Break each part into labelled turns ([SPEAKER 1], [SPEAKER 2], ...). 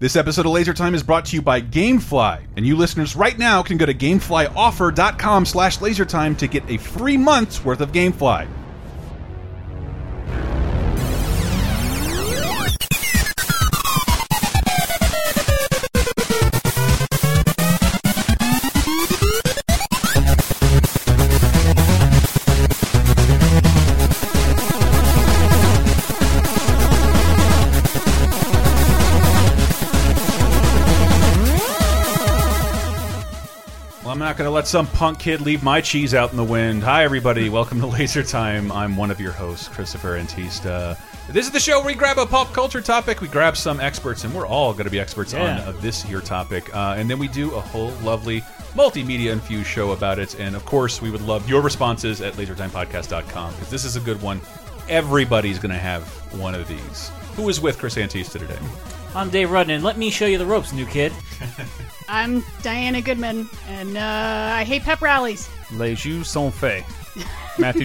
[SPEAKER 1] This episode of Laser Time is brought to you by GameFly, and you listeners right now can go to gameflyoffer.com slash lasertime to get a free month's worth of GameFly. Well, I'm not going to let some punk kid leave my cheese out in the wind. Hi, everybody. Welcome to Laser Time. I'm one of your hosts, Christopher Antista. This is the show where we grab a pop culture topic, we grab some experts, and we're all going to be experts
[SPEAKER 2] Yeah.
[SPEAKER 1] on uh, this here topic. Uh, and then we do a whole lovely multimedia infused show about it. And of course, we would love your responses at lasertimepodcast.com because this is a good one. Everybody's going to have one of these. Who is with Chris Antista today?
[SPEAKER 2] I'm Dave Rudden, and let me show you the ropes, new kid.
[SPEAKER 3] I'm Diana Goodman, and uh, I hate pep rallies.
[SPEAKER 4] Les Jeux sont faits. Matthew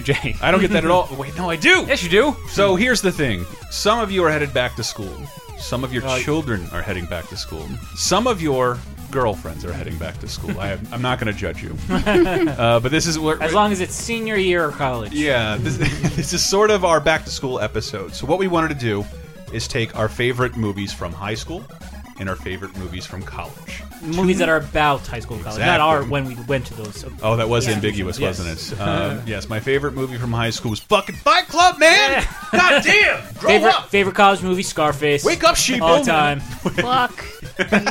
[SPEAKER 4] J.
[SPEAKER 1] I don't get that at all. Wait, no, I do.
[SPEAKER 4] yes, you do.
[SPEAKER 1] So here's the thing. Some of you are headed back to school. Some of
[SPEAKER 2] Uh,
[SPEAKER 1] your children are heading back to school. Some of your girlfriends are heading back to school. I have, I'm not going to judge you. Uh, but this is where.
[SPEAKER 2] As long as it's senior year of college.
[SPEAKER 1] yeah, this, this is sort of our back to school episode. So what we wanted to do is take our favorite movies from high school and our favorite movies from college.
[SPEAKER 2] Movies that are about high school college,
[SPEAKER 1] Exactly.
[SPEAKER 2] not our when we went to those.
[SPEAKER 1] Oh, that was
[SPEAKER 3] Yeah.
[SPEAKER 1] ambiguous,
[SPEAKER 2] Yes.
[SPEAKER 1] wasn't it? Um, yes, my favorite movie from high school was fucking Fight Club, man! God damn! Grow
[SPEAKER 2] favorite
[SPEAKER 1] up!
[SPEAKER 2] favorite college movie, Scarface.
[SPEAKER 1] Wake up, sheep!
[SPEAKER 2] all time.
[SPEAKER 3] Fuck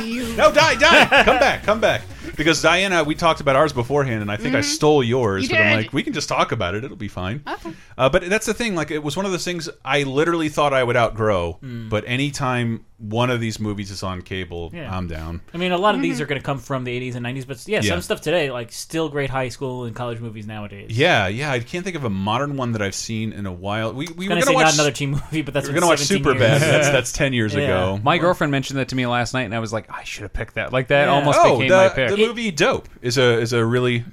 [SPEAKER 3] you.
[SPEAKER 1] No, die, die. come back, come back. Because Diana, we talked about ours beforehand, and I think I stole yours.
[SPEAKER 3] You
[SPEAKER 1] but I'm
[SPEAKER 3] did.
[SPEAKER 1] like, we can just talk about it; it'll be fine.
[SPEAKER 3] Okay.
[SPEAKER 1] Uh, but that's the thing. Like, it was one of those things I literally thought I would outgrow. But anytime one of these movies is on cable,
[SPEAKER 2] Yeah.
[SPEAKER 1] I'm down.
[SPEAKER 2] I mean, a lot of these are going to come from the 80s and 90s, but yeah,
[SPEAKER 1] Yeah.
[SPEAKER 2] some stuff today, like still great high school and college movies nowadays.
[SPEAKER 1] Yeah, yeah. I can't think of a modern one that I've seen in a while. We, we were
[SPEAKER 2] I'm
[SPEAKER 1] going
[SPEAKER 2] gonna
[SPEAKER 1] to
[SPEAKER 2] say
[SPEAKER 1] watch
[SPEAKER 2] not another teen movie, but that's
[SPEAKER 1] We
[SPEAKER 2] been
[SPEAKER 1] are gonna watch
[SPEAKER 2] 17
[SPEAKER 1] Superbad.
[SPEAKER 2] years.
[SPEAKER 1] That's that's ten years
[SPEAKER 2] Yeah.
[SPEAKER 1] ago.
[SPEAKER 4] My girlfriend mentioned that to me last night, and I was like, I should have picked that. Like that
[SPEAKER 2] Yeah.
[SPEAKER 4] almost
[SPEAKER 1] oh,
[SPEAKER 4] became
[SPEAKER 1] the,
[SPEAKER 4] my pick.
[SPEAKER 1] the movie Dope is a is a really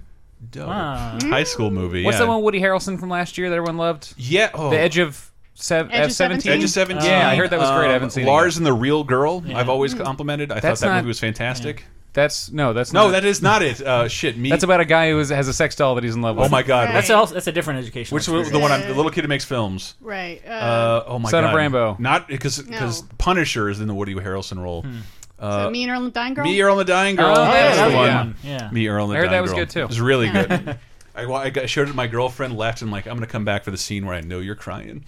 [SPEAKER 1] dope
[SPEAKER 2] Ah.
[SPEAKER 1] high school movie.
[SPEAKER 4] What's
[SPEAKER 1] yeah.
[SPEAKER 4] that one? Woody Harrelson from last year that everyone loved.
[SPEAKER 1] Yeah. Oh.
[SPEAKER 4] The Edge of Sev-
[SPEAKER 3] Edge of
[SPEAKER 4] F seventeen.
[SPEAKER 1] Edge of Seventeen. Um,
[SPEAKER 4] Yeah, I heard that was great. I haven't seen it
[SPEAKER 1] Lars and the Real Girl. I've always complimented. I
[SPEAKER 4] That's
[SPEAKER 1] thought that
[SPEAKER 4] not-
[SPEAKER 1] movie was fantastic.
[SPEAKER 4] That's no. That's
[SPEAKER 1] No,
[SPEAKER 4] Not,
[SPEAKER 1] that is not it. Uh, shit, me.
[SPEAKER 4] that's about a guy who is, has a sex doll that he's in love with.
[SPEAKER 1] oh my god,
[SPEAKER 2] That's,
[SPEAKER 3] Right.
[SPEAKER 2] also, that's a different education.
[SPEAKER 1] which was the one? I'm, the little kid who makes films.
[SPEAKER 3] Right. Uh,
[SPEAKER 1] Uh, oh my
[SPEAKER 4] Son
[SPEAKER 1] god,
[SPEAKER 4] of Rambo.
[SPEAKER 1] Not because because
[SPEAKER 3] No.
[SPEAKER 1] Punisher is in the Woody Harrelson role.
[SPEAKER 3] so me and Earl and Dying Girl?
[SPEAKER 1] Me Uh, Earl and the Dying Girl.
[SPEAKER 4] Oh,
[SPEAKER 2] yeah,
[SPEAKER 4] that's
[SPEAKER 2] that
[SPEAKER 4] the
[SPEAKER 2] was a
[SPEAKER 4] one.
[SPEAKER 2] good one. Yeah.
[SPEAKER 1] Me Earl and the
[SPEAKER 4] I heard that
[SPEAKER 1] Dying
[SPEAKER 4] was
[SPEAKER 1] Girl.
[SPEAKER 4] good, too.
[SPEAKER 1] It was really good. I, wa- I got- showed it to my girlfriend, laughed, and I'm like, I'm gonna come back for the scene where I know you're crying.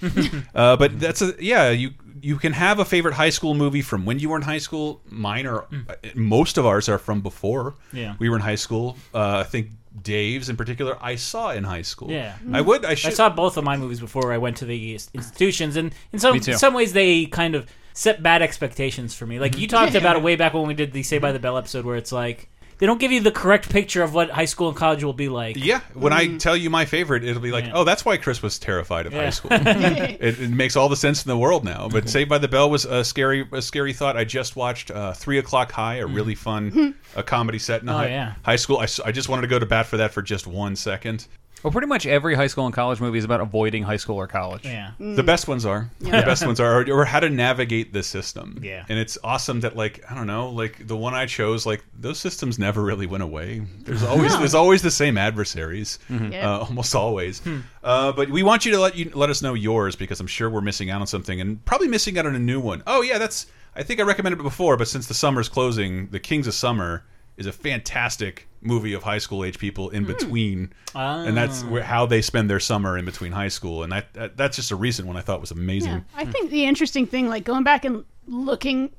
[SPEAKER 1] uh, but that's a yeah. You you can have a favorite high school movie from when you were in high school. Mine are uh, most of ours are from before
[SPEAKER 2] Mm. Yeah.
[SPEAKER 1] we were in high school. Uh, I think Dave's in particular I saw in high school.
[SPEAKER 2] Yeah.
[SPEAKER 1] I would. I should.
[SPEAKER 2] I saw both of my movies before I went to the institutions, and in some
[SPEAKER 4] Me too.
[SPEAKER 2] in some ways they kind of set bad expectations for me. Like
[SPEAKER 1] Mhm.
[SPEAKER 2] you talked about it way back when we did the Say by the Bell episode, where it's like they don't give you the correct picture of what high school and college will be like.
[SPEAKER 1] Yeah, when I tell you my favorite, it'll be like,
[SPEAKER 2] Mm. Yeah.
[SPEAKER 1] oh, that's why Chris was terrified of high
[SPEAKER 2] Yeah. Mm-hmm.
[SPEAKER 1] school. it, it makes all the sense in the world now. But Saved by the Bell was a scary, a scary thought. I just watched uh, Three O'clock High, a really fun, a comedy set in
[SPEAKER 2] Mm-hmm. Oh,
[SPEAKER 1] high,
[SPEAKER 2] yeah.
[SPEAKER 1] high school. I, s- I just wanted to go to bat for that for just one second.
[SPEAKER 4] Well, pretty much every high school and college movie is about avoiding high school or college.
[SPEAKER 2] Yeah.
[SPEAKER 3] Mm.
[SPEAKER 1] The best ones are the best ones are, or how to navigate the system.
[SPEAKER 2] Yeah.
[SPEAKER 1] and it's awesome that like I don't know, like the one I chose, like those systems never really went away. There's always there's always the same adversaries,
[SPEAKER 3] Mm-hmm. Yeah. Hmm.
[SPEAKER 1] uh, almost always. Uh, but we want you to let you let us know yours because I'm sure we're missing out on something and probably missing out on a new one. Oh yeah, that's I think I recommended it before, but since the summer's closing, The Kings of Summer is a fantastic movie of high school age people in
[SPEAKER 3] Hmm.
[SPEAKER 1] between and that's
[SPEAKER 3] Ah.
[SPEAKER 1] where, how they spend their summer in between high school and that, that that's just a recent one i thought was amazing
[SPEAKER 3] Yeah. I think the interesting thing, like going back and looking,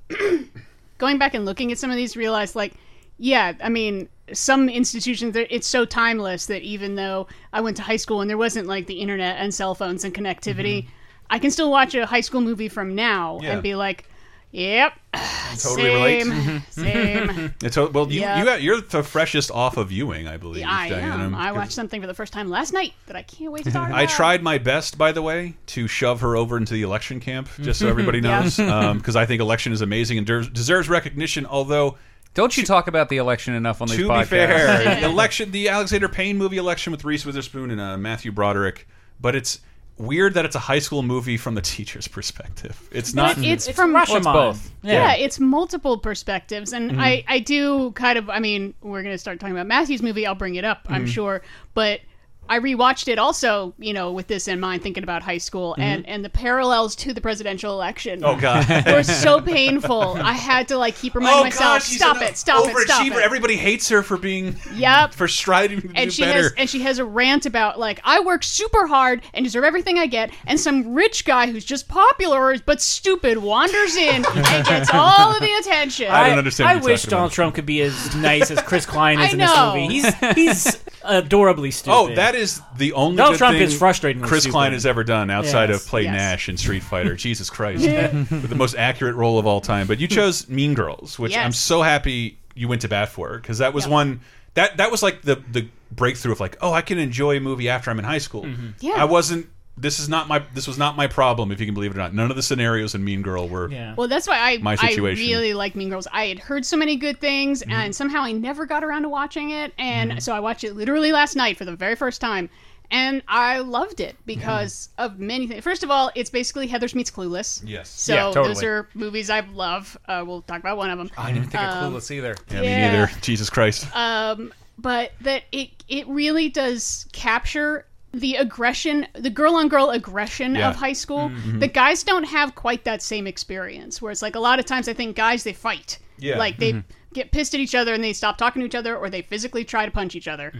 [SPEAKER 3] going back and looking at some of these, realize like, yeah, I mean, some institutions they're- it's so timeless that even though I went to high school and there wasn't like the internet and cell phones and connectivity, I can still watch a high school movie from now
[SPEAKER 1] Mm-hmm. Yeah.
[SPEAKER 3] and be like, yep,
[SPEAKER 1] totally relate. Mm-hmm.
[SPEAKER 3] same, same.
[SPEAKER 1] And so, well, you,
[SPEAKER 3] Yeah.
[SPEAKER 1] you got, you're the freshest off of viewing, I believe.
[SPEAKER 3] I
[SPEAKER 1] Diana,
[SPEAKER 3] am. I
[SPEAKER 1] because-
[SPEAKER 3] watched something for the first time last night that I can't wait to talk about.
[SPEAKER 1] I tried my best, by the way, to shove her over into the election camp, just so everybody knows, because I think election is amazing and der- deserves recognition. Although,
[SPEAKER 4] Don't you talk about the election enough on these
[SPEAKER 1] to
[SPEAKER 4] podcasts?
[SPEAKER 1] be fair, the election, the Alexander Payne movie election with Reese Witherspoon and uh, Matthew Broderick, but it's weird that it's a high school movie from the teacher's perspective. It's
[SPEAKER 3] But
[SPEAKER 1] not.
[SPEAKER 3] it's, from
[SPEAKER 2] Rashomon.
[SPEAKER 4] it's both.
[SPEAKER 3] Yeah, Mm-hmm. it's multiple perspectives, and I, I do kind of. I mean, we're going to start talking about Matthew's movie. I'll bring it up,
[SPEAKER 1] Mm-hmm.
[SPEAKER 3] I'm sure. But I rewatched it also, you know, with this in mind, thinking about high school and and the parallels to the presidential election.
[SPEAKER 1] Mm-hmm. oh god.
[SPEAKER 3] were so painful. I had to like keep reminding
[SPEAKER 1] Oh
[SPEAKER 3] myself,
[SPEAKER 1] gosh, she's
[SPEAKER 3] stop
[SPEAKER 1] an
[SPEAKER 3] it, stop it, stop it.
[SPEAKER 1] overachiever. Everybody hates her for being
[SPEAKER 3] yep.
[SPEAKER 1] for striving to
[SPEAKER 3] and
[SPEAKER 1] do
[SPEAKER 3] she
[SPEAKER 1] better.
[SPEAKER 3] has and she has a rant about like I work super hard and deserve everything I get, and some rich guy who's just popular but stupid wanders in and gets all of the attention.
[SPEAKER 1] I don't understand
[SPEAKER 2] I
[SPEAKER 1] what you're
[SPEAKER 2] wish
[SPEAKER 1] talking
[SPEAKER 2] Donald
[SPEAKER 1] about.
[SPEAKER 2] Trump could be as nice as Chris Klein
[SPEAKER 3] I
[SPEAKER 2] is in this
[SPEAKER 3] know.
[SPEAKER 2] movie. He's he's adorably stupid.
[SPEAKER 1] Oh, that is the only
[SPEAKER 2] Donald
[SPEAKER 1] good
[SPEAKER 2] Trump
[SPEAKER 1] thing
[SPEAKER 2] is frustratingly
[SPEAKER 1] Chris
[SPEAKER 2] stupid.
[SPEAKER 1] Klein has ever done outside
[SPEAKER 2] Yes,
[SPEAKER 1] of play
[SPEAKER 3] yes.
[SPEAKER 1] Nash in Street Fighter. Jesus Christ, With the most accurate role of all time. But you chose Mean Girls, which I'm
[SPEAKER 3] Yes.
[SPEAKER 1] so happy you went to bat for because that was one that that was like the the breakthrough of like, oh, I can enjoy a movie after I'm in high school.
[SPEAKER 3] Mm-hmm. Yeah.
[SPEAKER 1] I wasn't. This is not my. This was not my problem, if you can believe it or not. None of the scenarios in Mean Girl were.
[SPEAKER 2] yeah.
[SPEAKER 3] Well, that's why I
[SPEAKER 1] My
[SPEAKER 3] I
[SPEAKER 1] situation. Mm-hmm.
[SPEAKER 3] really like Mean Girls. I had heard so many good things, and somehow I never got around to watching it. And so I watched it literally last night for the very first time, and I loved it because
[SPEAKER 1] Mm-hmm.
[SPEAKER 3] of many things. First of all, it's basically Heather's meets Clueless.
[SPEAKER 1] Yes.
[SPEAKER 3] So
[SPEAKER 4] Yeah, totally.
[SPEAKER 3] those are movies I love. Uh, we'll talk about one of them.
[SPEAKER 4] I didn't even think of Clueless either.
[SPEAKER 1] Yeah,
[SPEAKER 3] Yeah.
[SPEAKER 1] Me neither. Jesus Christ.
[SPEAKER 3] um, but that it it really does capture the aggression, the girl on girl aggression
[SPEAKER 1] Yeah. Mm-hmm.
[SPEAKER 3] of high school. The guys don't have quite that same experience. Where it's like a lot of times I think guys they fight,
[SPEAKER 1] Yeah. Mm-hmm.
[SPEAKER 3] like they get pissed at each other and they stop talking to each other, or they physically try to punch each
[SPEAKER 1] Mm-hmm.
[SPEAKER 3] other.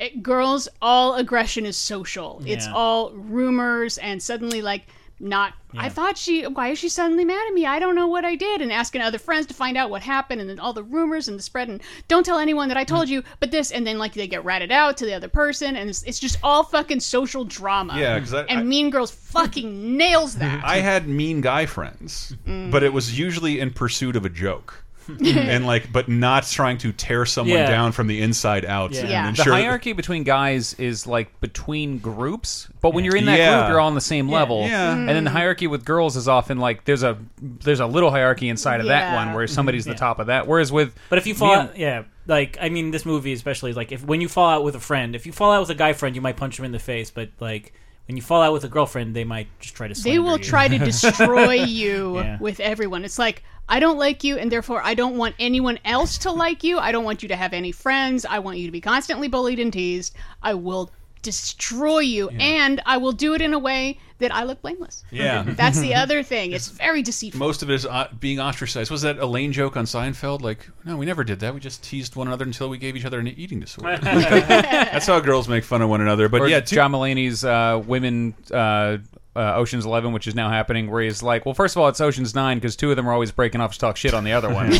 [SPEAKER 3] It, girls, all aggression is social. It's
[SPEAKER 2] Yeah.
[SPEAKER 3] all rumors and suddenly like. Not, I thought she. Why is she suddenly mad at me? I don't know what I did. And asking other friends to find out what happened, and then all the rumors and the spread. And don't tell anyone that I told you. But this, and then like they get ratted out to the other person, and it's, it's just all fucking social drama.
[SPEAKER 1] Yeah, 'cause I-
[SPEAKER 3] and
[SPEAKER 1] I-
[SPEAKER 3] Mean Girls fucking nails that.
[SPEAKER 1] I had mean guy friends, but it was usually in pursuit of a joke. and like but not trying to tear someone
[SPEAKER 2] Yeah.
[SPEAKER 1] down from the inside out
[SPEAKER 2] Yeah.
[SPEAKER 1] and
[SPEAKER 3] Yeah. The
[SPEAKER 1] ensure
[SPEAKER 4] the
[SPEAKER 1] that-
[SPEAKER 4] hierarchy between guys is like between groups, but when you're in that
[SPEAKER 1] Yeah.
[SPEAKER 4] group, you're all on the same level.
[SPEAKER 1] Yeah.
[SPEAKER 4] And then the hierarchy with girls is often like there's a there's a little hierarchy inside of that
[SPEAKER 3] Yeah.
[SPEAKER 4] one where somebody's
[SPEAKER 2] Yeah.
[SPEAKER 4] the top of that. Whereas with
[SPEAKER 2] But if you fall,
[SPEAKER 4] me
[SPEAKER 2] out, yeah, like I mean, this movie especially, like if when you fall out with a friend, if you fall out with a guy friend, you might punch him in the face, but like when you fall out with a girlfriend, they might just try to.
[SPEAKER 3] they
[SPEAKER 2] slander
[SPEAKER 3] will
[SPEAKER 2] you.
[SPEAKER 3] try to destroy you
[SPEAKER 2] Yeah.
[SPEAKER 3] with everyone. It's like I don't like you, and therefore I don't want anyone else to like you. I don't want you to have any friends. I want you to be constantly bullied and teased. I will destroy you, and I will do it in a way that I look blameless.
[SPEAKER 1] Yeah.
[SPEAKER 3] That's the other thing. It's very deceitful.
[SPEAKER 1] Most of it is uh, being ostracized. Was that a lame joke on Seinfeld? Like, no, we never did that. We just teased one another until we gave each other an eating disorder. That's how girls make fun of one another. But
[SPEAKER 4] or
[SPEAKER 1] yeah,
[SPEAKER 4] yeah,
[SPEAKER 1] two,
[SPEAKER 4] John Mulaney's uh, women uh, uh, Ocean's Eleven, which is now happening, where he's like, well, first of all, it's Ocean's Nine because two of them are always breaking off to talk shit on the other one.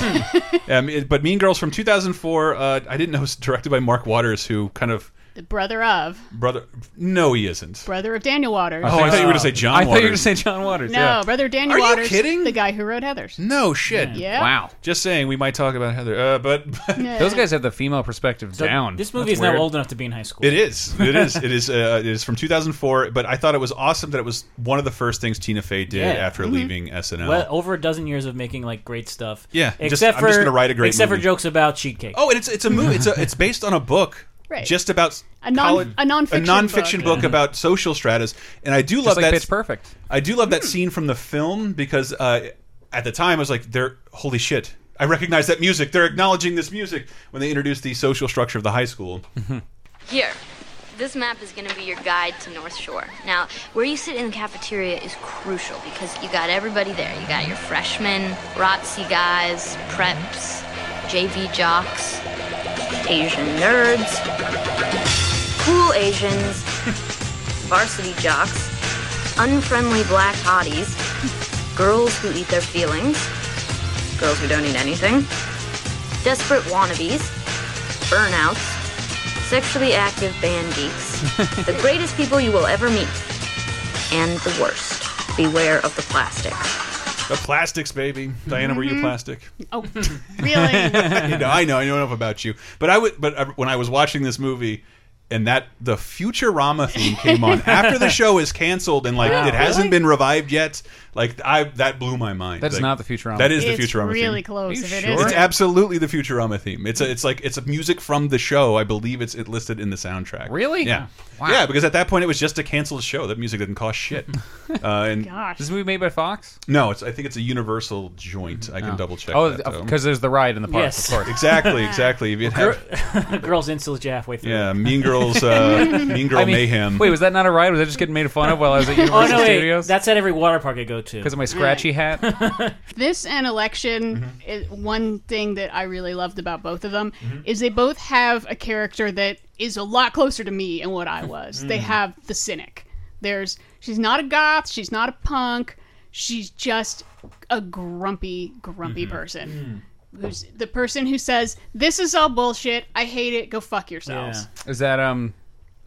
[SPEAKER 1] um, it- but Mean Girls from 2004. Uh, I didn't know it was directed by Mark Waters, who kind of
[SPEAKER 3] The brother of
[SPEAKER 1] brother. No, he isn't.
[SPEAKER 3] brother of Daniel Waters.
[SPEAKER 1] Oh, I thought you were going to say John.
[SPEAKER 4] I thought you were going to
[SPEAKER 1] Waters.
[SPEAKER 4] say John Waters.
[SPEAKER 3] no,
[SPEAKER 4] yeah.
[SPEAKER 3] brother of Daniel
[SPEAKER 1] Are you
[SPEAKER 3] Waters.
[SPEAKER 1] kidding?
[SPEAKER 3] The guy who wrote Heather's.
[SPEAKER 1] No shit.
[SPEAKER 3] Yeah.
[SPEAKER 4] Wow.
[SPEAKER 1] Just saying, we might talk about Heather, uh, but
[SPEAKER 3] Yeah.
[SPEAKER 4] Those guys have the female perspective
[SPEAKER 2] So
[SPEAKER 4] down.
[SPEAKER 2] This movie
[SPEAKER 4] That's
[SPEAKER 2] is
[SPEAKER 4] weird.
[SPEAKER 2] now old enough to be in high school.
[SPEAKER 1] it is, it is, it is, uh, it is from 2004. But I thought it was awesome that it was one of the first things Tina Fey did
[SPEAKER 2] Yeah.
[SPEAKER 1] after
[SPEAKER 4] Mm-hmm.
[SPEAKER 1] leaving SNL.
[SPEAKER 2] Well, over a dozen years of making like great stuff.
[SPEAKER 1] Yeah, just-
[SPEAKER 2] except
[SPEAKER 1] I'm
[SPEAKER 2] for
[SPEAKER 1] just gonna write a great
[SPEAKER 2] except
[SPEAKER 1] movie.
[SPEAKER 2] for jokes about cheat cake.
[SPEAKER 1] oh, and it's it's a movie. It's a, it's based on a book,
[SPEAKER 3] Right.
[SPEAKER 1] Just about
[SPEAKER 3] A non-
[SPEAKER 1] college-
[SPEAKER 3] a nonfiction
[SPEAKER 1] nonfiction book,
[SPEAKER 3] book.
[SPEAKER 1] about social stratas. And I do love
[SPEAKER 4] It's Mm-hmm. like
[SPEAKER 1] that.
[SPEAKER 4] Pitch Perfect.
[SPEAKER 1] I do love that
[SPEAKER 3] Hmm.
[SPEAKER 1] scene from the film because uh, at the time I was like, "They're holy shit! I recognize that music. They're acknowledging this music when they introduced the social structure of the high school."
[SPEAKER 5] Here, this map is going to be your guide to North Shore. Now, where you sit in the cafeteria is crucial because you got everybody there. You got your freshmen, ROTC guys, preps, JV jocks, Asian nerds, cool Asians, varsity jocks, unfriendly black hotties, girls who eat their feelings, girls who don't eat anything, desperate wannabes, burnouts sexually active band geeks, the greatest people you will ever meet, and the worst. Beware of the plastic.
[SPEAKER 1] the plastics, baby. Diana, were you plastic?
[SPEAKER 3] Oh, really?
[SPEAKER 1] you know, I know, I know enough about you. But I would, but I- when I was watching this movie, and that the Futurama theme came on after the show is canceled, and like
[SPEAKER 3] Oh,
[SPEAKER 1] it hasn't been revived yet. Like I, that blew my mind.
[SPEAKER 4] That's
[SPEAKER 1] Like,
[SPEAKER 4] not the Futurama.
[SPEAKER 1] That is the
[SPEAKER 3] it's
[SPEAKER 1] Futurama
[SPEAKER 3] really
[SPEAKER 1] theme.
[SPEAKER 3] close.
[SPEAKER 4] Are you
[SPEAKER 3] If it
[SPEAKER 4] sure?
[SPEAKER 3] is,
[SPEAKER 1] It's absolutely the Futurama theme. It's a, it's like it's a music from the show. I believe it's it listed in the soundtrack.
[SPEAKER 4] Really?
[SPEAKER 1] Yeah.
[SPEAKER 4] Wow.
[SPEAKER 1] Yeah, because at that point it was just a canceled show. That music didn't cost shit. uh, and
[SPEAKER 3] gosh,
[SPEAKER 4] This movie made by Fox?
[SPEAKER 1] no, it's I think it's a Universal joint. I can double check.
[SPEAKER 4] Oh,
[SPEAKER 1] that, though.
[SPEAKER 4] because there's the ride in the park,
[SPEAKER 2] Yes.
[SPEAKER 4] of course.
[SPEAKER 1] exactly, exactly. If you'd have,
[SPEAKER 2] Girls instill you halfway through.
[SPEAKER 1] Oh. yeah, Mean Girls, uh, Mean Girl
[SPEAKER 4] I mean,
[SPEAKER 1] Mayhem.
[SPEAKER 4] Wait, was that not a ride? Was I just getting made fun of while I was at
[SPEAKER 2] Oh
[SPEAKER 4] Universal
[SPEAKER 2] no, wait,
[SPEAKER 4] Studios?
[SPEAKER 2] that's at every water park I go to.
[SPEAKER 4] because of my scratchy hat.
[SPEAKER 3] this and election is one thing that I really loved about both of them is they both have a character that is a lot closer to me and what I was. They have the cynic. There's she's not a goth, she's not a punk, she's just a grumpy, grumpy person. Who's the person who says, This is all bullshit, I hate it, go fuck yourselves.
[SPEAKER 4] Is that um?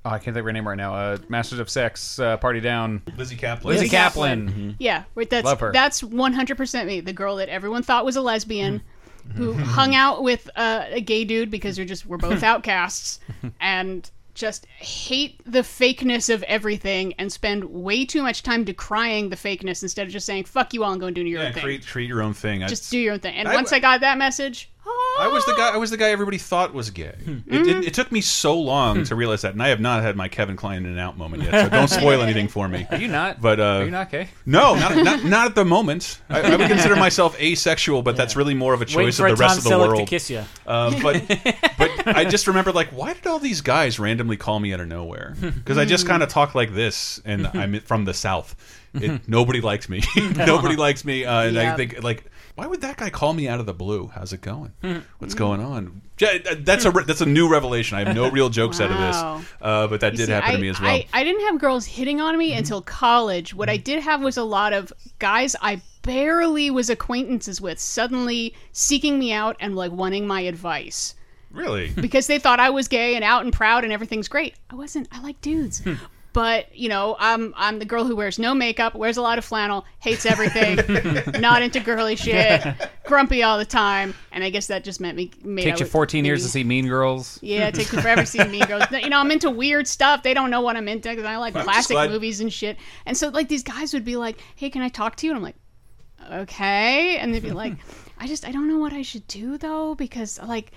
[SPEAKER 4] Oh, I can't think of her name right now. Uh, Masters of Sex, uh, Party Down.
[SPEAKER 1] Lizzie Kaplan.
[SPEAKER 4] Lizzie Kaplan.
[SPEAKER 3] Kaplan.
[SPEAKER 1] Mm-hmm.
[SPEAKER 3] Yeah, right. That's
[SPEAKER 4] Love her.
[SPEAKER 3] that's one hundred percent me. The girl that everyone thought was a lesbian,
[SPEAKER 4] Mm-hmm.
[SPEAKER 3] who hung out with uh, a gay dude because we're just we're both outcasts, and just hate the fakeness of everything, and spend way too much time decrying the fakeness instead of just saying "fuck you all" and go and do your
[SPEAKER 1] Yeah,
[SPEAKER 3] own thing.
[SPEAKER 1] create create your own thing. I-
[SPEAKER 3] just do your own thing. And
[SPEAKER 1] I
[SPEAKER 3] once
[SPEAKER 1] w-
[SPEAKER 3] I got that message,
[SPEAKER 1] I was the guy. I was the guy everybody thought was gay.
[SPEAKER 4] Hmm.
[SPEAKER 1] It, it, it took me so long to realize that, and I have not had my Kevin Klein in and out moment yet. So don't spoil anything for me.
[SPEAKER 4] Are you not?
[SPEAKER 1] But, uh,
[SPEAKER 4] are you not gay?
[SPEAKER 1] No, not, not not at the moment. I, I would consider myself asexual, but that's really more of a
[SPEAKER 2] Waiting
[SPEAKER 1] choice
[SPEAKER 2] for
[SPEAKER 1] of the
[SPEAKER 2] a Tom
[SPEAKER 1] rest of the
[SPEAKER 2] Selleck to
[SPEAKER 1] world.
[SPEAKER 2] kiss you.
[SPEAKER 1] Uh, but but I just remember like, why did all these guys randomly call me out of nowhere? Because I just kind of talk like this, and I'm from the south. It, nobody likes me. nobody likes me, uh, and I
[SPEAKER 3] Yeah.
[SPEAKER 1] think like. Why would that guy call me out of the blue? How's it going?
[SPEAKER 3] Mm-hmm.
[SPEAKER 1] What's going on? Yeah, uh, That's a re- that's a new revelation. I have no real jokes out of
[SPEAKER 3] Wow.
[SPEAKER 1] this, uh, but that did
[SPEAKER 3] See,
[SPEAKER 1] happen
[SPEAKER 3] I,
[SPEAKER 1] to me as well. Mm-hmm.
[SPEAKER 3] I, I didn't have girls hitting on me until college. What I did have was a lot of guys I barely was acquaintances with suddenly seeking me out and like wanting my advice
[SPEAKER 1] really?
[SPEAKER 3] because they thought I was gay and out and proud and everything's great. I wasn't. I like dudes.
[SPEAKER 1] Hmm.
[SPEAKER 3] But you know, I'm I'm the girl who wears no makeup, wears a lot of flannel, hates everything, not into girly shit, grumpy all the time, and I guess that just meant me. Made I
[SPEAKER 4] Takes you
[SPEAKER 3] would-
[SPEAKER 4] 14 years
[SPEAKER 3] maybe-
[SPEAKER 4] to see Mean Girls.
[SPEAKER 3] yeah, it takes me forever to see me girls. You know, I'm into weird stuff. They don't know what I'm into because I like
[SPEAKER 1] I'm just
[SPEAKER 3] classic
[SPEAKER 1] glad-
[SPEAKER 3] movies and shit. And so, like, these guys would be like, hey, can I talk to you? And I'm like, okay. And they'd be like, I just, I don't know what I should do, though, because, like,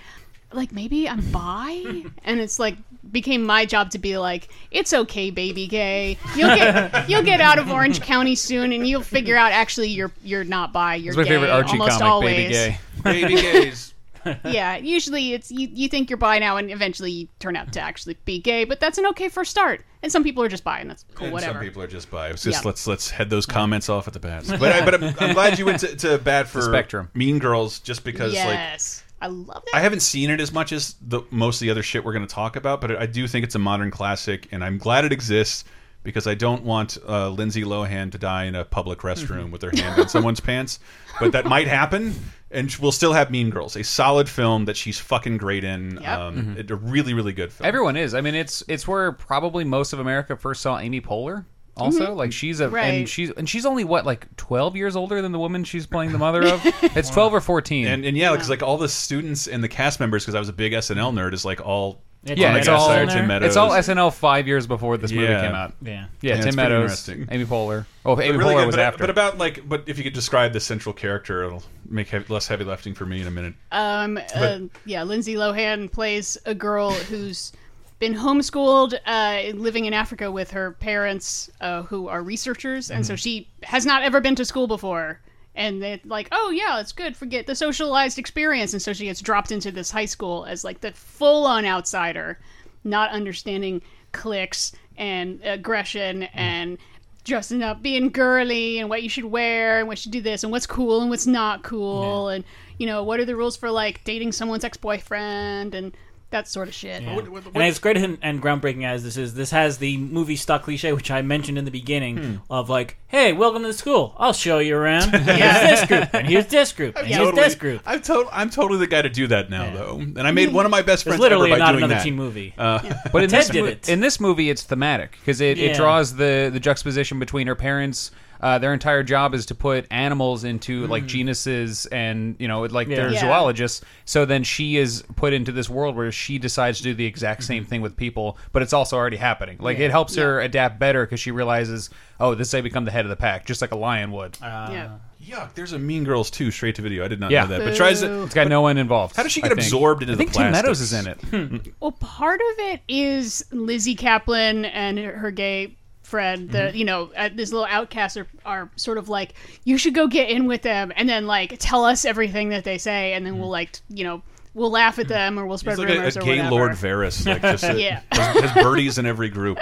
[SPEAKER 3] like maybe I'm bi, and it's like became my job to be like, it's okay, baby gay. You'll get you'll get out of Orange County soon, and you'll figure out actually you're you're not bi. You're
[SPEAKER 4] It's my
[SPEAKER 3] gay,
[SPEAKER 4] favorite Archie
[SPEAKER 3] almost
[SPEAKER 4] comic,
[SPEAKER 3] always
[SPEAKER 4] Baby Gay.
[SPEAKER 1] Baby gays.
[SPEAKER 3] yeah usually it's you, you think you're bi now and eventually you turn out to actually be gay but that's an okay first start and some people are just bi and that's cool
[SPEAKER 1] And
[SPEAKER 3] whatever
[SPEAKER 1] Some people are just bi. It's just
[SPEAKER 3] Yeah.
[SPEAKER 1] let's let's head those comments off at the bat. But I, but I'm, I'm glad you went to, to bat for
[SPEAKER 4] spectrum.
[SPEAKER 1] Mean Girls, just because like
[SPEAKER 3] yes i love that
[SPEAKER 1] I haven't seen it as much as the most of the other shit we're going to talk about, but I do think it's a modern classic, and I'm glad it exists because I don't want uh, Lindsay Lohan to die in a public
[SPEAKER 4] Mm-hmm.
[SPEAKER 1] restroom with her hand in someone's pants, but that might happen. And we'll still have Mean Girls, a solid film that she's fucking great in.
[SPEAKER 3] Yep.
[SPEAKER 1] Um,
[SPEAKER 4] Mm-hmm.
[SPEAKER 1] it- A really, really good film.
[SPEAKER 4] Everyone is. I mean, it's it's where probably most of America first saw Amy Poehler. Also, like she's a and
[SPEAKER 3] Right.
[SPEAKER 4] she's and she's only what like 12 years older than the woman she's playing the mother of. It's 12 or 14.
[SPEAKER 1] And, and yeah, because like all the students and the cast members, because I was a big SNL nerd, is like all
[SPEAKER 4] yeah,
[SPEAKER 1] Comic
[SPEAKER 4] it's
[SPEAKER 1] Guy
[SPEAKER 4] all
[SPEAKER 1] Sire, Tim Meadows.
[SPEAKER 4] it's all SNL five years before this movie
[SPEAKER 1] Yeah.
[SPEAKER 4] came out.
[SPEAKER 2] Yeah.
[SPEAKER 4] Yeah,
[SPEAKER 1] Yeah, it's
[SPEAKER 4] Tim
[SPEAKER 1] pretty
[SPEAKER 4] Meadows,
[SPEAKER 1] interesting.
[SPEAKER 4] Amy Poehler. Oh, Amy
[SPEAKER 1] really
[SPEAKER 4] Poehler
[SPEAKER 1] good,
[SPEAKER 4] was
[SPEAKER 1] but,
[SPEAKER 4] after.
[SPEAKER 1] but about like, but if you could describe the central character, it'll make heavy, less heavy lifting for me in a minute.
[SPEAKER 3] um uh, yeah lindsay lohan plays a girl who's been homeschooled uh, living in africa with her parents uh, who are researchers and so she has not ever been to school before and they're like oh yeah it's good forget the socialized experience and so she gets dropped into this high school as like the full-on outsider not understanding clicks and aggression and dressing up, being girly, and what you should wear, and what you should do this, and what's cool and what's not cool, and you know what are the rules for like dating someone's ex boyfriend and that sort of shit.
[SPEAKER 2] Yeah. and as great and, and groundbreaking as this is, this has the movie stock cliche which I mentioned in the beginning
[SPEAKER 1] Hmm.
[SPEAKER 2] of like, "Hey, welcome to the school. I'll show you around. Here's this group, and here's this group, and here's this group."
[SPEAKER 1] I'm, to- I'm totally the guy to do that now, though, and I made one of my
[SPEAKER 2] It's
[SPEAKER 1] best friends
[SPEAKER 2] literally
[SPEAKER 1] ever by
[SPEAKER 2] not
[SPEAKER 1] doing
[SPEAKER 2] another
[SPEAKER 1] that. Uh,
[SPEAKER 2] teen movie.
[SPEAKER 4] But
[SPEAKER 2] Ted
[SPEAKER 4] in this,
[SPEAKER 2] did
[SPEAKER 4] mo-
[SPEAKER 2] it.
[SPEAKER 4] in this movie, it's thematic because it,
[SPEAKER 2] Yeah.
[SPEAKER 4] it draws the the juxtaposition between her parents. Uh, their entire job is to put animals
[SPEAKER 2] Mm-hmm.
[SPEAKER 4] into like genuses and you know like they're
[SPEAKER 3] Yeah.
[SPEAKER 4] zoologists. So then she is put into this world where she decides to do the exact
[SPEAKER 2] Mm-hmm.
[SPEAKER 4] same thing with people, but it's also already happening. Like it helps her adapt better because she realizes, oh, this I become the head of the pack, just like a lion would.
[SPEAKER 1] uh,
[SPEAKER 3] yeah.
[SPEAKER 1] Yuck! There's a Mean Girls 2 straight to video. I did not
[SPEAKER 4] Yeah.
[SPEAKER 1] know that. But tries to.
[SPEAKER 4] it's got no one involved.
[SPEAKER 1] How does she
[SPEAKER 4] I
[SPEAKER 1] get
[SPEAKER 4] think.
[SPEAKER 1] absorbed into
[SPEAKER 4] I think
[SPEAKER 1] the Hmm. plastics?
[SPEAKER 4] Tim Meadows is in it.
[SPEAKER 3] Well, part of it is Lizzie Kaplan and her her gay friend. The
[SPEAKER 1] Mm-hmm.
[SPEAKER 3] you know uh, these little outcasts are, are sort of like you should go get in with them, and then like tell us everything that they say, and then we'll like t- you know we'll laugh at them or we'll spread
[SPEAKER 1] Mm-hmm. It's like
[SPEAKER 3] rumors or
[SPEAKER 1] a, a gay
[SPEAKER 3] whatever.
[SPEAKER 1] Lord Varys, like just a,
[SPEAKER 3] Yeah.
[SPEAKER 1] has, has birdies in every group.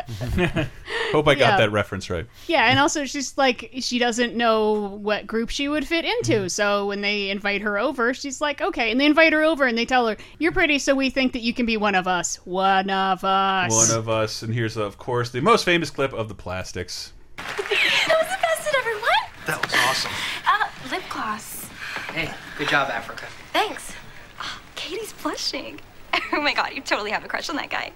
[SPEAKER 1] Hope I got
[SPEAKER 3] Yeah.
[SPEAKER 1] that reference right.
[SPEAKER 3] Yeah, and also she's like she doesn't know what group she would fit
[SPEAKER 1] Mm-hmm.
[SPEAKER 3] into. So when they invite her over, she's like, "Okay." And they invite her over and they tell her, "You're pretty, so we think that you can be one of us." One of us.
[SPEAKER 1] One of us, and here's of course the most famous clip of the plastics.
[SPEAKER 6] That was the best it ever went.
[SPEAKER 7] That was awesome.
[SPEAKER 6] Uh, lip gloss.
[SPEAKER 8] Hey, good job, Africa.
[SPEAKER 6] Thanks. Ah, Katie's blushing. Oh my god, you totally have a crush on that guy.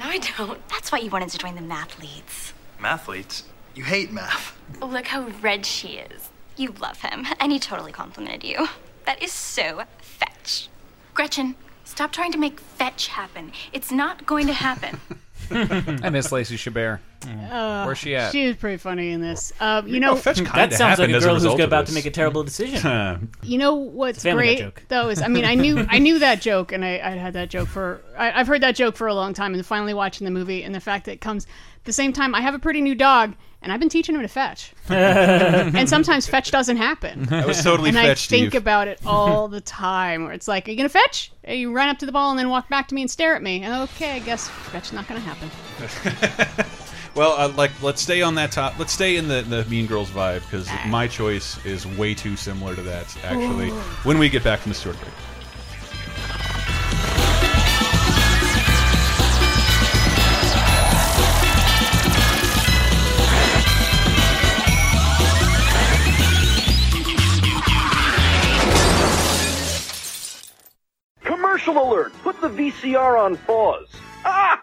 [SPEAKER 6] No, I don't. That's why you wanted to join the mathletes.
[SPEAKER 7] Mathletes, you hate math.
[SPEAKER 6] Look how red she is. You love him, and he totally complimented you. That is so fetch. Gretchen, stop trying to make fetch happen. It's not going to happen.
[SPEAKER 4] I miss Lacey Chabert.
[SPEAKER 9] Uh,
[SPEAKER 4] Where's she at?
[SPEAKER 3] She was pretty funny in this. Um, you know,
[SPEAKER 1] oh, fetch kind
[SPEAKER 2] That
[SPEAKER 1] of
[SPEAKER 2] sounds like
[SPEAKER 1] happened
[SPEAKER 2] a
[SPEAKER 1] as a
[SPEAKER 2] girl who's
[SPEAKER 1] result of
[SPEAKER 2] about to
[SPEAKER 1] this. Hmm.
[SPEAKER 2] make a terrible decision.
[SPEAKER 3] you know what's
[SPEAKER 2] Family Guy
[SPEAKER 3] great
[SPEAKER 2] joke.
[SPEAKER 3] though is I mean I knew I knew that joke and I, I had that joke for I, I've heard that joke for a long time and finally watching the movie and the fact that it comes at the same time I have a pretty new dog and I've been teaching him to fetch and sometimes fetch doesn't happen
[SPEAKER 1] That was totally
[SPEAKER 3] and I
[SPEAKER 1] fetched.
[SPEAKER 3] think
[SPEAKER 1] Steve.
[SPEAKER 3] about it all the time where it's like are you gonna fetch and you run up to the ball and then walk back to me and stare at me okay I guess fetch not gonna happen
[SPEAKER 1] Well, uh, like let's stay on that top. Let's stay in the, the Mean Girls vibe because my choice is way too similar to that. Actually, when we get back from the short break.
[SPEAKER 10] Commercial alert! Put the VCR on pause. Ah!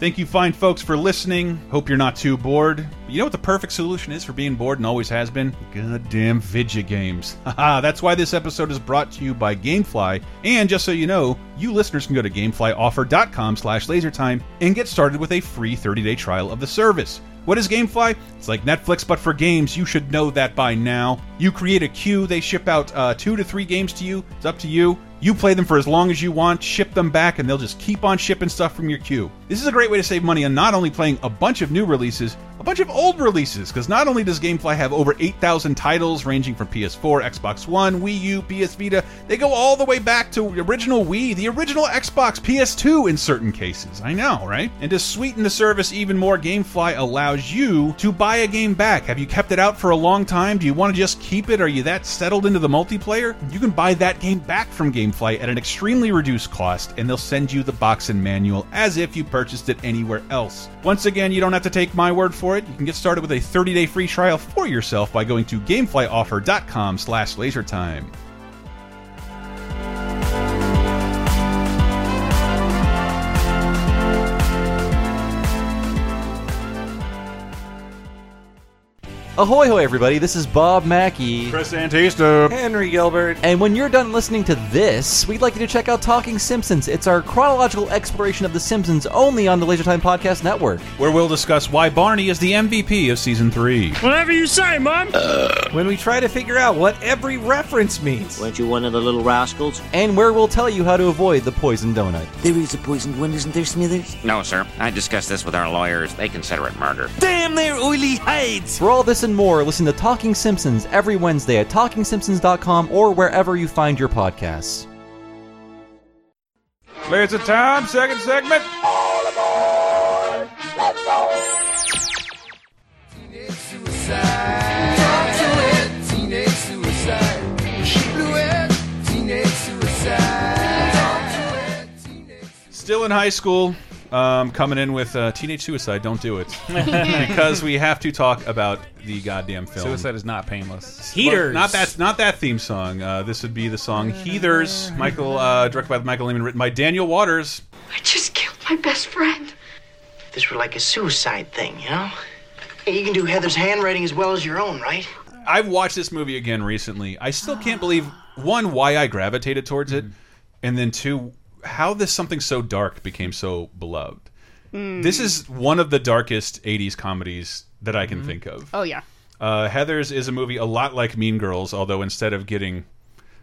[SPEAKER 1] Thank you, fine folks, for listening. Hope you're not too bored. You know what the perfect solution is for being bored and always has been? Goddamn video games. Haha, that's why this episode is brought to you by Gamefly. And just so you know, you listeners can go to gameflyoffer.com slash lasertime and get started with a free 30-day trial of the service. What is Gamefly? It's like Netflix, but for games. You should know that by now. You create a queue, they ship out uh, two to three games to you. It's up to you. You play them for as long as you want, ship them back, and they'll just keep on shipping stuff from your queue. This is a great way to save money on not only playing a bunch of new releases, a bunch of old releases, because not only does Gamefly have over 8,000 titles ranging from PS4, Xbox One, Wii U, PS Vita, they go all the way back to original Wii, the original Xbox, PS2 in certain cases. I know, right? And to sweeten the service even more, Gamefly allows you to buy a game back. Have you kept it out for a long time? Do you want to just keep it? Are you that settled into the multiplayer? You can buy that game back from Gamefly at an extremely reduced cost, and they'll send you the box and manual as if you purchased it anywhere else. Once again, you don't have to take my word for it. You can get started with a 30-day free trial for yourself by going to gameflyoffer.com slash lasertime.
[SPEAKER 11] Ahoy, hoy, everybody! This is Bob Mackey.
[SPEAKER 1] Chris Antista.
[SPEAKER 11] Henry Gilbert. And when you're done listening to this, we'd like you to check out Talking Simpsons. It's our chronological exploration of The Simpsons only on the Laser Time Podcast Network.
[SPEAKER 1] Where we'll discuss why Barney is the MVP of season three.
[SPEAKER 2] Whatever you say, Mom.
[SPEAKER 12] Uh,
[SPEAKER 9] When we try to figure out what every reference means.
[SPEAKER 10] Weren't you one of the little rascals?
[SPEAKER 11] And where we'll tell you how to avoid the poison donut.
[SPEAKER 9] There is a poisoned one, isn't there, Smithers?
[SPEAKER 13] No, sir. I discussed this with our lawyers. They consider it murder.
[SPEAKER 9] Damn their oily hides!
[SPEAKER 11] For all this and more, listen to Talking Simpsons every Wednesday at TalkingSimpsons.com or wherever you find your podcasts.
[SPEAKER 1] Laser time, second segment. Still in high school, um, coming in with uh, Teenage Suicide. Don't do it because we have to talk about the goddamn film.
[SPEAKER 4] Suicide is not painless.
[SPEAKER 1] Well, not that. Not that theme song. Uh, this would be the song "Heathers." Michael, uh, directed by Michael Lehman, written by Daniel Waters.
[SPEAKER 14] I just killed my best friend.
[SPEAKER 12] This were like a suicide thing, you know? You can do Heather's handwriting as well as your own, right?
[SPEAKER 1] I've watched this movie again recently. I still can't believe one why I gravitated towards it, and then two how this something so dark became so beloved.
[SPEAKER 3] Mm.
[SPEAKER 1] This is one of the darkest '80s comedies that I can think of.
[SPEAKER 3] Oh yeah.
[SPEAKER 1] Uh, Heather's is a movie a lot like Mean Girls, although instead of getting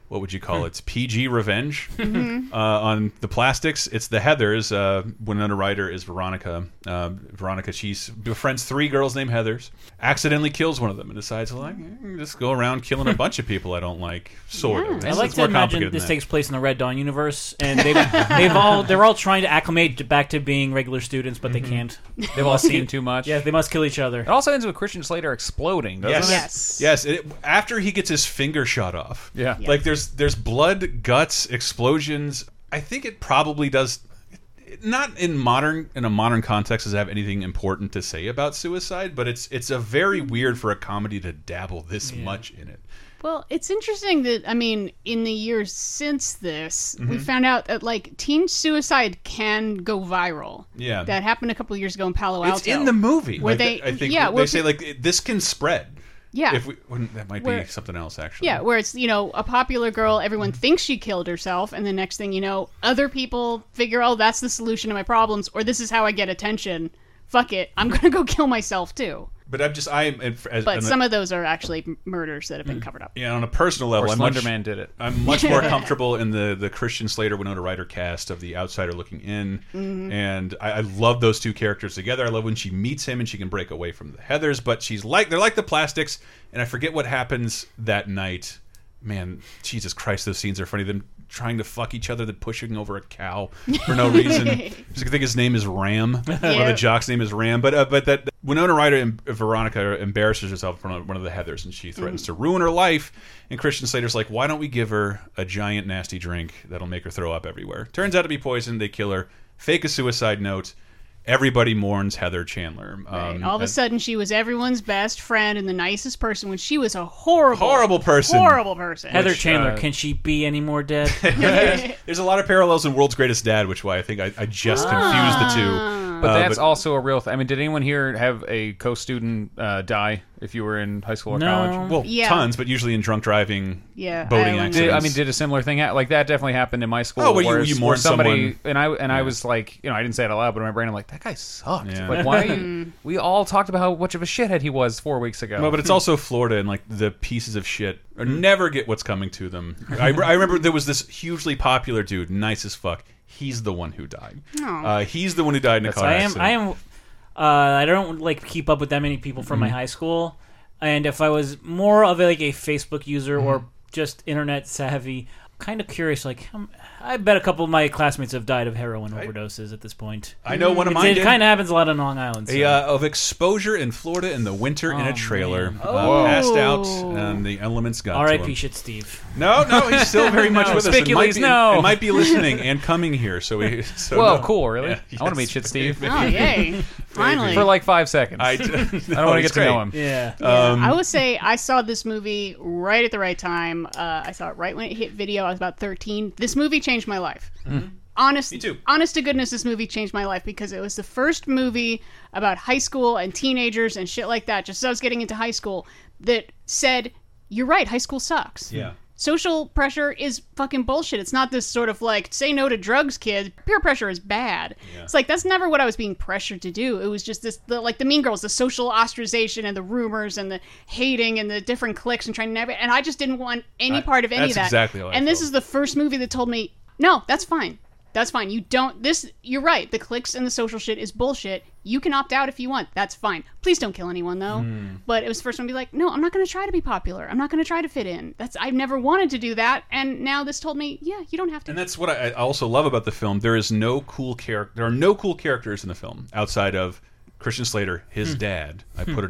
[SPEAKER 1] what would you
[SPEAKER 2] Hmm.
[SPEAKER 1] call it? It's PG revenge
[SPEAKER 3] Mhm.
[SPEAKER 1] uh, on the plastics. It's the Heathers. Uh, Winona Ryder is Veronica. Uh, Veronica she s- befriends three girls named Heathers, accidentally kills one of them, and decides like "Eh, just go around killing a bunch of people I don't like. Sort
[SPEAKER 2] I
[SPEAKER 1] of. It's-
[SPEAKER 2] like
[SPEAKER 1] it's
[SPEAKER 2] to
[SPEAKER 1] more
[SPEAKER 2] imagine
[SPEAKER 1] complicated
[SPEAKER 2] this
[SPEAKER 1] than that.
[SPEAKER 2] takes place in the Red Dawn universe, and they, they've all they're all trying to acclimate back to being regular students, but
[SPEAKER 1] Mm-hmm.
[SPEAKER 2] they can't.
[SPEAKER 4] They've all seen too much.
[SPEAKER 2] Yeah, they must kill each other. It
[SPEAKER 1] Oh,
[SPEAKER 4] also ends with Christian Slater exploding. Doesn't
[SPEAKER 1] Yes.
[SPEAKER 4] it?
[SPEAKER 1] Yes. Yes. It, after he gets his finger shot off.
[SPEAKER 4] Yeah. Yeah.
[SPEAKER 1] Like there's there's blood, guts, explosions. I think it probably does not in modern in a modern context does it have anything important to say about suicide, but it's it's a
[SPEAKER 3] Mm-hmm.
[SPEAKER 1] very weird for a comedy to dabble this much in it.
[SPEAKER 3] Well, it's interesting that I mean, in the years since this, we
[SPEAKER 1] Mhm.
[SPEAKER 3] found out that like teen suicide can go viral.
[SPEAKER 1] Yeah.
[SPEAKER 3] that happened a couple years ago in Palo Alto.
[SPEAKER 1] It's in the movie.
[SPEAKER 3] Where
[SPEAKER 1] Like,
[SPEAKER 3] they,
[SPEAKER 1] I think
[SPEAKER 3] yeah,
[SPEAKER 1] they
[SPEAKER 3] where
[SPEAKER 1] say
[SPEAKER 3] pe-
[SPEAKER 1] like it- this can spread.
[SPEAKER 3] Yeah.
[SPEAKER 1] If we wouldn't- that might
[SPEAKER 3] Where-
[SPEAKER 1] be something else actually.
[SPEAKER 3] yeah, where it's you know a popular girl,
[SPEAKER 1] Mm-hmm.
[SPEAKER 3] everyone thinks she killed herself, and the next thing you know, other people figure, oh, that's the solution to my problems, or this is how I get attention. Fuck it, I'm gonna go kill myself too.
[SPEAKER 1] But I'm just I'm as,
[SPEAKER 3] But
[SPEAKER 1] an-
[SPEAKER 3] some of those are actually m- murders that have been covered up.
[SPEAKER 1] Mm. Yeah, on a personal level,
[SPEAKER 4] Or
[SPEAKER 1] I'm much- Uh,
[SPEAKER 4] Slenderman did it.
[SPEAKER 1] I'm much more comfortable in the the Christian Slater Winona Ryder cast of The Outsider Looking In,
[SPEAKER 3] Mhm.
[SPEAKER 1] and I, I love those two characters together. I love when she meets him and she can break away from the Heathers, but she's like they're like the plastics, and I forget what happens that night. Man, Jesus Christ, those scenes are funny. Them trying to fuck each other, then pushing over a cow for no reason. I think his name is Ram. One of the
[SPEAKER 3] Yeah.
[SPEAKER 1] jock's name is Ram, but uh, but that Winona Ryder and Veronica embarrasses herself in front of one of the Heathers, and she threatens
[SPEAKER 3] Mhm.
[SPEAKER 1] to ruin her life. And Christian Slater's like, "Why don't we give her a giant nasty drink that'll make her throw up everywhere?" Turns out to be poison. They kill her. Fake a suicide note. Everybody mourns Heather Chandler. Um,
[SPEAKER 3] All of a
[SPEAKER 1] and-
[SPEAKER 3] sudden, she was everyone's best friend and the nicest person when she was a horrible,
[SPEAKER 1] Horrible person.
[SPEAKER 3] horrible person.
[SPEAKER 2] Heather
[SPEAKER 1] Which,
[SPEAKER 2] Chandler,
[SPEAKER 1] uh,
[SPEAKER 2] can she be any more dead?
[SPEAKER 1] there's a lot of parallels in World's Greatest Dad, which why I think I, I just
[SPEAKER 3] Ah.
[SPEAKER 1] confused the two.
[SPEAKER 4] But
[SPEAKER 1] Uh,
[SPEAKER 4] that's also a real. Th- I mean, did anyone here have a co-student uh, die if you were in high school or
[SPEAKER 1] No.
[SPEAKER 4] college?
[SPEAKER 1] Well,
[SPEAKER 3] Yeah.
[SPEAKER 1] tons, but usually in drunk driving,
[SPEAKER 3] Yeah,
[SPEAKER 1] boating
[SPEAKER 3] I
[SPEAKER 1] accidents.
[SPEAKER 4] Did, I mean, did a similar thing ha- like that definitely happened in my school?
[SPEAKER 1] Oh, well, you-
[SPEAKER 4] where,
[SPEAKER 1] you
[SPEAKER 4] where
[SPEAKER 1] mourn
[SPEAKER 4] somebody
[SPEAKER 1] someone.
[SPEAKER 4] and I and I was like, you know, I didn't say it out loud, but in my brain, I'm like, that guy sucked.
[SPEAKER 1] Yeah.
[SPEAKER 4] Like, why? Are you, we all talked about how much of a shithead he was four weeks ago.
[SPEAKER 1] No, but it's also Florida, and like the pieces of shit or never get what's coming to them. I, I remember there was this hugely popular dude, nice as fuck. He's the one who died.
[SPEAKER 2] Aw.
[SPEAKER 1] Uh, he's the one who died in a car
[SPEAKER 2] I am.
[SPEAKER 1] accident.
[SPEAKER 2] I am. Uh, I don't like keep up with that many people from my
[SPEAKER 1] Mhm.
[SPEAKER 2] high school, and if I was more of a, like a Facebook user
[SPEAKER 1] Mm-hmm.
[SPEAKER 2] or just internet savvy, kind of curious. Like, um, I bet a couple of my classmates have died of heroin overdoses at this point.
[SPEAKER 1] I know one of
[SPEAKER 2] It-
[SPEAKER 1] mine
[SPEAKER 2] It,
[SPEAKER 1] did.
[SPEAKER 2] kind of happens a lot on Long Island. So.
[SPEAKER 1] A, uh, of exposure in Florida in the winter in a trailer,
[SPEAKER 2] Oh.
[SPEAKER 1] uh, passed out,
[SPEAKER 2] Whoa.
[SPEAKER 1] and the elements got to
[SPEAKER 2] R.I.P.
[SPEAKER 1] him.
[SPEAKER 2] Shit, Steve.
[SPEAKER 1] No, no, he's still very much
[SPEAKER 2] No.
[SPEAKER 1] with us. It might,
[SPEAKER 2] Spicules,
[SPEAKER 1] be,
[SPEAKER 2] no.
[SPEAKER 1] it might be listening and coming here. So we. So
[SPEAKER 4] Whoa,
[SPEAKER 1] no.
[SPEAKER 4] cool, really?
[SPEAKER 1] Yeah,
[SPEAKER 4] I want to
[SPEAKER 1] yes.
[SPEAKER 4] meet Shit Steve.
[SPEAKER 3] Oh yay! Finally,
[SPEAKER 4] For like five seconds.
[SPEAKER 1] I, Oh,
[SPEAKER 4] I
[SPEAKER 1] d-
[SPEAKER 4] don't want to get to know him.
[SPEAKER 2] Yeah.
[SPEAKER 1] Um,
[SPEAKER 3] I would say I saw this movie right at the right time. Uh, I saw it right when it hit video. I was about 13. This movie changed my life. Honest,
[SPEAKER 1] Me too.
[SPEAKER 3] honest to goodness, this movie changed my life because it was the first movie about high school and teenagers and shit like that. Just as I was getting into high school, that said, "You're right, high school sucks."
[SPEAKER 1] Yeah.
[SPEAKER 3] Social pressure is fucking bullshit. It's not this sort of like, say no to drugs, kid. Peer pressure is bad. It's like, that's never what I was being pressured to do. It was just this, the, like the mean girls, the social ostracization and the rumors and the hating and the different cliques and trying to never. And I just didn't want any
[SPEAKER 1] I-
[SPEAKER 3] part of any
[SPEAKER 1] that's
[SPEAKER 3] of that.
[SPEAKER 1] exactly how I
[SPEAKER 3] and this
[SPEAKER 1] felt.
[SPEAKER 3] is the first movie that told me, no, that's fine. That's fine. You don't, this, you're right. The cliques and the social shit is bullshit. You can opt out if you want. That's fine. Please don't kill anyone, though.
[SPEAKER 15] Hmm.
[SPEAKER 3] But it was the first one to be like, no, I'm not going to try to be popular. I'm not going to try to fit in. That's I've never wanted to do that, and now this told me, yeah, you don't have to.
[SPEAKER 1] And that's what I, I also love about the film. There is no cool character. There are no cool characters in the film outside of Christian Slater,
[SPEAKER 3] Hmm.
[SPEAKER 1] his dad. I put a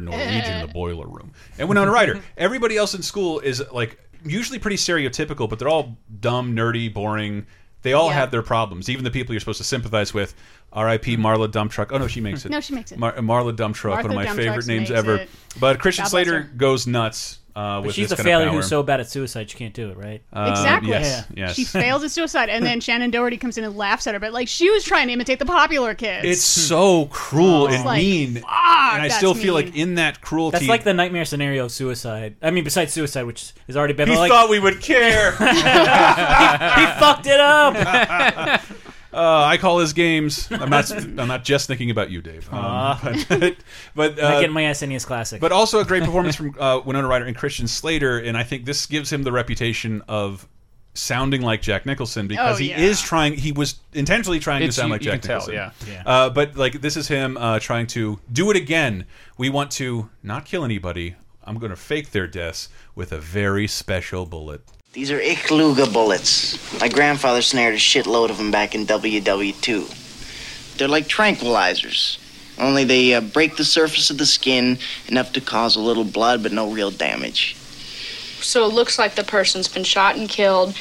[SPEAKER 1] Norwegian in the boiler room, and Winona Ryder. Everybody else in school is like usually pretty stereotypical, but they're all dumb, nerdy, boring. They all
[SPEAKER 3] Yeah.
[SPEAKER 1] have their problems. Even the people you're supposed to sympathize with. R.I.P. Marla Dump Truck. Oh no, she makes it.
[SPEAKER 3] Hmm. No, she makes it.
[SPEAKER 1] Mar Marla Dump Truck,
[SPEAKER 3] Martha
[SPEAKER 1] one of my
[SPEAKER 3] Dump
[SPEAKER 1] favorite
[SPEAKER 3] Trucks
[SPEAKER 1] names
[SPEAKER 3] makes
[SPEAKER 1] ever.
[SPEAKER 3] it.
[SPEAKER 1] But
[SPEAKER 3] God
[SPEAKER 1] Christian
[SPEAKER 3] bless
[SPEAKER 1] Slater
[SPEAKER 3] her.
[SPEAKER 1] goes nuts uh,
[SPEAKER 2] But
[SPEAKER 1] with
[SPEAKER 2] she's
[SPEAKER 1] this
[SPEAKER 2] a
[SPEAKER 1] kind
[SPEAKER 2] failure
[SPEAKER 1] of power.
[SPEAKER 2] who's so bad at suicide she can't do it, right?
[SPEAKER 1] Uh,
[SPEAKER 3] Exactly.
[SPEAKER 1] yes, yes.
[SPEAKER 3] She fails at suicide, and then Shannon Doherty comes in and laughs at her. But like, she was trying to imitate the popular kids.
[SPEAKER 1] It's so cruel
[SPEAKER 3] Hmm. It's
[SPEAKER 1] and
[SPEAKER 3] like,
[SPEAKER 1] mean, and
[SPEAKER 3] fuck,
[SPEAKER 1] I
[SPEAKER 3] that's
[SPEAKER 1] still feel
[SPEAKER 3] mean.
[SPEAKER 1] like in that cruelty.
[SPEAKER 2] That's like the nightmare scenario of suicide. I mean, besides suicide, which has already been
[SPEAKER 1] he
[SPEAKER 2] like,
[SPEAKER 1] thought we would care.
[SPEAKER 2] he fucked it up.
[SPEAKER 1] Uh, I call his games. I'm not. I'm not just thinking about you, Dave. Um,
[SPEAKER 2] Aw.
[SPEAKER 1] but but
[SPEAKER 2] Not
[SPEAKER 1] uh,
[SPEAKER 2] getting my SNES classic.
[SPEAKER 1] But uh, also a great performance from uh, Winona Ryder and Christian Slater, and I think this gives him the reputation of sounding like Jack Nicholson because
[SPEAKER 4] Oh, yeah.
[SPEAKER 1] he is trying. He was intentionally trying
[SPEAKER 4] It's-
[SPEAKER 1] to sound
[SPEAKER 4] you-
[SPEAKER 1] like
[SPEAKER 4] you
[SPEAKER 1] Jack
[SPEAKER 4] can tell,
[SPEAKER 1] Nicholson.
[SPEAKER 4] yeah. Yeah.
[SPEAKER 1] Uh, but like this is him uh, trying to do it again. We want to not kill anybody. I'm going to fake their deaths with a very special bullet.
[SPEAKER 16] These are Ichluga bullets. My grandfather snared a shitload of them back in WW2. They're like tranquilizers, only they uh, break the surface of the skin enough to cause a little blood but no real damage.
[SPEAKER 17] So it looks like the person's been shot and killed,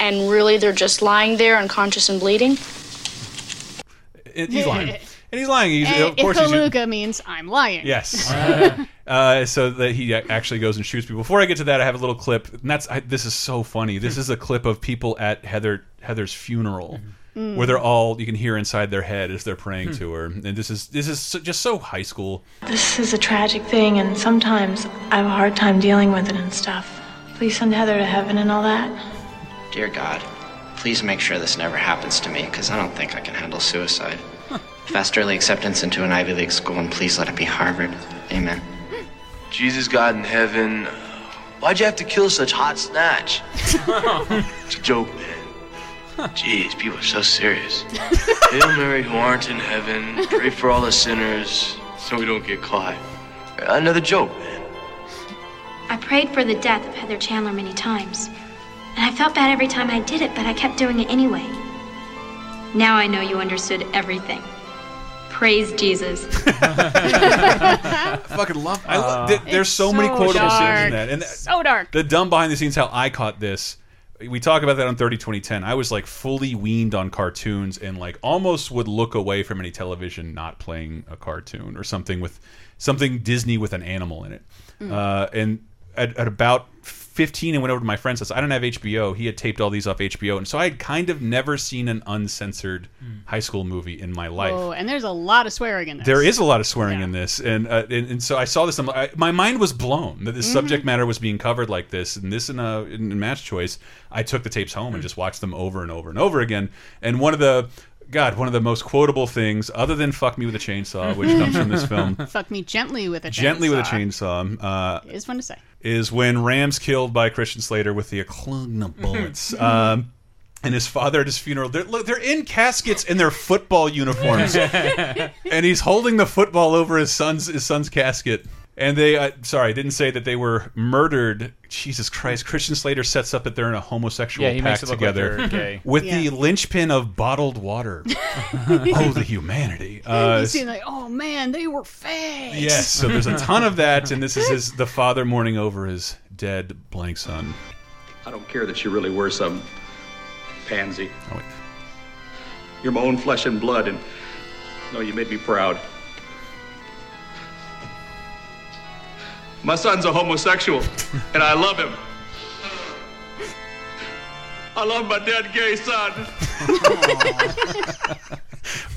[SPEAKER 17] and really they're just lying there unconscious and bleeding.
[SPEAKER 1] And he's lying. And he's lying. He's,
[SPEAKER 3] And
[SPEAKER 1] of course, he's,
[SPEAKER 3] Ikaluga means I'm lying.
[SPEAKER 1] Yes. uh, so that he a- actually goes and shoots people. Before I get to that, I have a little clip, and that's I, this is so funny. This is a clip of people at Heather Heather's funeral,
[SPEAKER 3] Mm-hmm.
[SPEAKER 4] Mm.
[SPEAKER 1] where they're all you can hear inside their head as they're praying
[SPEAKER 17] Hmm.
[SPEAKER 1] to her, and this is this is so, just so high school.
[SPEAKER 17] This is a tragic thing, and sometimes I have a hard time dealing with it and stuff. Please send Heather to heaven and all that.
[SPEAKER 18] Dear God, please make sure this never happens to me because I don't think I can handle suicide. Fast early acceptance into an Ivy League school and please let it be Harvard. Amen.
[SPEAKER 15] Jesus, God in heaven, why'd you have to kill such hot snatch? it's a joke, man. Jeez, people are so serious. Hail Mary, who aren't in heaven, pray for all the sinners so we don't get caught. Uh, Another joke, man.
[SPEAKER 8] I prayed for the death of Heather Chandler many times, and I felt bad every time I did it, but I kept doing it anyway. Now I know you understood everything. Praise Jesus.
[SPEAKER 1] I fucking love. I lo- Uh, th-
[SPEAKER 3] It's
[SPEAKER 1] there's so, many
[SPEAKER 3] so
[SPEAKER 1] quotable scenes
[SPEAKER 3] dark.
[SPEAKER 1] in that, and uh, th-
[SPEAKER 3] So dark.
[SPEAKER 1] the dumb behind the scenes how I caught this. We talk about that on 30 2010. I was like fully weaned on cartoons and like almost would look away from any television not playing a cartoon or something with something Disney with an animal in it.
[SPEAKER 4] Mm.
[SPEAKER 1] Uh, and at, at about 15, I went over to my friend's house. I don't have HBO. He had taped all these off HBO. And so I had kind of never seen an uncensored high school movie in my life.
[SPEAKER 3] Oh, and there's a lot of swearing in this.
[SPEAKER 1] There is a lot of swearing in this, and, uh, and and so I saw this. I'm like- I, my mind was blown that this
[SPEAKER 3] Mhm.
[SPEAKER 1] subject matter was being covered like this, and this in a in match choice. I took the tapes home and just watched them over and over and over again. And one of the God, one of the most quotable things, other than "fuck me with a chainsaw," which comes from this film,
[SPEAKER 3] Fuck me gently with a
[SPEAKER 1] "gently with a
[SPEAKER 3] chainsaw.
[SPEAKER 1] chainsaw," uh,
[SPEAKER 3] It is fun to say.
[SPEAKER 1] is when Ram's killed by Christian Slater with the
[SPEAKER 3] Mm-hmm.
[SPEAKER 1] Aklugna bullets. um, and his father at his funeral. They're, look, they're in caskets in their football uniforms, and he's holding the football over his son's his son's casket. And they, uh, sorry, I didn't say that they were murdered. Jesus Christ! Christian Slater sets up that they're in a homosexual
[SPEAKER 4] Yeah, he makes
[SPEAKER 1] pact
[SPEAKER 4] it look like
[SPEAKER 1] together
[SPEAKER 4] they're gay.
[SPEAKER 1] with
[SPEAKER 3] Yeah.
[SPEAKER 1] the linchpin of bottled water. oh, the humanity! Uh,
[SPEAKER 3] you see, like, oh man, they were fakes.
[SPEAKER 1] Yes, so there's a ton of that, and this is his the father mourning over his dead blank son.
[SPEAKER 19] I don't care that you really were some pansy.
[SPEAKER 1] Oh,
[SPEAKER 19] You're my own flesh and blood, and no, you made me proud. My son's a homosexual, and I love him. I love my dead gay son.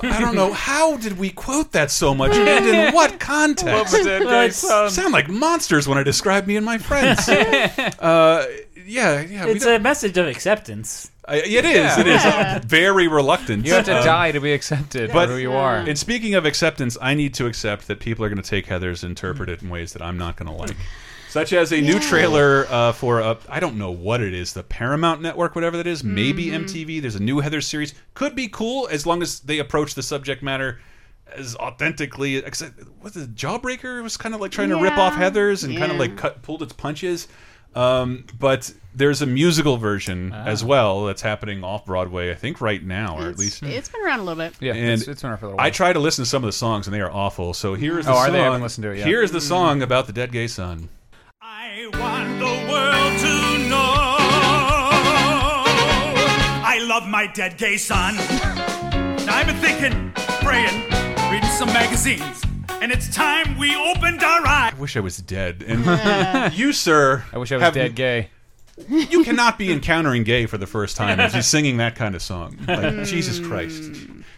[SPEAKER 1] I don't know how did we quote that so much, and in what context?
[SPEAKER 4] Love the dead gay son.
[SPEAKER 1] Sound like monsters when I describe me and my friends. uh, yeah, yeah, we
[SPEAKER 2] it's a message of acceptance.
[SPEAKER 1] I- it is. It is very reluctant.
[SPEAKER 4] You have to
[SPEAKER 1] Um,
[SPEAKER 4] die to be accepted
[SPEAKER 1] But
[SPEAKER 4] for who you are.
[SPEAKER 1] And speaking of acceptance, I need to accept that people are going to take Heather's and interpret it in ways that I'm not going to like. Such as a new
[SPEAKER 4] Mm. Yeah.
[SPEAKER 1] trailer uh, for I I don't know what it is the Paramount Network whatever that is maybe
[SPEAKER 4] Mhm.
[SPEAKER 1] MTV there's a new Heather series could be cool as long as they approach the subject matter as authentically except what the Jawbreaker was kind of like trying to rip off
[SPEAKER 4] Yeah.
[SPEAKER 1] Heather's and kind of
[SPEAKER 4] Yeah.
[SPEAKER 1] like cut pulled its punches um, but there's a musical version
[SPEAKER 4] Ah.
[SPEAKER 1] as well that's happening off Broadway I think right now or at least
[SPEAKER 3] It's been around a little bit.
[SPEAKER 1] and
[SPEAKER 4] it's- it's been around for a little
[SPEAKER 1] I
[SPEAKER 4] while.
[SPEAKER 1] try to listen to some of the songs, and they are awful. So here is the
[SPEAKER 4] Oh, are
[SPEAKER 1] song.
[SPEAKER 4] they? I haven't listened to it yet.
[SPEAKER 1] Here is the song about the dead gay son.
[SPEAKER 20] I
[SPEAKER 21] of my dead gay son. Now I've been thinking, praying, reading some magazines, and it's time we opened our eyes.
[SPEAKER 1] I wish I was dead.
[SPEAKER 21] Yeah.
[SPEAKER 1] And you, sir, I wish I
[SPEAKER 4] was dead
[SPEAKER 1] gay. You cannot be encountering gay for the first time if you're singing that kind of song. Like
[SPEAKER 4] Mm.
[SPEAKER 1] Jesus Christ,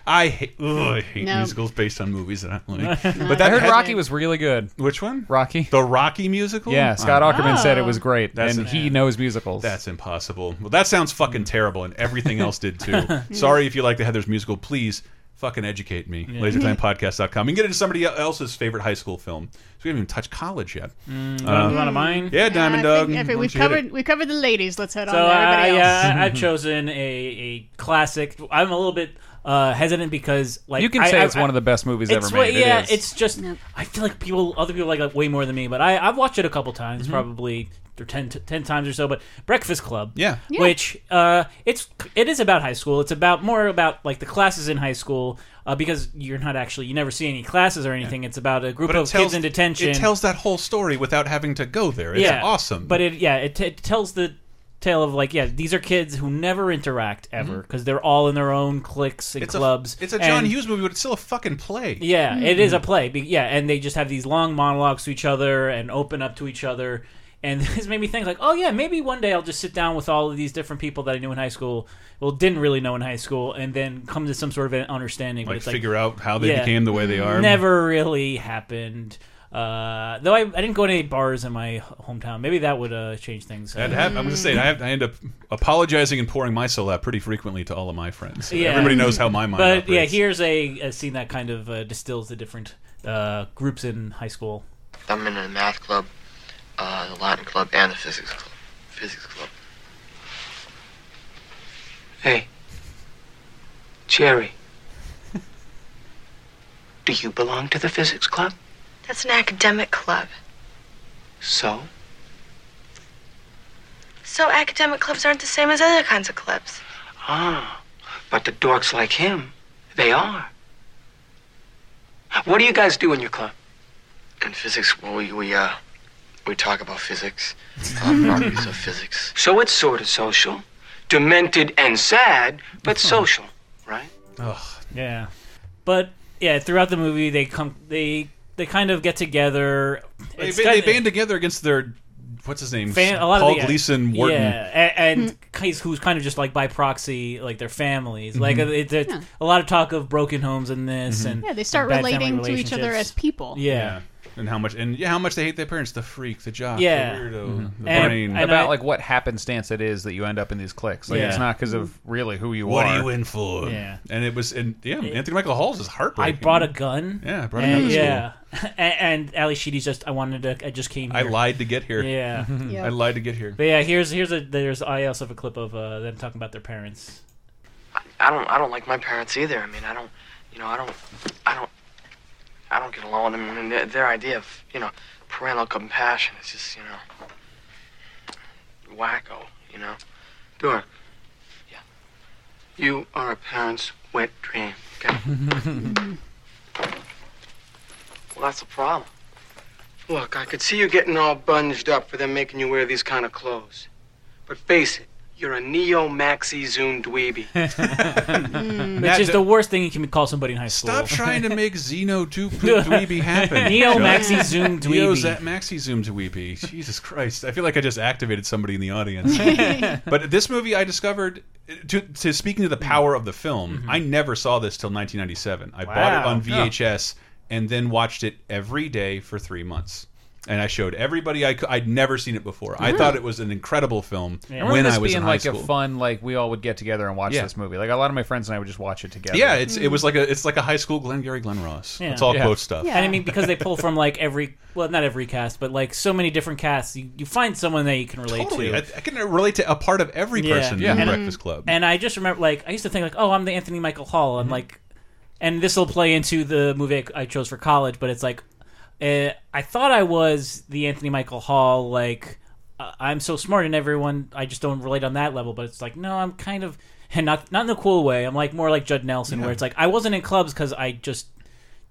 [SPEAKER 1] I hate, ugh, I hate
[SPEAKER 4] No.
[SPEAKER 1] musicals based on movies that I'm like.
[SPEAKER 4] No.
[SPEAKER 1] But that
[SPEAKER 4] I heard
[SPEAKER 1] had-
[SPEAKER 4] Rocky was really good.
[SPEAKER 1] Which one?
[SPEAKER 4] Rocky.
[SPEAKER 1] The Rocky musical.
[SPEAKER 4] Yeah, Scott
[SPEAKER 1] Oh.
[SPEAKER 4] Ackerman said it was great,
[SPEAKER 1] That's
[SPEAKER 4] and
[SPEAKER 1] an-
[SPEAKER 4] he knows musicals.
[SPEAKER 1] That's impossible. Well, that sounds fucking terrible, and everything else did too. Sorry if you like the Heather's musical. Please fucking educate me.
[SPEAKER 4] Yeah.
[SPEAKER 1] LaserTimePodcast.com. We can get into somebody else's favorite high school film. So we haven't even touched college yet.
[SPEAKER 2] Mm,
[SPEAKER 1] Um,
[SPEAKER 2] you want a mine?
[SPEAKER 1] Yeah, Diamond
[SPEAKER 2] Yeah, I
[SPEAKER 1] Dog.
[SPEAKER 2] think- I
[SPEAKER 1] Why
[SPEAKER 3] Okay,
[SPEAKER 1] don't
[SPEAKER 3] we've
[SPEAKER 1] you hit it?
[SPEAKER 3] covered we covered the ladies. Let's head on
[SPEAKER 2] So
[SPEAKER 3] to
[SPEAKER 2] I, uh,
[SPEAKER 3] everybody else.
[SPEAKER 2] I, I've chosen a, a classic. I'm a little bit uh, hesitant because like
[SPEAKER 4] You can
[SPEAKER 2] I-
[SPEAKER 4] say
[SPEAKER 2] I-
[SPEAKER 4] it's one of the best movies
[SPEAKER 2] it's
[SPEAKER 4] ever
[SPEAKER 2] what-
[SPEAKER 4] made. It
[SPEAKER 2] Yeah,
[SPEAKER 4] is.
[SPEAKER 2] it's just I feel like people, other people like it way more than me, but I, I've watched it a couple times,
[SPEAKER 4] Mhm.
[SPEAKER 2] probably or 10, t- 10 times or so. But Breakfast Club,
[SPEAKER 1] Yeah.
[SPEAKER 4] Yeah.
[SPEAKER 2] which uh, it's it is about high school. It's about more about like the classes in high school. Uh, because you're not actually, you never see any classes or anything. It's about a group
[SPEAKER 1] But it
[SPEAKER 2] of
[SPEAKER 1] tells-
[SPEAKER 2] kids in detention.
[SPEAKER 1] It tells that whole story without having to go there. It's awesome.
[SPEAKER 2] But it yeah, it, t- it tells the tale of like yeah, these are kids who never interact ever
[SPEAKER 1] Mhm.
[SPEAKER 2] because they're all in their own cliques and
[SPEAKER 1] it's
[SPEAKER 2] clubs.
[SPEAKER 1] A, it's a John
[SPEAKER 2] and,
[SPEAKER 1] Hughes movie, but it's still a fucking play.
[SPEAKER 2] Yeah, it is a play. Be- Yeah, and they just have these long monologues to each other and open up to each other. And this made me think like, oh yeah, maybe one day I'll just sit down with all of these different people that I knew in high school, well, didn't really know in high school, and then come to some sort of an understanding. but
[SPEAKER 1] Like,
[SPEAKER 2] it's like
[SPEAKER 1] figure out how they became the way they are.
[SPEAKER 2] Never really happened. Uh, though I, I didn't go to any bars in my hometown. Maybe that would uh, change things.
[SPEAKER 1] That hap- I'm just saying, I, have, I end up apologizing and pouring my soul out pretty frequently to all of my friends.
[SPEAKER 2] Yeah.
[SPEAKER 1] Everybody knows how my mind
[SPEAKER 2] But
[SPEAKER 1] operates.
[SPEAKER 2] yeah, here's a, a scene that kind of uh, distills the different uh, groups in high school.
[SPEAKER 22] I'm in the math club, uh, the Latin club, and the physics club. Physics club.
[SPEAKER 10] Hey, Jerry.
[SPEAKER 22] Do you belong to the physics club?
[SPEAKER 14] That's an academic club.
[SPEAKER 22] So?
[SPEAKER 14] So academic clubs aren't the same as other kinds of clubs.
[SPEAKER 22] Ah, but the dorks like him, they are. What do you guys do in your club? In physics, well, we, we, uh, we talk about physics, um, our views of physics.
[SPEAKER 10] So it's sort of social. Demented and sad, but
[SPEAKER 22] Hmm.
[SPEAKER 10] social, right?
[SPEAKER 2] Yeah, but yeah, throughout the movie they come they they kind of get together.
[SPEAKER 1] they,
[SPEAKER 2] It's
[SPEAKER 1] ba-
[SPEAKER 2] kind
[SPEAKER 1] they
[SPEAKER 2] of-
[SPEAKER 1] band together against their what's his name?
[SPEAKER 2] Fan, a lot
[SPEAKER 1] Paul
[SPEAKER 2] of the,
[SPEAKER 1] Gleason Wharton.
[SPEAKER 2] yeah, a- and,
[SPEAKER 3] Hmm.
[SPEAKER 2] guys who's kind of just like by proxy, like their families. Like
[SPEAKER 1] Mhm.
[SPEAKER 2] it, it-
[SPEAKER 3] Yeah.
[SPEAKER 2] a lot of talk of broken homes in this,
[SPEAKER 1] Mhm.
[SPEAKER 2] and
[SPEAKER 3] Yeah, they start
[SPEAKER 2] bad family
[SPEAKER 3] relating to each other as
[SPEAKER 2] relationships.
[SPEAKER 3] people.
[SPEAKER 2] Yeah.
[SPEAKER 1] And how much and yeah, how much they hate their parents, the freak, the jock,
[SPEAKER 2] Yeah.
[SPEAKER 1] the weirdo,
[SPEAKER 2] Mhm.
[SPEAKER 1] the
[SPEAKER 2] And-
[SPEAKER 1] brain.
[SPEAKER 2] and
[SPEAKER 4] about
[SPEAKER 2] I-
[SPEAKER 4] like what happenstance it is that you end up in these clicks. Like
[SPEAKER 1] Yeah.
[SPEAKER 4] it's not because of really who you
[SPEAKER 1] what
[SPEAKER 4] are.
[SPEAKER 1] are you in for?
[SPEAKER 2] Yeah.
[SPEAKER 1] And it was and yeah, Anthony Michael Hall's is
[SPEAKER 2] I
[SPEAKER 1] heartbreaking.
[SPEAKER 2] brought a gun.
[SPEAKER 1] Yeah, I brought a
[SPEAKER 2] and,
[SPEAKER 1] gun to
[SPEAKER 2] Yeah, and, and Ali Sheedy's just I wanted to. I just came.
[SPEAKER 1] I
[SPEAKER 2] Here.
[SPEAKER 1] lied Mm-hmm. to get here.
[SPEAKER 2] Yeah,
[SPEAKER 1] I lied to get here.
[SPEAKER 2] But yeah, here's here's a there's I also have a clip of uh, them talking about their parents.
[SPEAKER 22] I don't, I don't like my parents either. I mean, I don't, you know, I don't, I don't, I don't get along with them. And their, their idea of, you know, parental compassion is just, you know, wacko, you know? Dork. Yeah. You are a parent's wet dream, okay? Well, that's a problem. Look, I could see you getting all bunged up for them making you wear these kind of clothes. But face it, you're a neo maxi zoom dweeby.
[SPEAKER 2] Which
[SPEAKER 1] That-
[SPEAKER 2] is the worst thing you can call somebody in high school.
[SPEAKER 1] Stop trying to make Xeno 2 poop Dweeby happen.
[SPEAKER 2] Neo
[SPEAKER 1] Chuck.
[SPEAKER 2] Maxi Zoom Dweeby.
[SPEAKER 1] Neo's at Maxi Zoom Dweeby. Jesus Christ. I feel like I just activated somebody in the audience. but this movie I discovered, to, to speaking to the power of the film, I never saw this till 1997. I bought it
[SPEAKER 4] Wow.
[SPEAKER 1] on
[SPEAKER 4] Yeah.
[SPEAKER 1] VHS and then watched it every day for three months. And I showed everybody I would never seen it before. I
[SPEAKER 4] Wow.
[SPEAKER 1] thought it was an incredible film
[SPEAKER 4] I remember
[SPEAKER 1] when
[SPEAKER 4] this
[SPEAKER 1] I was
[SPEAKER 4] being
[SPEAKER 1] in high
[SPEAKER 4] like
[SPEAKER 1] school.
[SPEAKER 4] a fun like we all would get together and watch
[SPEAKER 1] Yeah.
[SPEAKER 4] this movie. Like a lot of my friends and I would just watch it together.
[SPEAKER 1] yeah, it's it was like a it's like a high school Glengarry Glen Ross. It's all quote stuff.
[SPEAKER 2] And I mean, because they pull from like every, well, not every cast, but like so many different casts, you, you find someone that you can relate
[SPEAKER 1] Totally.
[SPEAKER 2] to.
[SPEAKER 1] I, I can relate to a part of every person in Breakfast Club.
[SPEAKER 2] And I just remember, like, I used to think, like, oh, I'm the Anthony Michael Hall.
[SPEAKER 1] Mm-hmm.
[SPEAKER 2] I'm like, and this will play into the movie I, I chose for college, but it's like, uh, I thought I was the Anthony Michael Hall, like, uh, I'm so smart and everyone, I just don't relate on that level, but it's like, no, I'm kind of, and not, not in a cool way. I'm like more like Judd Nelson,
[SPEAKER 1] Yeah.
[SPEAKER 2] where it's like, I wasn't in clubs because I just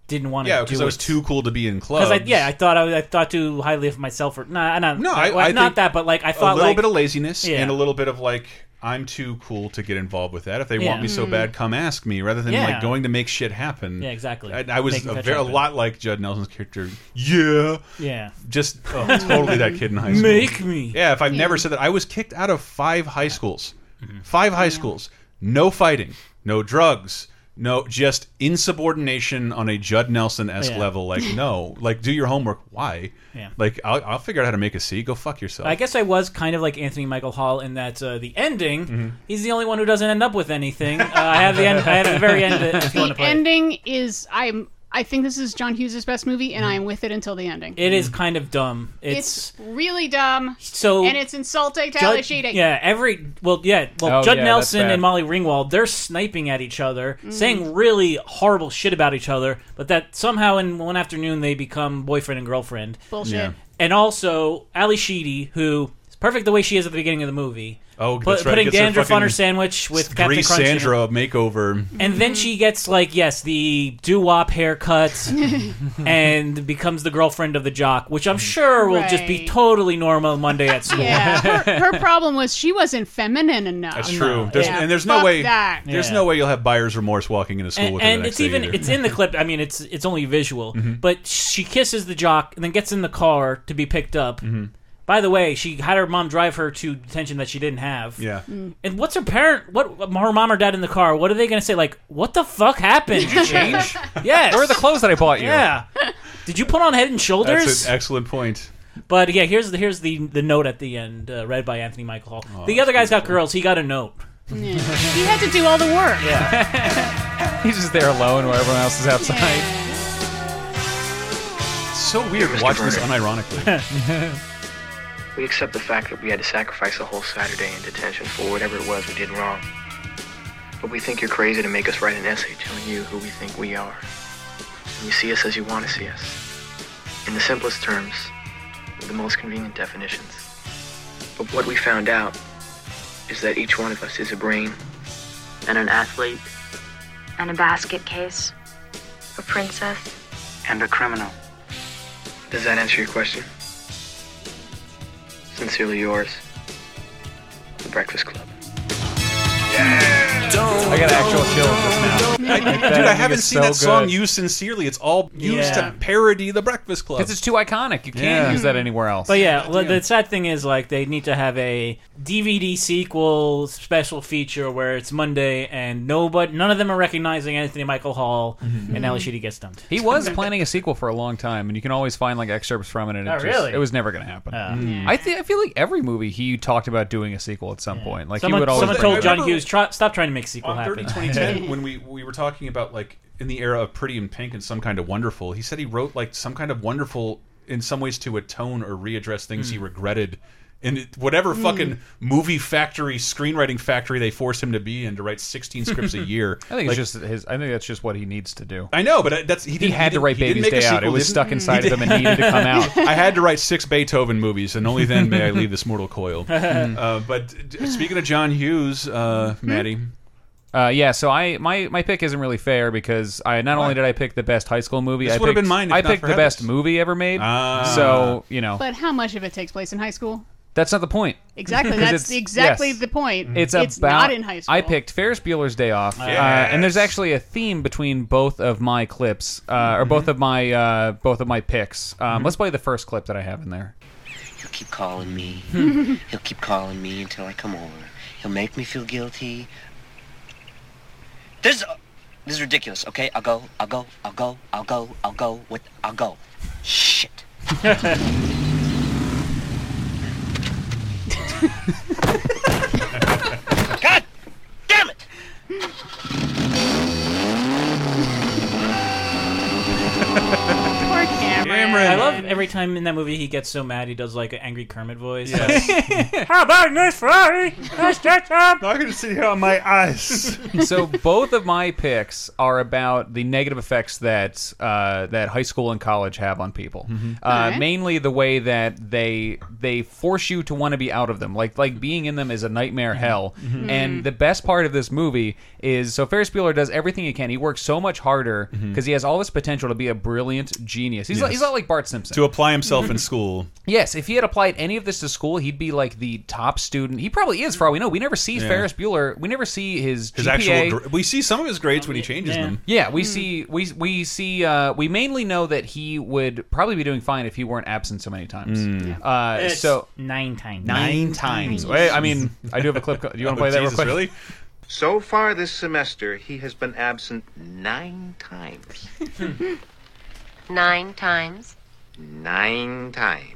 [SPEAKER 2] didn't want to
[SPEAKER 1] yeah,
[SPEAKER 2] do
[SPEAKER 1] because
[SPEAKER 2] it.
[SPEAKER 1] I was too cool to be in clubs.
[SPEAKER 2] Because I, yeah, I thought I, was- I thought too highly of myself, or nah, not,
[SPEAKER 1] no,
[SPEAKER 2] not,
[SPEAKER 1] I, I
[SPEAKER 2] not
[SPEAKER 1] think
[SPEAKER 2] that, but like I thought
[SPEAKER 1] a little
[SPEAKER 2] like,
[SPEAKER 1] bit of laziness
[SPEAKER 2] Yeah.
[SPEAKER 1] and a little bit of like I'm too cool to get involved with that. If they
[SPEAKER 2] Yeah.
[SPEAKER 1] want me so
[SPEAKER 2] Mm.
[SPEAKER 1] bad, come ask me. Rather than
[SPEAKER 2] Yeah.
[SPEAKER 1] like going to make shit happen.
[SPEAKER 2] Yeah, exactly.
[SPEAKER 1] I, I was
[SPEAKER 2] Making
[SPEAKER 1] a,
[SPEAKER 2] fetch
[SPEAKER 1] very, a
[SPEAKER 2] happen.
[SPEAKER 1] lot like Judd Nelson's character. Yeah.
[SPEAKER 2] Yeah.
[SPEAKER 1] Just oh, totally that kid in high school.
[SPEAKER 2] Make me.
[SPEAKER 1] Yeah. If I've
[SPEAKER 2] Yeah.
[SPEAKER 1] never said that, I was kicked out of five high schools. Five high schools. No fighting. No drugs. No, just insubordination on a Judd Nelson esque
[SPEAKER 2] Yeah.
[SPEAKER 1] level. Like, no, like do your homework. Why?
[SPEAKER 2] Yeah.
[SPEAKER 1] Like, I'll, I'll figure out how to make a C. Go fuck yourself.
[SPEAKER 2] I guess I was kind of like Anthony Michael Hall in that uh, the ending.
[SPEAKER 1] Mhm.
[SPEAKER 2] He's the only one who doesn't end up with anything. Uh, I have the end. I have the very end. Of it, if you want
[SPEAKER 3] The
[SPEAKER 2] to play it.
[SPEAKER 3] ending is I'm. I think this is John Hughes' best movie, and I am with it until the ending.
[SPEAKER 2] It is kind of dumb.
[SPEAKER 3] It's,
[SPEAKER 2] It's,
[SPEAKER 3] really dumb.
[SPEAKER 2] So-
[SPEAKER 3] and it's insulting to
[SPEAKER 2] Judd,
[SPEAKER 3] Ally Sheedy.
[SPEAKER 2] yeah. Every well, yeah. Well,
[SPEAKER 4] Oh,
[SPEAKER 2] Judd
[SPEAKER 4] yeah, that's
[SPEAKER 2] Nelson
[SPEAKER 4] bad.
[SPEAKER 2] and Molly Ringwald, they're sniping at each other,
[SPEAKER 3] Mm.
[SPEAKER 2] saying really horrible shit about each other, but that somehow in one afternoon they become boyfriend and girlfriend.
[SPEAKER 3] Bullshit. Yeah.
[SPEAKER 2] And also Ali Sheedy, who is perfect the way she is at the beginning of the movie.
[SPEAKER 1] Oh,
[SPEAKER 2] Put-
[SPEAKER 1] that's right.
[SPEAKER 2] putting
[SPEAKER 1] Gets her
[SPEAKER 2] dandruff on her
[SPEAKER 1] fucking
[SPEAKER 2] sandwich with Captain
[SPEAKER 1] Grease
[SPEAKER 2] Crunch in it.
[SPEAKER 1] Sandra makeover.
[SPEAKER 2] And
[SPEAKER 3] Mm-hmm.
[SPEAKER 2] then she gets like yes, the doo wop haircut, and becomes the girlfriend of the jock, which I'm sure will just be
[SPEAKER 3] Mm-hmm. Right.
[SPEAKER 2] totally normal Monday at school.
[SPEAKER 3] Yeah, Uh, her, her problem was she wasn't feminine enough.
[SPEAKER 1] That's true. There's,
[SPEAKER 3] Yeah,
[SPEAKER 1] And there's no
[SPEAKER 3] fuck
[SPEAKER 1] way.
[SPEAKER 3] That.
[SPEAKER 1] There's
[SPEAKER 2] Yeah.
[SPEAKER 1] no way you'll have buyer's remorse walking into school
[SPEAKER 2] and,
[SPEAKER 1] with
[SPEAKER 2] and
[SPEAKER 1] her the next
[SPEAKER 2] it's
[SPEAKER 1] day
[SPEAKER 2] even
[SPEAKER 1] either.
[SPEAKER 2] it's in the clip. I mean, it's it's only visual, but she kisses the jock and then gets in the car to be picked up. By the way, she had her mom drive her to detention that she didn't have.
[SPEAKER 1] Yeah.
[SPEAKER 3] Mm.
[SPEAKER 2] And what's her parent? What her mom or dad in the car? What are they going to say? Like, what the fuck happened? Did you change? yes.
[SPEAKER 4] Where are the clothes that I bought you?
[SPEAKER 2] Yeah. Did you put on Head and Shoulders?
[SPEAKER 1] That's an excellent point.
[SPEAKER 2] But yeah, here's the here's the the note at the end, uh, read by Anthony Michael Hall.
[SPEAKER 1] Oh,
[SPEAKER 2] the other guy's got girls. He got a note.
[SPEAKER 3] Yeah. He had to do all the work.
[SPEAKER 4] He's just there alone while everyone else is outside.
[SPEAKER 1] It's so weird watching this unironically.
[SPEAKER 22] We accept the fact that we had to sacrifice a whole Saturday in detention for whatever it was we did wrong. But we think you're crazy to make us write an essay telling you who we think we are. And you see us as you want to see us. In the simplest terms, with the most convenient definitions. But what we found out is that each one of us is a brain and an athlete
[SPEAKER 23] And a basket case. A princess.
[SPEAKER 22] and a criminal. Does that answer your question? Sincerely yours, The Breakfast Club.
[SPEAKER 4] I got actual chills just now.
[SPEAKER 1] I-
[SPEAKER 4] Like,
[SPEAKER 1] dude,
[SPEAKER 4] that
[SPEAKER 1] I
[SPEAKER 4] ending
[SPEAKER 1] haven't
[SPEAKER 4] is
[SPEAKER 1] seen
[SPEAKER 4] so
[SPEAKER 1] that song
[SPEAKER 4] good.
[SPEAKER 1] used sincerely. It's all used
[SPEAKER 2] Yeah.
[SPEAKER 1] to parody The Breakfast Club.
[SPEAKER 4] 'Cause it's too iconic. You can't use that anywhere else.
[SPEAKER 2] But yeah, well, the sad thing is like they need to have a DVD sequel special feature where it's Monday and nobody, none of them are recognizing Anthony Michael Hall, and Ali Sheedy gets dumped.
[SPEAKER 4] Mm-hmm. He was planning a sequel for a long time, and you can always find like excerpts from it. And it,
[SPEAKER 2] Oh,
[SPEAKER 4] just,
[SPEAKER 2] really?
[SPEAKER 4] it was never going to happen.
[SPEAKER 1] Hmm.
[SPEAKER 2] Mm.
[SPEAKER 4] I think I feel like every movie he talked about doing a sequel at some point. Like
[SPEAKER 2] someone,
[SPEAKER 4] he would always.
[SPEAKER 2] someone
[SPEAKER 4] bring
[SPEAKER 2] told
[SPEAKER 4] it
[SPEAKER 2] John
[SPEAKER 4] up.
[SPEAKER 2] Hughes, Try, "Stop trying to make a sequel
[SPEAKER 1] on 30
[SPEAKER 2] happen."
[SPEAKER 1] 2010 when we we were talking about like in the era of pretty and pink and some kind of wonderful he said he wrote like some kind of wonderful in some ways to atone or readdress things he
[SPEAKER 2] Mm.
[SPEAKER 1] regretted in it- whatever
[SPEAKER 4] Mm.
[SPEAKER 1] fucking movie factory screenwriting factory they forced him to be in to write 16 scripts a year
[SPEAKER 4] I think
[SPEAKER 1] Like,
[SPEAKER 4] it's just his. I think that's just what he needs to do.
[SPEAKER 1] I know, but I- that's he, didn't-
[SPEAKER 4] had to
[SPEAKER 1] didn't-
[SPEAKER 4] write
[SPEAKER 1] he didn't
[SPEAKER 4] Baby's
[SPEAKER 1] make a
[SPEAKER 4] Day Out. It
[SPEAKER 1] sequel,
[SPEAKER 4] was
[SPEAKER 1] didn't-
[SPEAKER 4] stuck inside
[SPEAKER 1] he
[SPEAKER 4] of him and
[SPEAKER 1] didn't.
[SPEAKER 4] needed to come out.
[SPEAKER 1] I had to write six Beethoven movies, and only then may I leave this mortal coil. uh, but d- speaking of John Hughes, uh,
[SPEAKER 4] Hmm?
[SPEAKER 1] Maddie,
[SPEAKER 4] Uh, yeah, so I my, my pick isn't really fair because I not only did I pick the best high school movie,
[SPEAKER 1] This
[SPEAKER 4] I
[SPEAKER 1] would've
[SPEAKER 4] picked,
[SPEAKER 1] been mine if
[SPEAKER 4] I
[SPEAKER 1] not
[SPEAKER 4] picked
[SPEAKER 1] for
[SPEAKER 4] the
[SPEAKER 1] Heather's. Ah.
[SPEAKER 4] best movie ever made. so you know
[SPEAKER 3] But how much of it takes place in high school?
[SPEAKER 4] that's not the point.
[SPEAKER 3] Exactly.
[SPEAKER 4] 'Cause
[SPEAKER 3] That's
[SPEAKER 4] it's-
[SPEAKER 3] exactly
[SPEAKER 4] yes.
[SPEAKER 3] the point.
[SPEAKER 4] It's, about,
[SPEAKER 3] not in high school.
[SPEAKER 4] I picked Ferris Bueller's Day Off,
[SPEAKER 1] Yes.
[SPEAKER 4] uh, and there's actually a theme between both of my clips, uh, or both of my uh, both of my picks. Um, Let's play the first clip that I have in there.
[SPEAKER 7] He'll keep calling me. He'll keep calling me until I come over. He'll make me feel guilty. This, uh, this is ridiculous. Okay, I'll go. I'll go. I'll go. I'll go. I'll go. What? I'll go. Shit. God damn it!
[SPEAKER 2] I love every time in that movie he gets so mad he does like an angry Kermit voice.
[SPEAKER 21] How about this Friday? Let's get some.
[SPEAKER 1] I can sit here on my ice.
[SPEAKER 4] so both of my picks are about the negative effects that uh, that high school and college have on people.
[SPEAKER 1] Mm-hmm.
[SPEAKER 4] Uh,
[SPEAKER 9] Alright.
[SPEAKER 4] Mainly the way that they they force you to want to be out of them. Like like being in them is a nightmare
[SPEAKER 1] Mm-hmm.
[SPEAKER 4] hell.
[SPEAKER 9] Mhm.
[SPEAKER 4] And the best part of this movie is so Ferris Bueller does everything he can. He works so much harder because he has all this potential to be a brilliant genius. He's,
[SPEAKER 1] Mm-hmm. Yes.
[SPEAKER 4] not, he's not like Bart Simpson.
[SPEAKER 1] to apply himself in school.
[SPEAKER 4] Yes, if he had applied any of this to school, he'd be like the top student. He probably is, for all we know. We never see
[SPEAKER 1] Yeah.
[SPEAKER 4] Ferris Bueller. We never see his
[SPEAKER 1] His
[SPEAKER 4] GPA.
[SPEAKER 1] actual gr- we see some of his grades when he changes them.
[SPEAKER 4] Yeah, we see we we see uh, we mainly know that he would probably be doing fine if he weren't absent so many times.
[SPEAKER 1] Hmm.
[SPEAKER 4] Uh,
[SPEAKER 2] It's
[SPEAKER 4] so
[SPEAKER 2] nine times.
[SPEAKER 4] nine, times. Wait, I mean, I do have a clip. Do you
[SPEAKER 1] Oh,
[SPEAKER 4] want to play that real quick?
[SPEAKER 24] So far this semester, he has been absent nine times.
[SPEAKER 25] Nine times.
[SPEAKER 24] Nine times.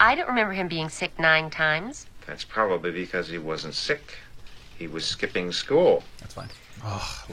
[SPEAKER 25] I don't remember him being sick nine times.
[SPEAKER 24] That's probably because he wasn't sick. He was skipping school. That's fine.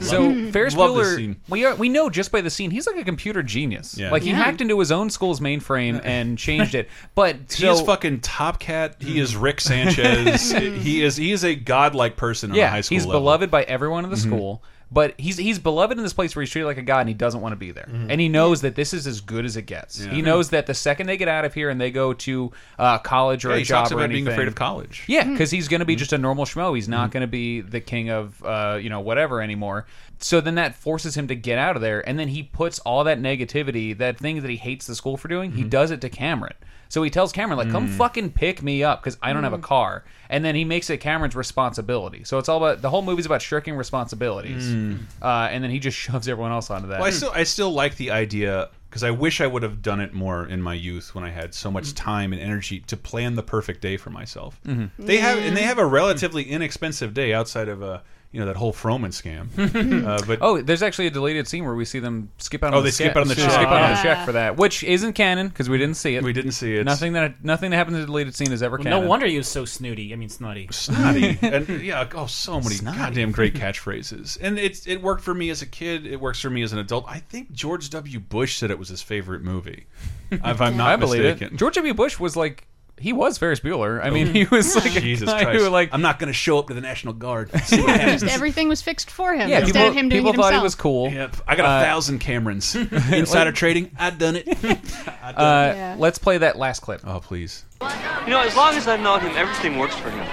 [SPEAKER 4] So Ferris
[SPEAKER 24] Love this
[SPEAKER 4] Bueller,
[SPEAKER 24] scene.
[SPEAKER 4] we are we know just by the scene, he's like a computer genius.
[SPEAKER 1] Yeah.
[SPEAKER 4] Like he
[SPEAKER 1] Yeah.
[SPEAKER 4] hacked into his own school's mainframe and changed it. But
[SPEAKER 1] He
[SPEAKER 4] so,
[SPEAKER 1] is fucking Top Cat. He is Rick Sanchez. he is he is a godlike person on
[SPEAKER 4] yeah,
[SPEAKER 1] a high school
[SPEAKER 4] he's
[SPEAKER 1] level.
[SPEAKER 4] beloved by everyone in the
[SPEAKER 1] Mhm.
[SPEAKER 4] school. But he's he's beloved in this place where he's treated like a god, and he doesn't want to be there. And he knows that this is as good as it gets.
[SPEAKER 1] Mm-hmm. Yeah. Hmm.
[SPEAKER 4] He knows that the second they get out of here and they go to uh, college or
[SPEAKER 1] Yeah,
[SPEAKER 4] a
[SPEAKER 1] he
[SPEAKER 4] job
[SPEAKER 1] talks
[SPEAKER 4] or
[SPEAKER 1] about being
[SPEAKER 4] anything-
[SPEAKER 1] afraid of college.
[SPEAKER 4] Yeah, because he's going to be
[SPEAKER 1] Hmm.
[SPEAKER 4] just a normal schmo. He's not going to be the king of uh, you know whatever anymore. So then that forces him to get out of there, and then he puts all that negativity, that thing that he hates the school for doing, he
[SPEAKER 1] Hmm.
[SPEAKER 4] does it to Cameron. So he tells Cameron like, "Come
[SPEAKER 1] Mm.
[SPEAKER 4] fucking pick me up because I don't have a
[SPEAKER 1] Mm.
[SPEAKER 4] car," and then he makes it Cameron's responsibility. So it's all about the whole movie's about shirking responsibilities,
[SPEAKER 1] Mm.
[SPEAKER 4] uh, and then he just shoves everyone else onto that.
[SPEAKER 1] Well, I still I still like the idea because I wish I would have done it more in my youth when I had so much
[SPEAKER 4] Mm-hmm.
[SPEAKER 1] time and energy to plan the perfect day for myself.
[SPEAKER 4] Mhm.
[SPEAKER 1] They have and they have a relatively inexpensive day outside of a you know that whole Froman scam. uh, but
[SPEAKER 4] oh, there's actually a deleted scene where we see them skip out.
[SPEAKER 1] Oh,
[SPEAKER 4] on
[SPEAKER 1] they
[SPEAKER 4] the
[SPEAKER 1] skip
[SPEAKER 4] check-
[SPEAKER 1] out on the check.
[SPEAKER 4] Skip out on
[SPEAKER 1] Yeah.
[SPEAKER 4] the check for that, which isn't canon because we didn't see it. We
[SPEAKER 1] didn't see it.
[SPEAKER 4] Nothing that nothing that happens in the deleted scene is ever
[SPEAKER 2] Well, no
[SPEAKER 4] canon.
[SPEAKER 2] wonder he was so snooty. I mean, snotty.
[SPEAKER 1] Snotty. and yeah, oh, so many
[SPEAKER 2] Snotty.
[SPEAKER 1] goddamn great catchphrases. And it's it worked for me as a kid. It works for me as an adult. I think George W. Bush said it was his favorite movie, if I'm not
[SPEAKER 4] I believe
[SPEAKER 1] mistaken.
[SPEAKER 4] it. George W. Bush was like he was Ferris Bueller. I mean, he was like a
[SPEAKER 1] Jesus
[SPEAKER 4] guy
[SPEAKER 1] Christ!
[SPEAKER 4] who like
[SPEAKER 1] I'm not going to show up to the National Guard.
[SPEAKER 3] Just everything was fixed for him
[SPEAKER 1] Yeah,
[SPEAKER 3] instead
[SPEAKER 1] people-
[SPEAKER 3] of him doing
[SPEAKER 1] people
[SPEAKER 3] it
[SPEAKER 1] thought
[SPEAKER 3] himself.
[SPEAKER 1] he was cool. Yep. I got a thousand Camerons. Insider trading, I done it.
[SPEAKER 4] Uh,
[SPEAKER 1] Yeah.
[SPEAKER 4] Let's play that last clip.
[SPEAKER 1] Oh please.
[SPEAKER 26] You know, as long as I've known him, everything works for him.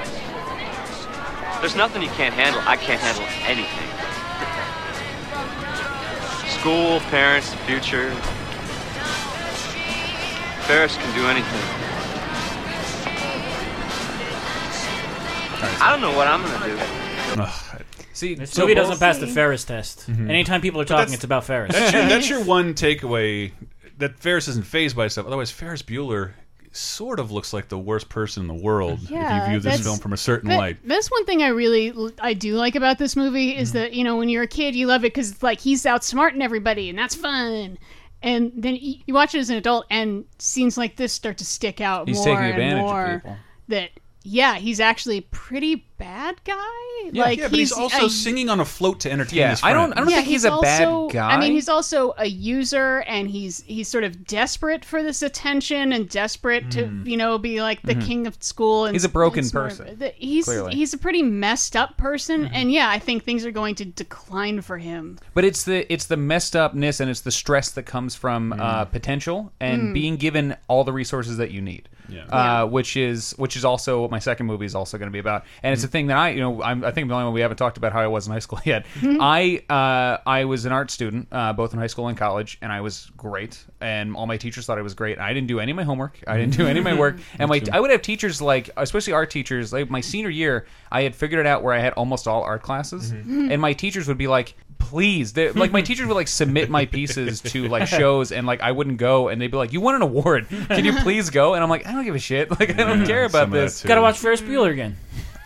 [SPEAKER 26] There's nothing he can't handle. I can't handle anything. School, parents, the future. Ferris can do anything. I don't know what I'm gonna do.
[SPEAKER 4] See,
[SPEAKER 2] this
[SPEAKER 1] so
[SPEAKER 2] movie
[SPEAKER 1] both-
[SPEAKER 2] doesn't pass the Ferris test.
[SPEAKER 1] Mhm.
[SPEAKER 2] Anytime people are
[SPEAKER 1] But
[SPEAKER 2] talking,
[SPEAKER 1] that's- Eh.
[SPEAKER 2] it's about Ferris.
[SPEAKER 1] That's your, that's your one takeaway that Ferris isn't phased by stuff. Otherwise, Ferris Bueller sort of looks like the worst person in the world if
[SPEAKER 3] Yeah,
[SPEAKER 1] you view this
[SPEAKER 3] that's-
[SPEAKER 1] film from a certain
[SPEAKER 3] That-
[SPEAKER 1] light.
[SPEAKER 3] That's one thing I really l- I do like about this movie
[SPEAKER 1] Mm-hmm.
[SPEAKER 3] is that you know when you're a kid you love it because like he's outsmarting everybody and that's fun, and then y- you watch it as an adult and scenes like this start to stick out
[SPEAKER 4] He's
[SPEAKER 3] more
[SPEAKER 4] taking
[SPEAKER 3] and
[SPEAKER 4] advantage of
[SPEAKER 3] more.
[SPEAKER 4] people.
[SPEAKER 3] That yeah, he's actually a pretty bad guy. like
[SPEAKER 1] yeah, but he's, also
[SPEAKER 3] a-
[SPEAKER 1] singing on a float to entertain
[SPEAKER 4] Yeah,
[SPEAKER 1] his
[SPEAKER 4] I don't-
[SPEAKER 1] friends.
[SPEAKER 4] I don't
[SPEAKER 3] yeah,
[SPEAKER 4] think he's a bad
[SPEAKER 3] also,
[SPEAKER 1] guy.
[SPEAKER 3] I mean, he's also a user, and he's he's sort of desperate for this attention and desperate
[SPEAKER 4] Mm.
[SPEAKER 3] to you know be like the
[SPEAKER 4] Mhm.
[SPEAKER 3] king of school. And
[SPEAKER 4] He's a broken
[SPEAKER 3] and sort of-
[SPEAKER 4] person,
[SPEAKER 3] the- he's
[SPEAKER 4] clearly. Hmm.
[SPEAKER 3] he's a pretty messed up person, and yeah, I think things are going to decline for him.
[SPEAKER 4] But it's the it's the messed upness and it's the stress that comes from uh, potential and
[SPEAKER 3] Mm.
[SPEAKER 4] being given all the resources that you need.
[SPEAKER 1] Yeah.
[SPEAKER 4] Uh, which is which is also what my second movie is also going to be about, and it's a thing that I you know I'm, I think I'm the only one we haven't talked about how I was in high school yet.
[SPEAKER 1] Mhm.
[SPEAKER 4] I uh, I was an art student uh, both in high school and college, and I was great, and all my teachers thought I was great. I didn't do any of my homework, I didn't do any of my work, and
[SPEAKER 1] Me
[SPEAKER 4] my
[SPEAKER 1] too.
[SPEAKER 4] I would have teachers like especially art teachers like my senior year I had figured it out where I had almost all art classes,
[SPEAKER 2] Mm-hmm.
[SPEAKER 1] Mhm.
[SPEAKER 4] and my teachers would be like please they, like my teachers would like submit my pieces to like shows and like i wouldn't go and they'd be like you won an award can you please go and i'm like i don't give a shit like i don't care about
[SPEAKER 2] Some of that
[SPEAKER 4] this
[SPEAKER 2] too. Gotta watch Ferris Bueller again.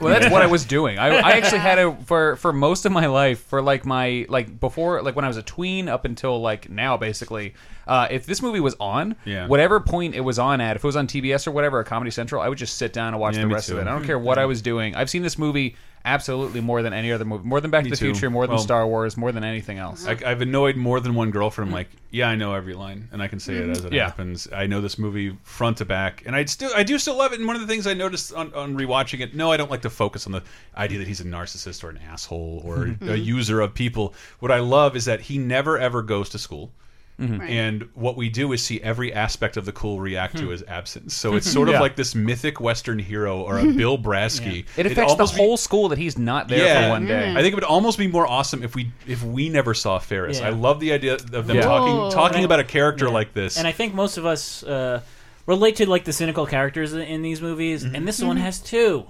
[SPEAKER 4] well that's what i was doing I, I actually had a for for most of my life for like my like before like when i was a tween up until like now basically uh, if this movie was on
[SPEAKER 1] Yeah.
[SPEAKER 4] whatever point it was on at if it was on tbs or whatever or comedy central i would just sit down and watch
[SPEAKER 1] Yeah,
[SPEAKER 4] the
[SPEAKER 1] me
[SPEAKER 4] rest of
[SPEAKER 1] too.
[SPEAKER 4] it i don't care what i was doing i've seen this movie absolutely more than any other movie more than back
[SPEAKER 1] Me
[SPEAKER 4] to the
[SPEAKER 1] too.
[SPEAKER 4] future more than
[SPEAKER 1] Well-
[SPEAKER 4] star wars more than anything else
[SPEAKER 1] I, I've annoyed more than one girlfriend. Like, yeah, I know every line, and I can say it as it
[SPEAKER 4] Yeah.
[SPEAKER 1] happens. I know this movie front to back, and I still, I do still love it. And one of the things I noticed on, on rewatching it, no, I don't like to focus on the idea that he's a narcissist or an asshole or a
[SPEAKER 4] Mhm.
[SPEAKER 1] user of people. What I love is that he never ever goes to school.
[SPEAKER 4] Mm-hmm.
[SPEAKER 1] Mhm.
[SPEAKER 3] Right.
[SPEAKER 1] And what we do is see every aspect of the cool react
[SPEAKER 4] Hmm.
[SPEAKER 1] to his absence. So it's
[SPEAKER 4] Mhm.
[SPEAKER 1] sort of
[SPEAKER 4] Yeah.
[SPEAKER 1] like this mythic Western hero or a Bill Brasky.
[SPEAKER 4] It affects the
[SPEAKER 1] almost Mm-hmm.
[SPEAKER 4] whole school that he's not there for one day.
[SPEAKER 2] Mm.
[SPEAKER 1] I think it would almost be more awesome if we if we never saw Ferris.
[SPEAKER 2] Yeah.
[SPEAKER 1] I love the idea of them
[SPEAKER 2] Yeah. Whoa.
[SPEAKER 1] talking talking
[SPEAKER 2] And I-
[SPEAKER 1] about a character like this.
[SPEAKER 2] And I think most of us uh, relate to like the cynical characters in, in these movies, and this one
[SPEAKER 1] Mm-hmm.
[SPEAKER 3] Mhm.
[SPEAKER 2] has two.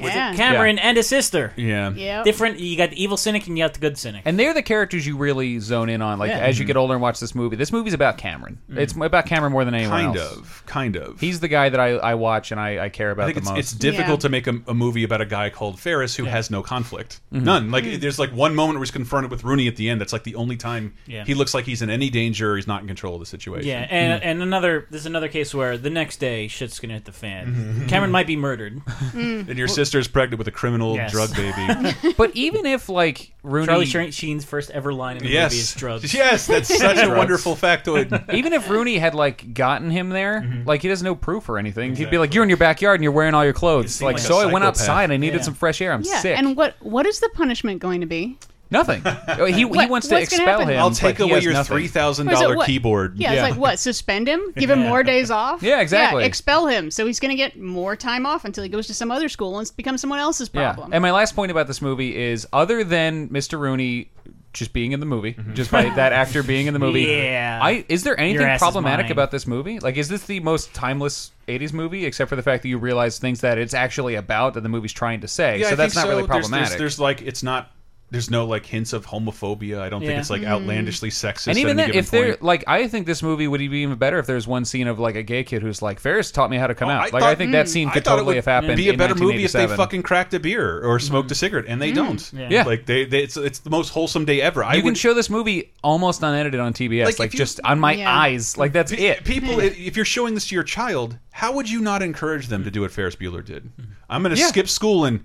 [SPEAKER 2] With
[SPEAKER 3] Yeah.
[SPEAKER 2] Cameron and his sister.
[SPEAKER 1] Yeah.
[SPEAKER 3] Yep.
[SPEAKER 2] Different. You got the evil cynic and you got the good cynic.
[SPEAKER 4] And they're the characters you really zone in on, like
[SPEAKER 2] Yeah.
[SPEAKER 1] Mm-hmm.
[SPEAKER 4] as you get older and watch this movie. This movie's about Cameron. It's about Cameron more than anyone
[SPEAKER 1] Kind
[SPEAKER 4] else.
[SPEAKER 1] of, kind of.
[SPEAKER 4] He's the guy that I, I watch and I, I care about
[SPEAKER 1] I think
[SPEAKER 4] the
[SPEAKER 1] it's,
[SPEAKER 4] most.
[SPEAKER 1] it's difficult to make a, a movie about a guy called Ferris who has no conflict,
[SPEAKER 4] Mhm.
[SPEAKER 1] none. Like
[SPEAKER 4] Mm.
[SPEAKER 1] there's like one moment where he's confronted with Rooney at the end. That's like the only time
[SPEAKER 2] Yeah.
[SPEAKER 1] he looks like he's in any danger. Or he's not in control of the situation.
[SPEAKER 2] Yeah, and, and another. There's another case where the next day shit's gonna hit the fan.
[SPEAKER 1] Mhm.
[SPEAKER 2] Cameron might be murdered.
[SPEAKER 1] Mm. And your sister's pregnant with a criminal
[SPEAKER 2] Yes.
[SPEAKER 1] drug baby.
[SPEAKER 4] but even if like Rooney,
[SPEAKER 2] Charlie Sheen- Sheen's first ever line in the
[SPEAKER 1] Yes.
[SPEAKER 2] movie is drugs.
[SPEAKER 1] Yes, that's such a wonderful factoid.
[SPEAKER 4] even if Rooney had like gotten him there,
[SPEAKER 1] Mm-hmm.
[SPEAKER 4] like he has no proof or anything. He'd be like, "You're in your backyard and you're wearing all your clothes." Like,
[SPEAKER 1] like a
[SPEAKER 4] so I went
[SPEAKER 1] psychopath."
[SPEAKER 4] outside. I needed
[SPEAKER 1] Yeah.
[SPEAKER 4] some fresh air. I'm
[SPEAKER 3] yeah,
[SPEAKER 4] sick.
[SPEAKER 3] and what what is the punishment going to be?
[SPEAKER 4] nothing. he, he
[SPEAKER 3] What-
[SPEAKER 4] wants to
[SPEAKER 3] what's gonna
[SPEAKER 4] expel
[SPEAKER 3] happen?
[SPEAKER 4] him.
[SPEAKER 1] I'll
[SPEAKER 4] but
[SPEAKER 1] take
[SPEAKER 4] he
[SPEAKER 1] away
[SPEAKER 4] has
[SPEAKER 1] your
[SPEAKER 4] nothing.
[SPEAKER 1] three thousand
[SPEAKER 3] Or is it
[SPEAKER 1] dollar
[SPEAKER 3] what-
[SPEAKER 1] keyboard.
[SPEAKER 3] Yeah, it's like what? Suspend him? Give him more days off?
[SPEAKER 4] Yeah, exactly.
[SPEAKER 3] expel him, so he's going to get more time off until he goes to some other school and becomes someone else's problem.
[SPEAKER 4] And my last point about this movie is other than Mr. Rooney just being in the movie,
[SPEAKER 1] Mm-hmm.
[SPEAKER 4] just by that actor being in the movie.
[SPEAKER 2] Yeah.
[SPEAKER 4] I is there
[SPEAKER 2] Your
[SPEAKER 4] anything
[SPEAKER 2] ass is
[SPEAKER 4] problematic
[SPEAKER 2] mine.
[SPEAKER 4] about this movie? Like is this the most timeless 80s movie except for the fact that you realize things that it's actually about that the movie's trying to say.
[SPEAKER 1] Yeah, I
[SPEAKER 4] so that's
[SPEAKER 1] think
[SPEAKER 4] not really
[SPEAKER 1] so. There's-
[SPEAKER 4] problematic.
[SPEAKER 1] There's, there's like it's not. There's no like hints of homophobia. I don't
[SPEAKER 4] Yeah.
[SPEAKER 1] think it's like
[SPEAKER 4] Mm.
[SPEAKER 1] outlandishly sexist.
[SPEAKER 4] and even
[SPEAKER 1] at
[SPEAKER 4] then,
[SPEAKER 1] any given
[SPEAKER 4] if they're
[SPEAKER 1] point.
[SPEAKER 4] like, I think this movie would be even better if there's one scene of like a gay kid who's like, Ferris taught me how to come out. like, I think that scene
[SPEAKER 1] Oh, I
[SPEAKER 4] could
[SPEAKER 1] thought it
[SPEAKER 4] totally
[SPEAKER 1] would
[SPEAKER 4] have happened.
[SPEAKER 1] Be a
[SPEAKER 4] in
[SPEAKER 1] better movie if they
[SPEAKER 4] 1987.
[SPEAKER 1] fucking cracked a beer or smoked a cigarette, and they
[SPEAKER 4] Mm-hmm. Mm.
[SPEAKER 1] don't.
[SPEAKER 4] Yeah. Yeah.
[SPEAKER 1] like they, they it's it's the most wholesome day ever. I
[SPEAKER 4] you can
[SPEAKER 1] would
[SPEAKER 4] show this movie almost unedited on TBS,
[SPEAKER 1] Like,
[SPEAKER 4] like,
[SPEAKER 1] if you-
[SPEAKER 4] just on my
[SPEAKER 1] Yeah.
[SPEAKER 4] eyes. Like that's
[SPEAKER 1] Pe-
[SPEAKER 4] it.
[SPEAKER 1] People, i- if you're showing this to your child, how would you not encourage them to do what Ferris Bueller did? I'm going to
[SPEAKER 4] Mm. Yeah.
[SPEAKER 1] skip school and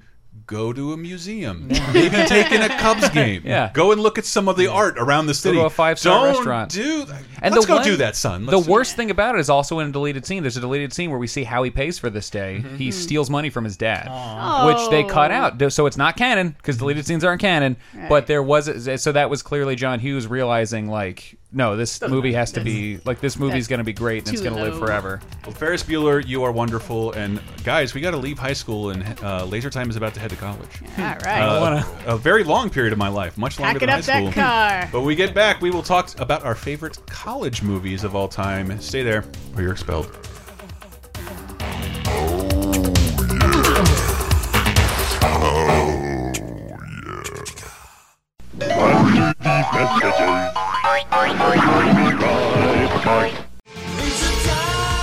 [SPEAKER 1] go to a museum. Maybe take in a Cubs game.
[SPEAKER 4] Yeah.
[SPEAKER 1] Go and look at some of the art around the
[SPEAKER 4] Go
[SPEAKER 1] city.
[SPEAKER 4] to a five star
[SPEAKER 1] Don't
[SPEAKER 4] restaurant.
[SPEAKER 1] Do that.
[SPEAKER 4] And
[SPEAKER 1] Let's
[SPEAKER 4] the
[SPEAKER 1] go
[SPEAKER 4] one-
[SPEAKER 1] do that, son.
[SPEAKER 4] the
[SPEAKER 1] Let's do
[SPEAKER 4] worst thing about it is also in a deleted scene. There's a deleted scene where we see how he pays for this day. He steals money from his dad, which they
[SPEAKER 1] Oh.
[SPEAKER 4] cut out. So it's not canon because deleted scenes aren't canon. But there was a, so that was clearly John Hughes realizing like, no, this movie has to be like this movie's going to be great and it's
[SPEAKER 1] too
[SPEAKER 4] going to live
[SPEAKER 1] low.
[SPEAKER 4] forever.
[SPEAKER 1] Well, Ferris Bueller, you are wonderful. And guys, we got to leave high school, and uh, Laser Time is about to head to college.
[SPEAKER 3] Oh, All right.
[SPEAKER 1] Uh, a very long period of my life, much
[SPEAKER 3] Pack
[SPEAKER 1] longer than
[SPEAKER 3] it
[SPEAKER 1] high
[SPEAKER 3] up that
[SPEAKER 1] school.
[SPEAKER 3] car.
[SPEAKER 1] But we get back, we will talk about our favorite college movies of all time. Stay there, or you're expelled.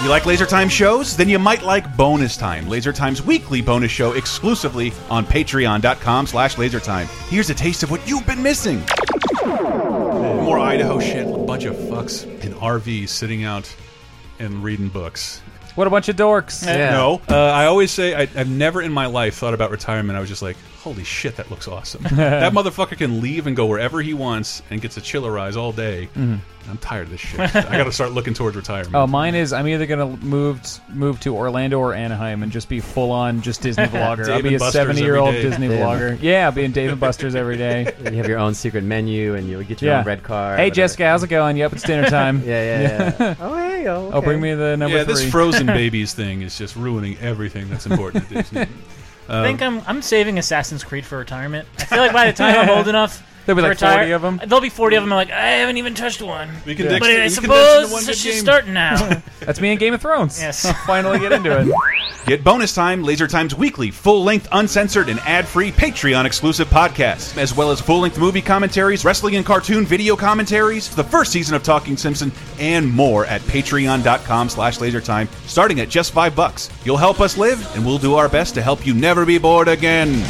[SPEAKER 1] You like Laser Time shows? Then you might like Bonus Time, Laser Time's weekly bonus show exclusively on patreon.com slash lasertime. Here's a taste of what you've been missing. More Idaho shit, a bunch of fucks in RVs sitting out and reading books.
[SPEAKER 4] What a bunch of dorks!
[SPEAKER 1] No, uh, I always say I, I've never in my life thought about retirement. I was just like, holy shit, that looks awesome. that motherfucker can leave and go wherever he wants and gets to chillerize all day.
[SPEAKER 4] Mhm.
[SPEAKER 1] I'm tired of this shit. I got to start looking towards retirement.
[SPEAKER 4] Oh, mine is I'm either gonna move move to Orlando or Anaheim and just be full on just Disney vlogger. I'll
[SPEAKER 1] Dave
[SPEAKER 4] be
[SPEAKER 1] and
[SPEAKER 4] a
[SPEAKER 1] Buster's every
[SPEAKER 4] seventy year old
[SPEAKER 1] day.
[SPEAKER 4] Disney
[SPEAKER 1] Damn.
[SPEAKER 4] vlogger. Yeah, I'll be in Dave and Buster's every day.
[SPEAKER 5] You have your own secret menu, and you get your
[SPEAKER 4] yeah.
[SPEAKER 5] own red car.
[SPEAKER 4] Hey
[SPEAKER 5] whatever.
[SPEAKER 4] Jessica, how's it going? Yep, it's dinner time.
[SPEAKER 5] Yeah, yeah, yeah. oh hey, oh,
[SPEAKER 4] Oh, bring me the number
[SPEAKER 1] yeah,
[SPEAKER 4] three.
[SPEAKER 1] this frozen babies thing is just ruining everything that's important to Disney.
[SPEAKER 2] I
[SPEAKER 1] Um,
[SPEAKER 2] think I'm I'm saving Assassin's Creed for retirement. I feel like by the time I'm old enough.
[SPEAKER 4] There'll be
[SPEAKER 2] to
[SPEAKER 4] like
[SPEAKER 2] retire,
[SPEAKER 4] 40 of 'em.
[SPEAKER 2] There'll be 40 of them. I'm like, I haven't even touched one.
[SPEAKER 4] We can Yeah.
[SPEAKER 2] But
[SPEAKER 4] mix-
[SPEAKER 2] I
[SPEAKER 4] we can mix into one
[SPEAKER 2] suppose
[SPEAKER 4] good
[SPEAKER 2] this is
[SPEAKER 4] game.
[SPEAKER 2] starting now.
[SPEAKER 4] That's me in Game of Thrones.
[SPEAKER 2] Yes.
[SPEAKER 4] I'll finally get into it.
[SPEAKER 1] Get bonus time, Laser Time's weekly, full length, uncensored, and ad free Patreon exclusive podcast, as well as full length movie commentaries, wrestling and cartoon video commentaries, the first season of Talking Simpson, and more at patreon.com slash lasertime, starting at just five bucks. You'll help us live, and we'll do our best to help you never be bored again.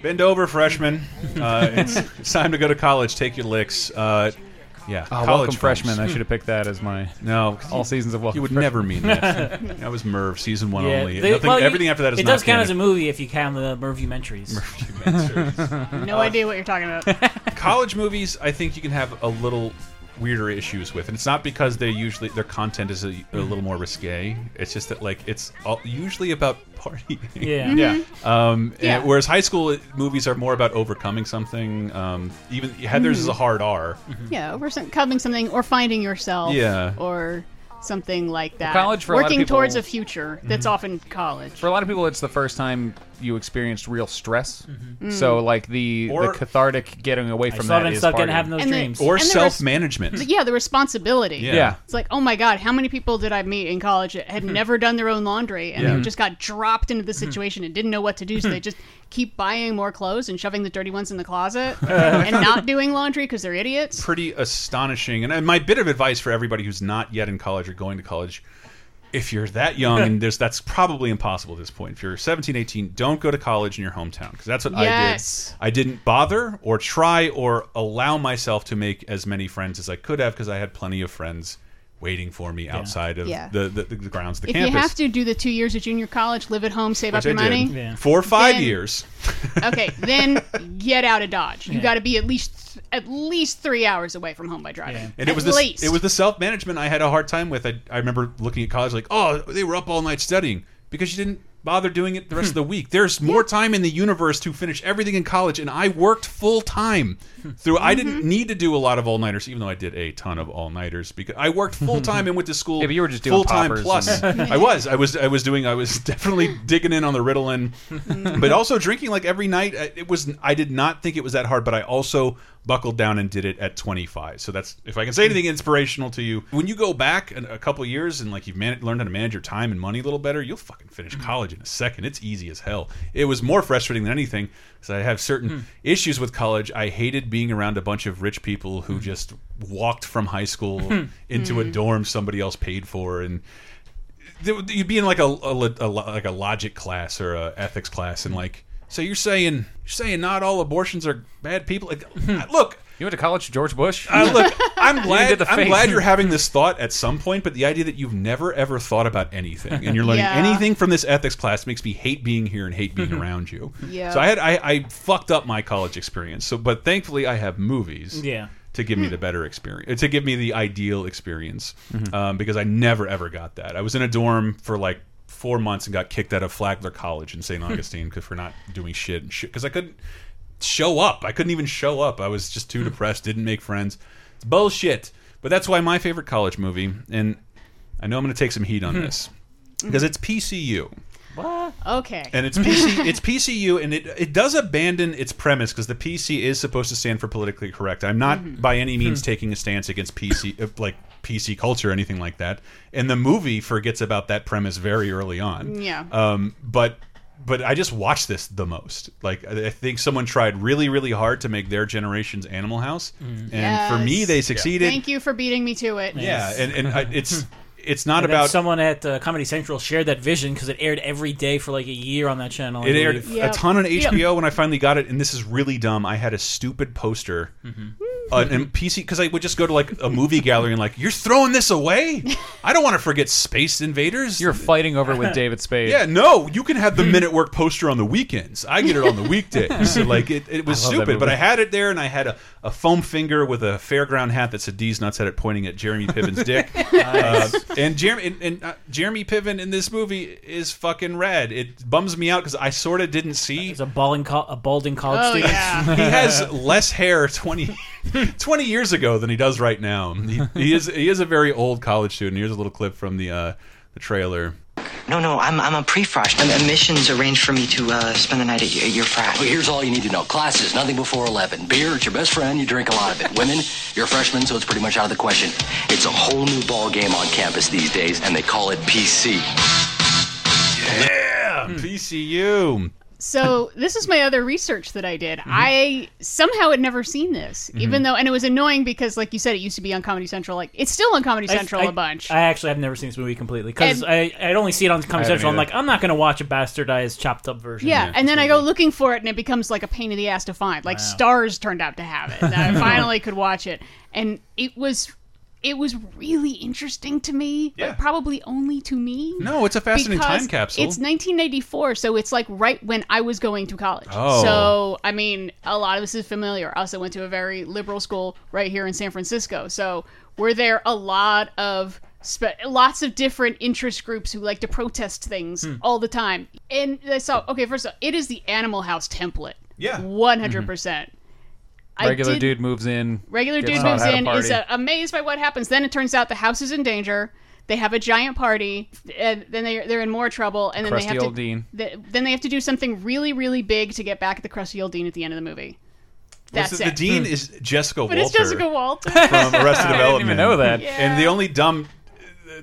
[SPEAKER 1] Bend over, freshman. Uh, it's, it's time to go to college. Take your licks. Uh, Yeah,
[SPEAKER 2] Ah,
[SPEAKER 4] Oh,
[SPEAKER 1] college
[SPEAKER 4] welcome
[SPEAKER 1] friends.
[SPEAKER 4] freshman. I should have picked that as my
[SPEAKER 1] no
[SPEAKER 4] all seasons of welcome.
[SPEAKER 1] Hmm. You would
[SPEAKER 4] Freshmen.
[SPEAKER 1] never mean that. that was Merv, season one only.
[SPEAKER 2] they-
[SPEAKER 1] Nothing,
[SPEAKER 2] well, you-
[SPEAKER 1] everything after that is
[SPEAKER 2] It
[SPEAKER 1] not
[SPEAKER 2] does count
[SPEAKER 1] canon.
[SPEAKER 2] as a movie if you count the Mervumentaries.
[SPEAKER 1] Mervumentaries.
[SPEAKER 3] No idea what you're talking about.
[SPEAKER 1] college movies i think you can have a little weirder issues with and it's not because they usually their content is a, a little more risque it's just that like it's all, usually about partying
[SPEAKER 2] Yeah. Mhm. Yeah.
[SPEAKER 1] um and-
[SPEAKER 2] Yeah.
[SPEAKER 1] whereas high school movies are more about overcoming something um even heathers is a
[SPEAKER 3] Mhm.
[SPEAKER 1] hard r
[SPEAKER 3] Yeah, overcoming something or finding yourself.
[SPEAKER 1] Yeah.
[SPEAKER 3] Or something like that.
[SPEAKER 4] college for a lot of
[SPEAKER 3] Working
[SPEAKER 4] people-
[SPEAKER 3] towards a future that's often college.
[SPEAKER 4] For a lot of people, it's the first time you experienced real stress.
[SPEAKER 3] Mm.
[SPEAKER 4] So, like the
[SPEAKER 1] Or-
[SPEAKER 4] the cathartic getting away
[SPEAKER 1] I
[SPEAKER 4] from
[SPEAKER 1] saw
[SPEAKER 4] that
[SPEAKER 1] them
[SPEAKER 4] is
[SPEAKER 1] stop getting
[SPEAKER 4] partying.
[SPEAKER 1] having those
[SPEAKER 3] And the- dreams.
[SPEAKER 1] or
[SPEAKER 3] and the res-
[SPEAKER 1] self-management
[SPEAKER 3] Yeah, the responsibility.
[SPEAKER 1] Yeah. Yeah.
[SPEAKER 3] It's like, oh my God, how many people did I meet in college that had never done their own laundry and
[SPEAKER 1] Yeah.
[SPEAKER 3] they just got dropped into this situation and didn't know what to do, so they just keep buying more clothes and shoving the dirty ones in the closet and not doing laundry because they're idiots?
[SPEAKER 1] pretty astonishing. And my bit of advice for everybody who's not yet in college or going to college, if you're that young, and there's that's probably impossible at this point. If you're 17, 18, don't go to college in your hometown because that's what
[SPEAKER 6] Yes.
[SPEAKER 1] I did. I didn't bother or try or allow myself to make as many friends as I could have because I had plenty of friends waiting for me outside of
[SPEAKER 3] Yeah.
[SPEAKER 1] the, the, the grounds of the
[SPEAKER 3] if
[SPEAKER 1] campus.
[SPEAKER 3] you have to do the two years of junior college, live at home, save up
[SPEAKER 1] which
[SPEAKER 3] your
[SPEAKER 1] I
[SPEAKER 3] money.
[SPEAKER 1] did. Four or five
[SPEAKER 3] Then-
[SPEAKER 1] years.
[SPEAKER 3] okay, then get out of Dodge. You
[SPEAKER 1] Yeah.
[SPEAKER 3] got to be at least th- at least three hours away from home by driving.
[SPEAKER 1] And it
[SPEAKER 3] at
[SPEAKER 1] was
[SPEAKER 3] least.
[SPEAKER 1] the it was the self management I had a hard time with. I, I remember looking at college like, oh, they were up all night studying because you didn't bother doing it the rest of
[SPEAKER 4] Hmm.
[SPEAKER 1] the week. There's more time in the universe to finish everything in college, and I worked full time through. I didn't
[SPEAKER 3] Mm-hmm.
[SPEAKER 1] need to do a lot of all nighters, even though I did a ton of all nighters because I worked full time and went to school.
[SPEAKER 4] Yeah, but you were just doing
[SPEAKER 1] full time
[SPEAKER 4] poppers
[SPEAKER 1] plus.
[SPEAKER 4] and-
[SPEAKER 1] I was I was I was doing I was definitely digging in on the Ritalin,
[SPEAKER 4] Mm-hmm.
[SPEAKER 1] but also drinking like every night. I- It was I did not think it was that hard, but I also buckled down and did it at 25. So that's if I can say anything inspirational to you. When you go back an- a couple years and like you've man learned how to manage your time and money a little better, you'll fucking finish
[SPEAKER 4] Mm-hmm.
[SPEAKER 1] college in a second. It's easy as hell. It was more frustrating than anything because I have certain
[SPEAKER 4] Hmm.
[SPEAKER 1] issues with college. I hated being around a bunch of rich people who just walked from high school
[SPEAKER 4] Hmm.
[SPEAKER 1] into a
[SPEAKER 4] Hmm.
[SPEAKER 1] dorm somebody else paid for and there would- you'd be in like a, a lo- a lo- like a logic class or a ethics class and like so you're saying you're saying not all abortions are bad people like look
[SPEAKER 4] you went to college with George Bush
[SPEAKER 1] uh, look I'm
[SPEAKER 4] Hmm. You
[SPEAKER 1] glad
[SPEAKER 4] did the
[SPEAKER 1] I'm
[SPEAKER 4] face.
[SPEAKER 1] glad you're having this thought at some point but the idea that you've never ever thought about anything and you're learning
[SPEAKER 4] Yeah.
[SPEAKER 1] anything from this ethics class makes me hate being here and hate being around you
[SPEAKER 2] Yeah.
[SPEAKER 1] so I had I, I fucked up my college experience so but thankfully I have movies
[SPEAKER 2] Yeah.
[SPEAKER 1] to give me the better experience, to give me the ideal experience, um, because I never ever got that. I was in a dorm for like four months and got kicked out of Flagler College in St. Augustine because for not doing shit and shit because I couldn't show up. I couldn't even show up. I was just too depressed. Didn't make friends. It's bullshit. But that's why my favorite college movie, and I know I'm going to take some heat on this because it's PCU
[SPEAKER 3] okay.
[SPEAKER 1] and it's PC, it's PCU, and it it does abandon its premise because the PC is supposed to stand for politically correct. I'm not
[SPEAKER 3] Mm-hmm.
[SPEAKER 1] by any
[SPEAKER 3] Hmm.
[SPEAKER 1] means taking a stance against PC uh, like PC culture or anything like that. And the movie forgets about that premise very early on.
[SPEAKER 3] Yeah.
[SPEAKER 1] Um, but but I just watch this the most. Like I I think someone tried really really hard to make their generation's Animal House, and for me they succeeded.
[SPEAKER 3] Mm. Thank you for beating me to it.
[SPEAKER 1] Yeah, and and I, it's it's not
[SPEAKER 2] And then
[SPEAKER 1] about
[SPEAKER 2] someone at uh, Comedy Central shared that vision because it aired every day for like a year on that channel. I
[SPEAKER 1] It aired
[SPEAKER 2] believe.
[SPEAKER 1] a ton on HBO when I finally got it, and this is really dumb. I had a stupid poster, an and PC, because I would just go to like a movie gallery and like, you're throwing this away. I don't want to forget Space Invaders. You're
[SPEAKER 4] fighting over with David Spade.
[SPEAKER 1] Yeah, no, you can have the minute work poster on the weekends. I get it on the weekdays. so like, it, it was
[SPEAKER 4] I love that
[SPEAKER 1] stupid, but
[SPEAKER 4] movie.
[SPEAKER 1] I had it there, and I had a, a foam finger with a fairground hat that said D's nuts at it, pointing at Jeremy Piven's dick.
[SPEAKER 4] Nice.
[SPEAKER 1] Uh, and Jeremy and, and uh, Jeremy Piven in this movie is fucking rad. It bums me out because I sort of didn't see. He's
[SPEAKER 2] a balding, a balding college
[SPEAKER 3] Oh, student. yeah.
[SPEAKER 1] he has less hair 20, 20 years ago than he does right now. He, he is he is a very old college student. Here's a little clip from the uh, the trailer.
[SPEAKER 8] No, no, I'm, I'm a pre-frosh. Um, admissions arranged for me to uh, spend the night at y- your frat.
[SPEAKER 27] Well, here's all you need to know. Classes, nothing before 11. Beer, it's your best friend, you drink a lot of it. Women, you're a freshman, so it's pretty much out of the question. It's a whole new ball game on campus these days, and they call it PC.
[SPEAKER 1] Hmm. Yeah, PCU.
[SPEAKER 3] So this is my other research that I did.
[SPEAKER 2] Mm-hmm.
[SPEAKER 3] I somehow had never seen this, even
[SPEAKER 2] Mhm.
[SPEAKER 3] though, and it was annoying because, like you said, it used to be on Comedy Central. Like it's still on Comedy
[SPEAKER 2] I-
[SPEAKER 3] Central
[SPEAKER 2] I-
[SPEAKER 3] a bunch.
[SPEAKER 2] I actually have never seen this movie completely because
[SPEAKER 3] And-
[SPEAKER 2] I I'd only see it on
[SPEAKER 4] I
[SPEAKER 2] Comedy
[SPEAKER 4] haven't
[SPEAKER 2] Central. I'm
[SPEAKER 4] either.
[SPEAKER 2] like, I'm not going to watch a bastardized, chopped up version.
[SPEAKER 3] Yeah, and then I go looking for it, and it becomes like a pain in the ass to find. Like Stars turned out to have it, and I finally could watch it, and it was, it was really interesting to me.
[SPEAKER 1] Yeah.
[SPEAKER 3] Like probably only to me.
[SPEAKER 1] No, it's a fascinating
[SPEAKER 3] because
[SPEAKER 1] time capsule.
[SPEAKER 3] It's 1994, so it's like right when I was going to college.
[SPEAKER 1] Oh.
[SPEAKER 3] So I mean, a lot of this is familiar. I also went to a very liberal school right here in San Francisco, so we're there a lot of. Spe- lots of different interest groups who like to protest things
[SPEAKER 6] Hmm.
[SPEAKER 3] all the time. And I saw, okay, first of all, it is the Animal House template.
[SPEAKER 1] Yeah. Mm-hmm.
[SPEAKER 3] 100%. percent I
[SPEAKER 4] Regular
[SPEAKER 3] did-
[SPEAKER 4] dude moves in.
[SPEAKER 3] Regular
[SPEAKER 4] gets
[SPEAKER 3] dude
[SPEAKER 4] taught
[SPEAKER 3] moves
[SPEAKER 4] how to
[SPEAKER 3] in, is
[SPEAKER 4] party.
[SPEAKER 3] uh, amazed by what happens. Then it turns out the house is in danger. They have a giant party, and then they they're in more trouble. And then
[SPEAKER 4] Crusty
[SPEAKER 3] they have
[SPEAKER 4] old
[SPEAKER 3] to
[SPEAKER 4] dean.
[SPEAKER 3] th- then they have to do something really really big to get back at the crusty old dean at the end of the movie. That's
[SPEAKER 1] Listen,
[SPEAKER 3] it.
[SPEAKER 1] The dean
[SPEAKER 2] Hmm.
[SPEAKER 1] is Jessica
[SPEAKER 3] But
[SPEAKER 1] Walter.
[SPEAKER 3] it's Jessica Walter.
[SPEAKER 1] from Arrested
[SPEAKER 4] I
[SPEAKER 1] Development.
[SPEAKER 4] didn't even know that. Yeah.
[SPEAKER 1] And the only dumb,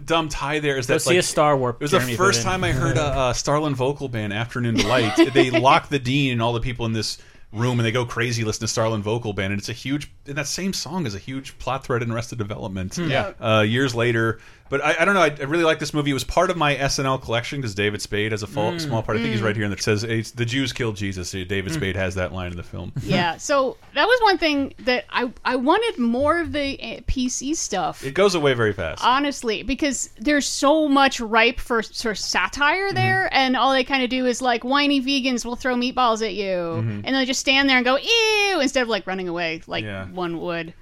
[SPEAKER 1] dumb tie there is
[SPEAKER 2] Go
[SPEAKER 1] that
[SPEAKER 2] see
[SPEAKER 1] like,
[SPEAKER 2] a Star Warp,
[SPEAKER 1] It was
[SPEAKER 2] Jeremy
[SPEAKER 1] the
[SPEAKER 2] put
[SPEAKER 1] first
[SPEAKER 2] in.
[SPEAKER 1] time I heard a, uh Starlin vocal band, Afternoon Delight. they lock the dean and all the people in this room, and they go crazy listening to Starlin vocal band. And it's a huge. And that same song is a huge plot thread in Arrested Development.
[SPEAKER 4] Hmm. Yeah.
[SPEAKER 1] Uh, years later, but I, I don't know. I, I really like this movie. It was part of my SNL collection because David Spade has a full,
[SPEAKER 3] Mm.
[SPEAKER 1] small part. I think he's
[SPEAKER 3] Mm.
[SPEAKER 1] right here, and it says it's, the Jews killed Jesus. David
[SPEAKER 3] Mm.
[SPEAKER 1] Spade has that line in the film.
[SPEAKER 3] yeah. So that was one thing that I I wanted more of the uh, PC stuff.
[SPEAKER 1] It goes away very fast.
[SPEAKER 3] honestly because there's so much ripe for, for satire
[SPEAKER 1] Mm-hmm.
[SPEAKER 3] there and all they kind of do is like whiny vegans will throw meatballs at you
[SPEAKER 1] Mhm.
[SPEAKER 3] and they just stand there and go ew instead of like running away like
[SPEAKER 1] Yeah.
[SPEAKER 3] one would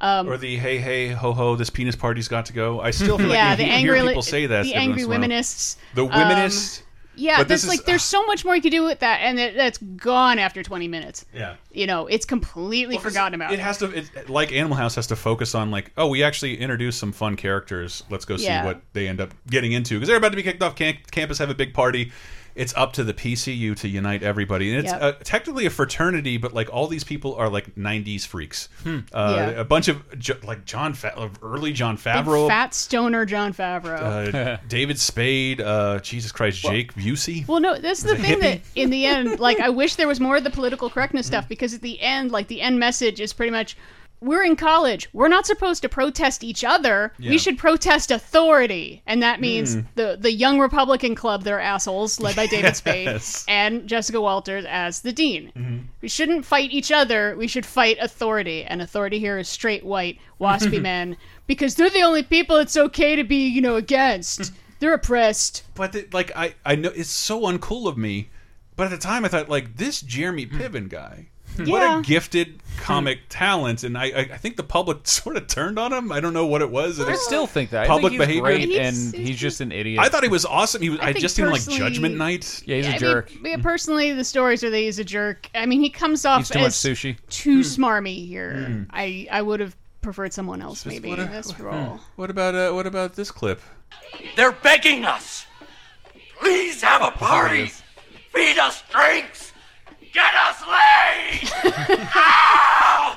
[SPEAKER 3] um,
[SPEAKER 1] or the hey hey ho ho this penis party's got to go. I still feel
[SPEAKER 3] yeah
[SPEAKER 1] like
[SPEAKER 3] the
[SPEAKER 1] you
[SPEAKER 3] angry
[SPEAKER 1] hear people say that
[SPEAKER 3] the
[SPEAKER 1] every
[SPEAKER 3] angry
[SPEAKER 1] once in a while.
[SPEAKER 3] womenists
[SPEAKER 1] the
[SPEAKER 3] um,
[SPEAKER 1] womenists.
[SPEAKER 3] yeah that's
[SPEAKER 1] But this is-
[SPEAKER 3] like there's so much more you could do with that and it, that's gone after 20 minutes
[SPEAKER 1] Yeah.
[SPEAKER 3] you know it's completely forgotten about
[SPEAKER 1] It has to it, like Animal House has to focus on like oh we actually introduced some fun characters. Let's go
[SPEAKER 3] Yeah.
[SPEAKER 1] see what they end up getting into because they're about to be kicked off cam campus. Have a big party. It's up to the PCU to unite everybody, and it's
[SPEAKER 3] Yep.
[SPEAKER 1] uh, technically a fraternity, but like all these people are like '90s freaks.
[SPEAKER 3] Hmm.
[SPEAKER 1] Uh,
[SPEAKER 3] Yeah.
[SPEAKER 1] A bunch of jo- like John, Fa early John
[SPEAKER 3] Big
[SPEAKER 1] Favreau,
[SPEAKER 3] fat stoner john favreau
[SPEAKER 1] uh, David Spade, uh, Jesus Christ, Jake Busey.
[SPEAKER 3] Well, no, that's the
[SPEAKER 1] Is it
[SPEAKER 3] thing
[SPEAKER 1] hippie?
[SPEAKER 3] that in the end, like, I wish there was more of the political correctness stuff because at the end, like, the end message is pretty much we're in college. We're not supposed to protest each other.
[SPEAKER 6] Yeah.
[SPEAKER 3] We should protest authority. And that means
[SPEAKER 6] Mm.
[SPEAKER 3] the, the Young Republican Club, they're assholes, led by David Spade
[SPEAKER 6] Yes.
[SPEAKER 3] and Jessica Walters as the dean.
[SPEAKER 6] Mhm.
[SPEAKER 3] We shouldn't fight each other. We should fight authority. And authority here is straight white, waspy men because they're the only people it's okay to be, you know, against. They're oppressed.
[SPEAKER 1] But the, like I, I know it's so uncool of me, but at the time I thought like this Jeremy
[SPEAKER 3] Hmm.
[SPEAKER 1] Piven guy, what
[SPEAKER 3] Yeah.
[SPEAKER 1] a gifted
[SPEAKER 3] Hmm.
[SPEAKER 1] comic talent, and I, I, I think the public sort of turned on him. I don't know what it was. and
[SPEAKER 4] I
[SPEAKER 1] it's
[SPEAKER 4] still think that. I
[SPEAKER 1] public
[SPEAKER 4] think he's
[SPEAKER 1] behavior.
[SPEAKER 4] great, and he's just an idiot.
[SPEAKER 1] I thought he was awesome. He was, I,
[SPEAKER 3] think
[SPEAKER 1] just seen him, like
[SPEAKER 3] personally-
[SPEAKER 1] Judgment Night.
[SPEAKER 4] Yeah, he's
[SPEAKER 3] Yeah,
[SPEAKER 4] a
[SPEAKER 3] I
[SPEAKER 4] jerk.
[SPEAKER 3] Mean, yeah, personally, the stories are that he's a jerk. I mean, he comes off
[SPEAKER 4] He's too much
[SPEAKER 3] as
[SPEAKER 4] sushi.
[SPEAKER 1] Hmm.
[SPEAKER 3] too smarmy here.
[SPEAKER 1] Mm.
[SPEAKER 3] I I would have preferred someone else maybe
[SPEAKER 1] what
[SPEAKER 3] in
[SPEAKER 1] a- Hmm.
[SPEAKER 3] this
[SPEAKER 1] what-
[SPEAKER 3] role.
[SPEAKER 1] What about uh, what about this clip?
[SPEAKER 11] They're begging us. Please have a party. Feed us drinks. Get us laid.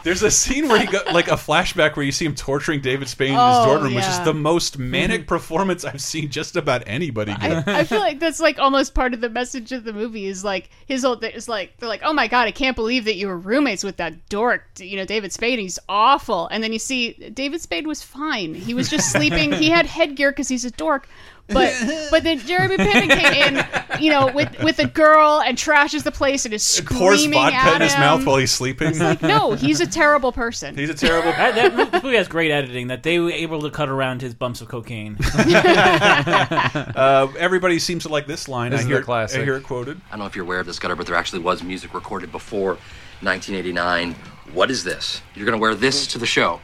[SPEAKER 1] There's a scene where he got like a flashback where you see him torturing David Spain in
[SPEAKER 3] Oh,
[SPEAKER 1] his dorm room, which is
[SPEAKER 3] yeah. Hmm.
[SPEAKER 1] the most manic performance I've seen just about anybody. Give.
[SPEAKER 3] I feel like that's like almost part of the message of the movie is like his old is like they're like oh my god I can't believe that you were roommates with that dork you know David Spade he's awful and then you see David Spade was fine he was just sleeping he had headgear because he's a dork but but then Jeremy Piven came in you know with with a girl and trashes the place and is screaming
[SPEAKER 1] Pours vodka
[SPEAKER 3] at
[SPEAKER 1] in his
[SPEAKER 3] him.
[SPEAKER 1] mouth while he's sleeping.
[SPEAKER 3] like no he's a terrible person
[SPEAKER 1] He's a terrible.
[SPEAKER 2] that, that mo- this movie has great editing that they were able to cut around his bumps of cocaine.
[SPEAKER 1] uh, everybody seems to like this line.
[SPEAKER 27] This
[SPEAKER 1] I
[SPEAKER 27] is
[SPEAKER 1] hear,
[SPEAKER 27] the classic.
[SPEAKER 1] I hear it quoted.
[SPEAKER 27] I don't know if you're aware of this, Gutter, but there actually was music recorded before 1989. What is this? You're going to wear this to the show.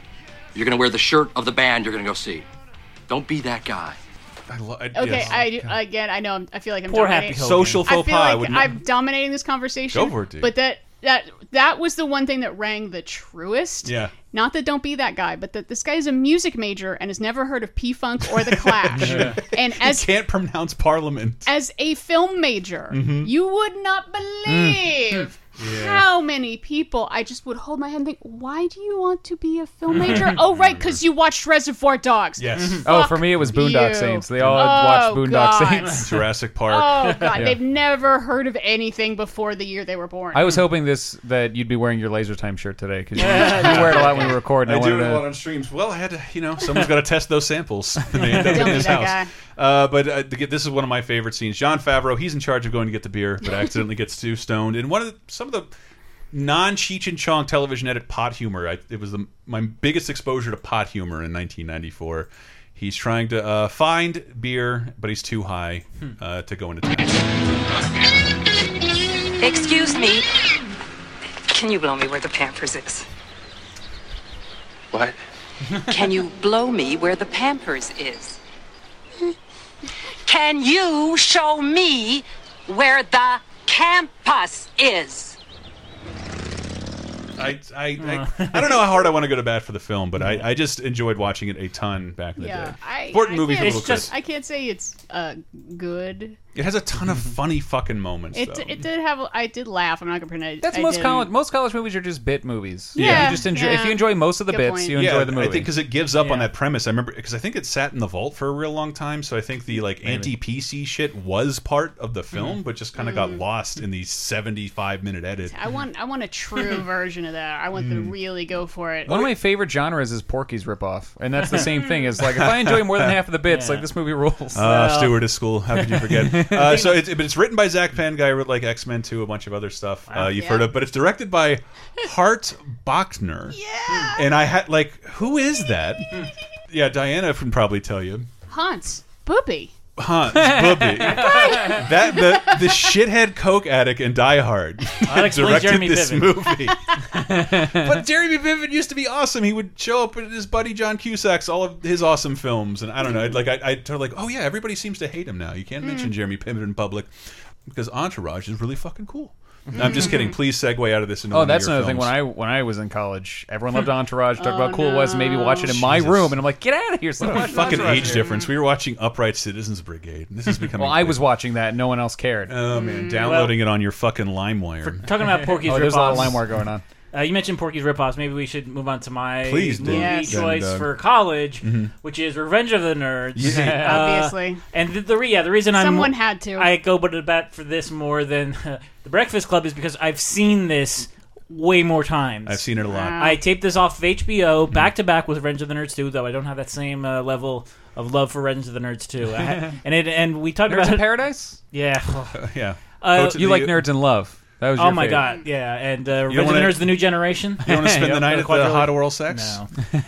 [SPEAKER 27] You're going to wear the shirt of the band you're going to go see. Don't be that guy.
[SPEAKER 1] I lo- I,
[SPEAKER 3] Okay, I again, I know, I'm, I feel like I'm
[SPEAKER 27] Poor
[SPEAKER 3] dominating.
[SPEAKER 27] Happy Hogan. Social faux
[SPEAKER 3] I feel
[SPEAKER 27] pas, I
[SPEAKER 3] Like
[SPEAKER 27] would
[SPEAKER 3] I'm
[SPEAKER 27] never-
[SPEAKER 3] dominating this conversation.
[SPEAKER 27] Go for it, dude.
[SPEAKER 3] But that that that was the one thing that rang the truest.
[SPEAKER 1] Yeah.
[SPEAKER 3] Not that don't be that guy, but that this guy is a music major and has never heard of P Funk or the Clash. And as
[SPEAKER 1] you can't pronounce Parliament.
[SPEAKER 3] as a film major,
[SPEAKER 1] Mhm.
[SPEAKER 3] you would not believe
[SPEAKER 1] Yeah.
[SPEAKER 3] how many people I just would hold my head and think, why do you want to be a film major? oh, right, because you watched Reservoir Dogs.
[SPEAKER 1] Yes.
[SPEAKER 4] Oh, for me it was Boondock
[SPEAKER 3] you.
[SPEAKER 4] Saints. They all
[SPEAKER 3] Oh,
[SPEAKER 4] watched Boondock
[SPEAKER 3] God.
[SPEAKER 4] Saints.
[SPEAKER 1] Jurassic Park.
[SPEAKER 3] Oh, God.
[SPEAKER 4] Yeah.
[SPEAKER 3] They've never heard of anything before the year they were born.
[SPEAKER 4] I was hoping this that you'd be wearing your laser time shirt today because you, you wear it a lot when we record. and
[SPEAKER 1] I do
[SPEAKER 4] wanted
[SPEAKER 1] it a
[SPEAKER 4] to-
[SPEAKER 1] lot on streams. Well, I had to, you know, someone's got to test those samples. And they end up in
[SPEAKER 3] Don't
[SPEAKER 1] his
[SPEAKER 3] be that
[SPEAKER 1] house. Uh, but uh, to get- this is one of my favorite scenes. John Favreau, he's in charge of going to get the beer, but accidentally gets too stoned. And one of the, some of the non Cheech and Chong television edit pot humor. I, it was the, my biggest exposure to pot humor in 1994. He's trying to uh, find beer, but he's too high
[SPEAKER 4] Hmm.
[SPEAKER 1] uh, to go into town.
[SPEAKER 6] Excuse me. Can you blow me where the Pampers is?
[SPEAKER 15] What?
[SPEAKER 6] Can you blow me where the Pampers is? Can you show me where the campus is?
[SPEAKER 1] I, I,
[SPEAKER 4] Oh.
[SPEAKER 1] I, I don't know how hard I want to go to bat for the film, but
[SPEAKER 4] Hmm.
[SPEAKER 1] I, I just enjoyed watching it a ton back in the
[SPEAKER 3] yeah,
[SPEAKER 1] day.
[SPEAKER 3] I,
[SPEAKER 1] Important
[SPEAKER 3] I
[SPEAKER 1] movie for
[SPEAKER 3] can't-
[SPEAKER 1] little kids.
[SPEAKER 3] I can't say it's uh, good.
[SPEAKER 1] It has a ton of funny fucking moments.
[SPEAKER 3] It,
[SPEAKER 1] though.
[SPEAKER 3] it did have. I did laugh. I'm not gonna pretend. I-
[SPEAKER 4] That's
[SPEAKER 3] I
[SPEAKER 4] most
[SPEAKER 3] didn't.
[SPEAKER 4] college. Most college movies are just bit movies.
[SPEAKER 3] Yeah,
[SPEAKER 4] you just enjoy. If
[SPEAKER 3] yeah.
[SPEAKER 4] you enjoy most of the
[SPEAKER 3] Good
[SPEAKER 4] bits,
[SPEAKER 3] point.
[SPEAKER 4] you enjoy
[SPEAKER 1] Yeah,
[SPEAKER 4] the
[SPEAKER 1] I
[SPEAKER 4] movie.
[SPEAKER 1] think because it gives up on that premise. I remember because I think it sat in the vault for a real long time. So I think the like anti PC shit was part of
[SPEAKER 4] Mm-hmm.
[SPEAKER 1] the film,
[SPEAKER 3] Mhm.
[SPEAKER 1] but just kind of
[SPEAKER 3] Mhm.
[SPEAKER 1] got lost in the seventy five minute edit.
[SPEAKER 3] I want. I want a true version of that. I want them
[SPEAKER 1] Hmm.
[SPEAKER 3] to really go for it.
[SPEAKER 4] One of my favorite genres is Porky's ripoff, and that's the same thing. It's like if I enjoy more than half of the bits,
[SPEAKER 1] Yeah.
[SPEAKER 4] like this movie rules.
[SPEAKER 1] Uh, Stewardess School. How could you forget? uh, so, it's, but it's written by Zach Penn, guy who wrote like X Men Two, a bunch of other stuff uh, you've
[SPEAKER 4] Yeah.
[SPEAKER 1] heard of. But it's directed by Hart Bachner. Yeah. And I had like, who is that? yeah, Diana can probably tell you.
[SPEAKER 3] Hans Boopy.
[SPEAKER 1] Hans Bubby. that the the shithead coke addict in Die Hard
[SPEAKER 2] That explains
[SPEAKER 1] directed
[SPEAKER 2] Jeremy
[SPEAKER 1] this
[SPEAKER 2] Piven.
[SPEAKER 1] movie. but Jeremy Piven used to be awesome. He would show up with his buddy John Cusack's all of his awesome films, and I don't know. I'd like I I totally like, oh yeah, everybody seems to hate him now. You can't mention
[SPEAKER 4] Mm.
[SPEAKER 1] Jeremy Piven in public because Entourage is really fucking cool. No, I'm just kidding. Please segue out of this. Into
[SPEAKER 4] Hmm. oh,
[SPEAKER 1] one of
[SPEAKER 4] that's
[SPEAKER 1] your
[SPEAKER 4] another thing.
[SPEAKER 1] films.
[SPEAKER 4] When I when I was in college, everyone loved Entourage. Talked
[SPEAKER 1] Oh,
[SPEAKER 4] about how cool it was. Maybe watch it in my
[SPEAKER 1] Jesus.
[SPEAKER 4] room, and I'm like, get out of here! Stop
[SPEAKER 1] What a
[SPEAKER 4] watching
[SPEAKER 1] fucking
[SPEAKER 4] Entourage
[SPEAKER 1] age
[SPEAKER 4] here.
[SPEAKER 1] difference. We were watching Upright Citizens Brigade. This is becoming.
[SPEAKER 4] Well, I was Hmm, watching that. and No one else cared.
[SPEAKER 1] Oh man, downloading it on your fucking LimeWire.
[SPEAKER 2] Talking about Porky's
[SPEAKER 4] Oh, there's a lot of
[SPEAKER 2] ripoffs.
[SPEAKER 4] LimeWire going on.
[SPEAKER 2] Uh, you mentioned Porky's ripoffs. Maybe we should move on to my
[SPEAKER 1] Please do.
[SPEAKER 2] movie
[SPEAKER 1] Yes.
[SPEAKER 2] choice
[SPEAKER 1] Done, done.
[SPEAKER 2] for college,
[SPEAKER 1] Mhm.
[SPEAKER 2] which is Revenge of the Nerds.
[SPEAKER 1] Yeah.
[SPEAKER 2] Uh,
[SPEAKER 3] Obviously.
[SPEAKER 2] and the, the re- yeah the reason I'm
[SPEAKER 3] Someone had to.
[SPEAKER 2] I go but to bat for this more than the Breakfast Club is because I've seen this way more times.
[SPEAKER 1] I've seen it a lot.
[SPEAKER 2] I taped this off of
[SPEAKER 4] Mm-hmm.
[SPEAKER 2] HBO back to back with Revenge of the Nerds 2, though I don't have that same uh, level of love for Revenge of the Nerds 2. I ha- and it and we talked
[SPEAKER 4] Nerds
[SPEAKER 2] about
[SPEAKER 4] in
[SPEAKER 2] it-
[SPEAKER 4] Paradise?
[SPEAKER 2] Yeah,
[SPEAKER 1] yeah.
[SPEAKER 4] Go to You the- like Nerds in Love. That was
[SPEAKER 2] oh
[SPEAKER 4] your
[SPEAKER 2] my
[SPEAKER 4] fave.
[SPEAKER 2] god, yeah. And uh,
[SPEAKER 4] You don't
[SPEAKER 2] Revenge of the
[SPEAKER 4] wanna-
[SPEAKER 2] Nerds, the new generation.
[SPEAKER 4] You don't wanna spend the night at the
[SPEAKER 2] quadrilla.
[SPEAKER 4] hot oral sex?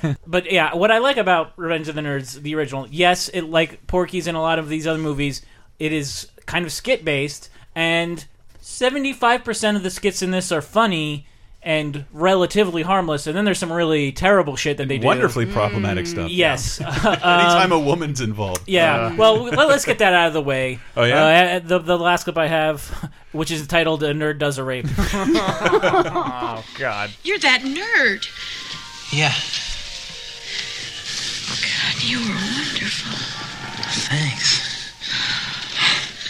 [SPEAKER 2] No. but yeah, what I like about Revenge of the Nerds, the original, yes, it like Porky's and a lot of these other movies, it is kind of skit based, and seventy five percent of the skits in this are funny. And relatively harmless, and then there's some really terrible shit that they do.
[SPEAKER 1] Wonderfully problematic stuff.
[SPEAKER 2] Yes.
[SPEAKER 1] Anytime a woman's involved.
[SPEAKER 2] Yeah.
[SPEAKER 1] Uh,
[SPEAKER 2] well, let, us get that out of the way.
[SPEAKER 1] Oh,
[SPEAKER 2] Uh,
[SPEAKER 1] yeah?
[SPEAKER 2] the the last clip I have, which is entitled "A Nerd Does a Rape."
[SPEAKER 6] Oh,
[SPEAKER 4] God.
[SPEAKER 6] You're that nerd.
[SPEAKER 13] Yeah,
[SPEAKER 6] Oh, God, you were wonderful.
[SPEAKER 13] thanks.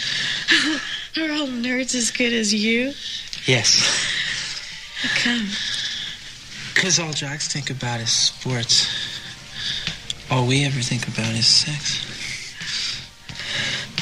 [SPEAKER 6] Are all nerds as good as you?
[SPEAKER 13] Yes.
[SPEAKER 6] How come?
[SPEAKER 13] Because all jocks think about is sports. All we ever think about is sex.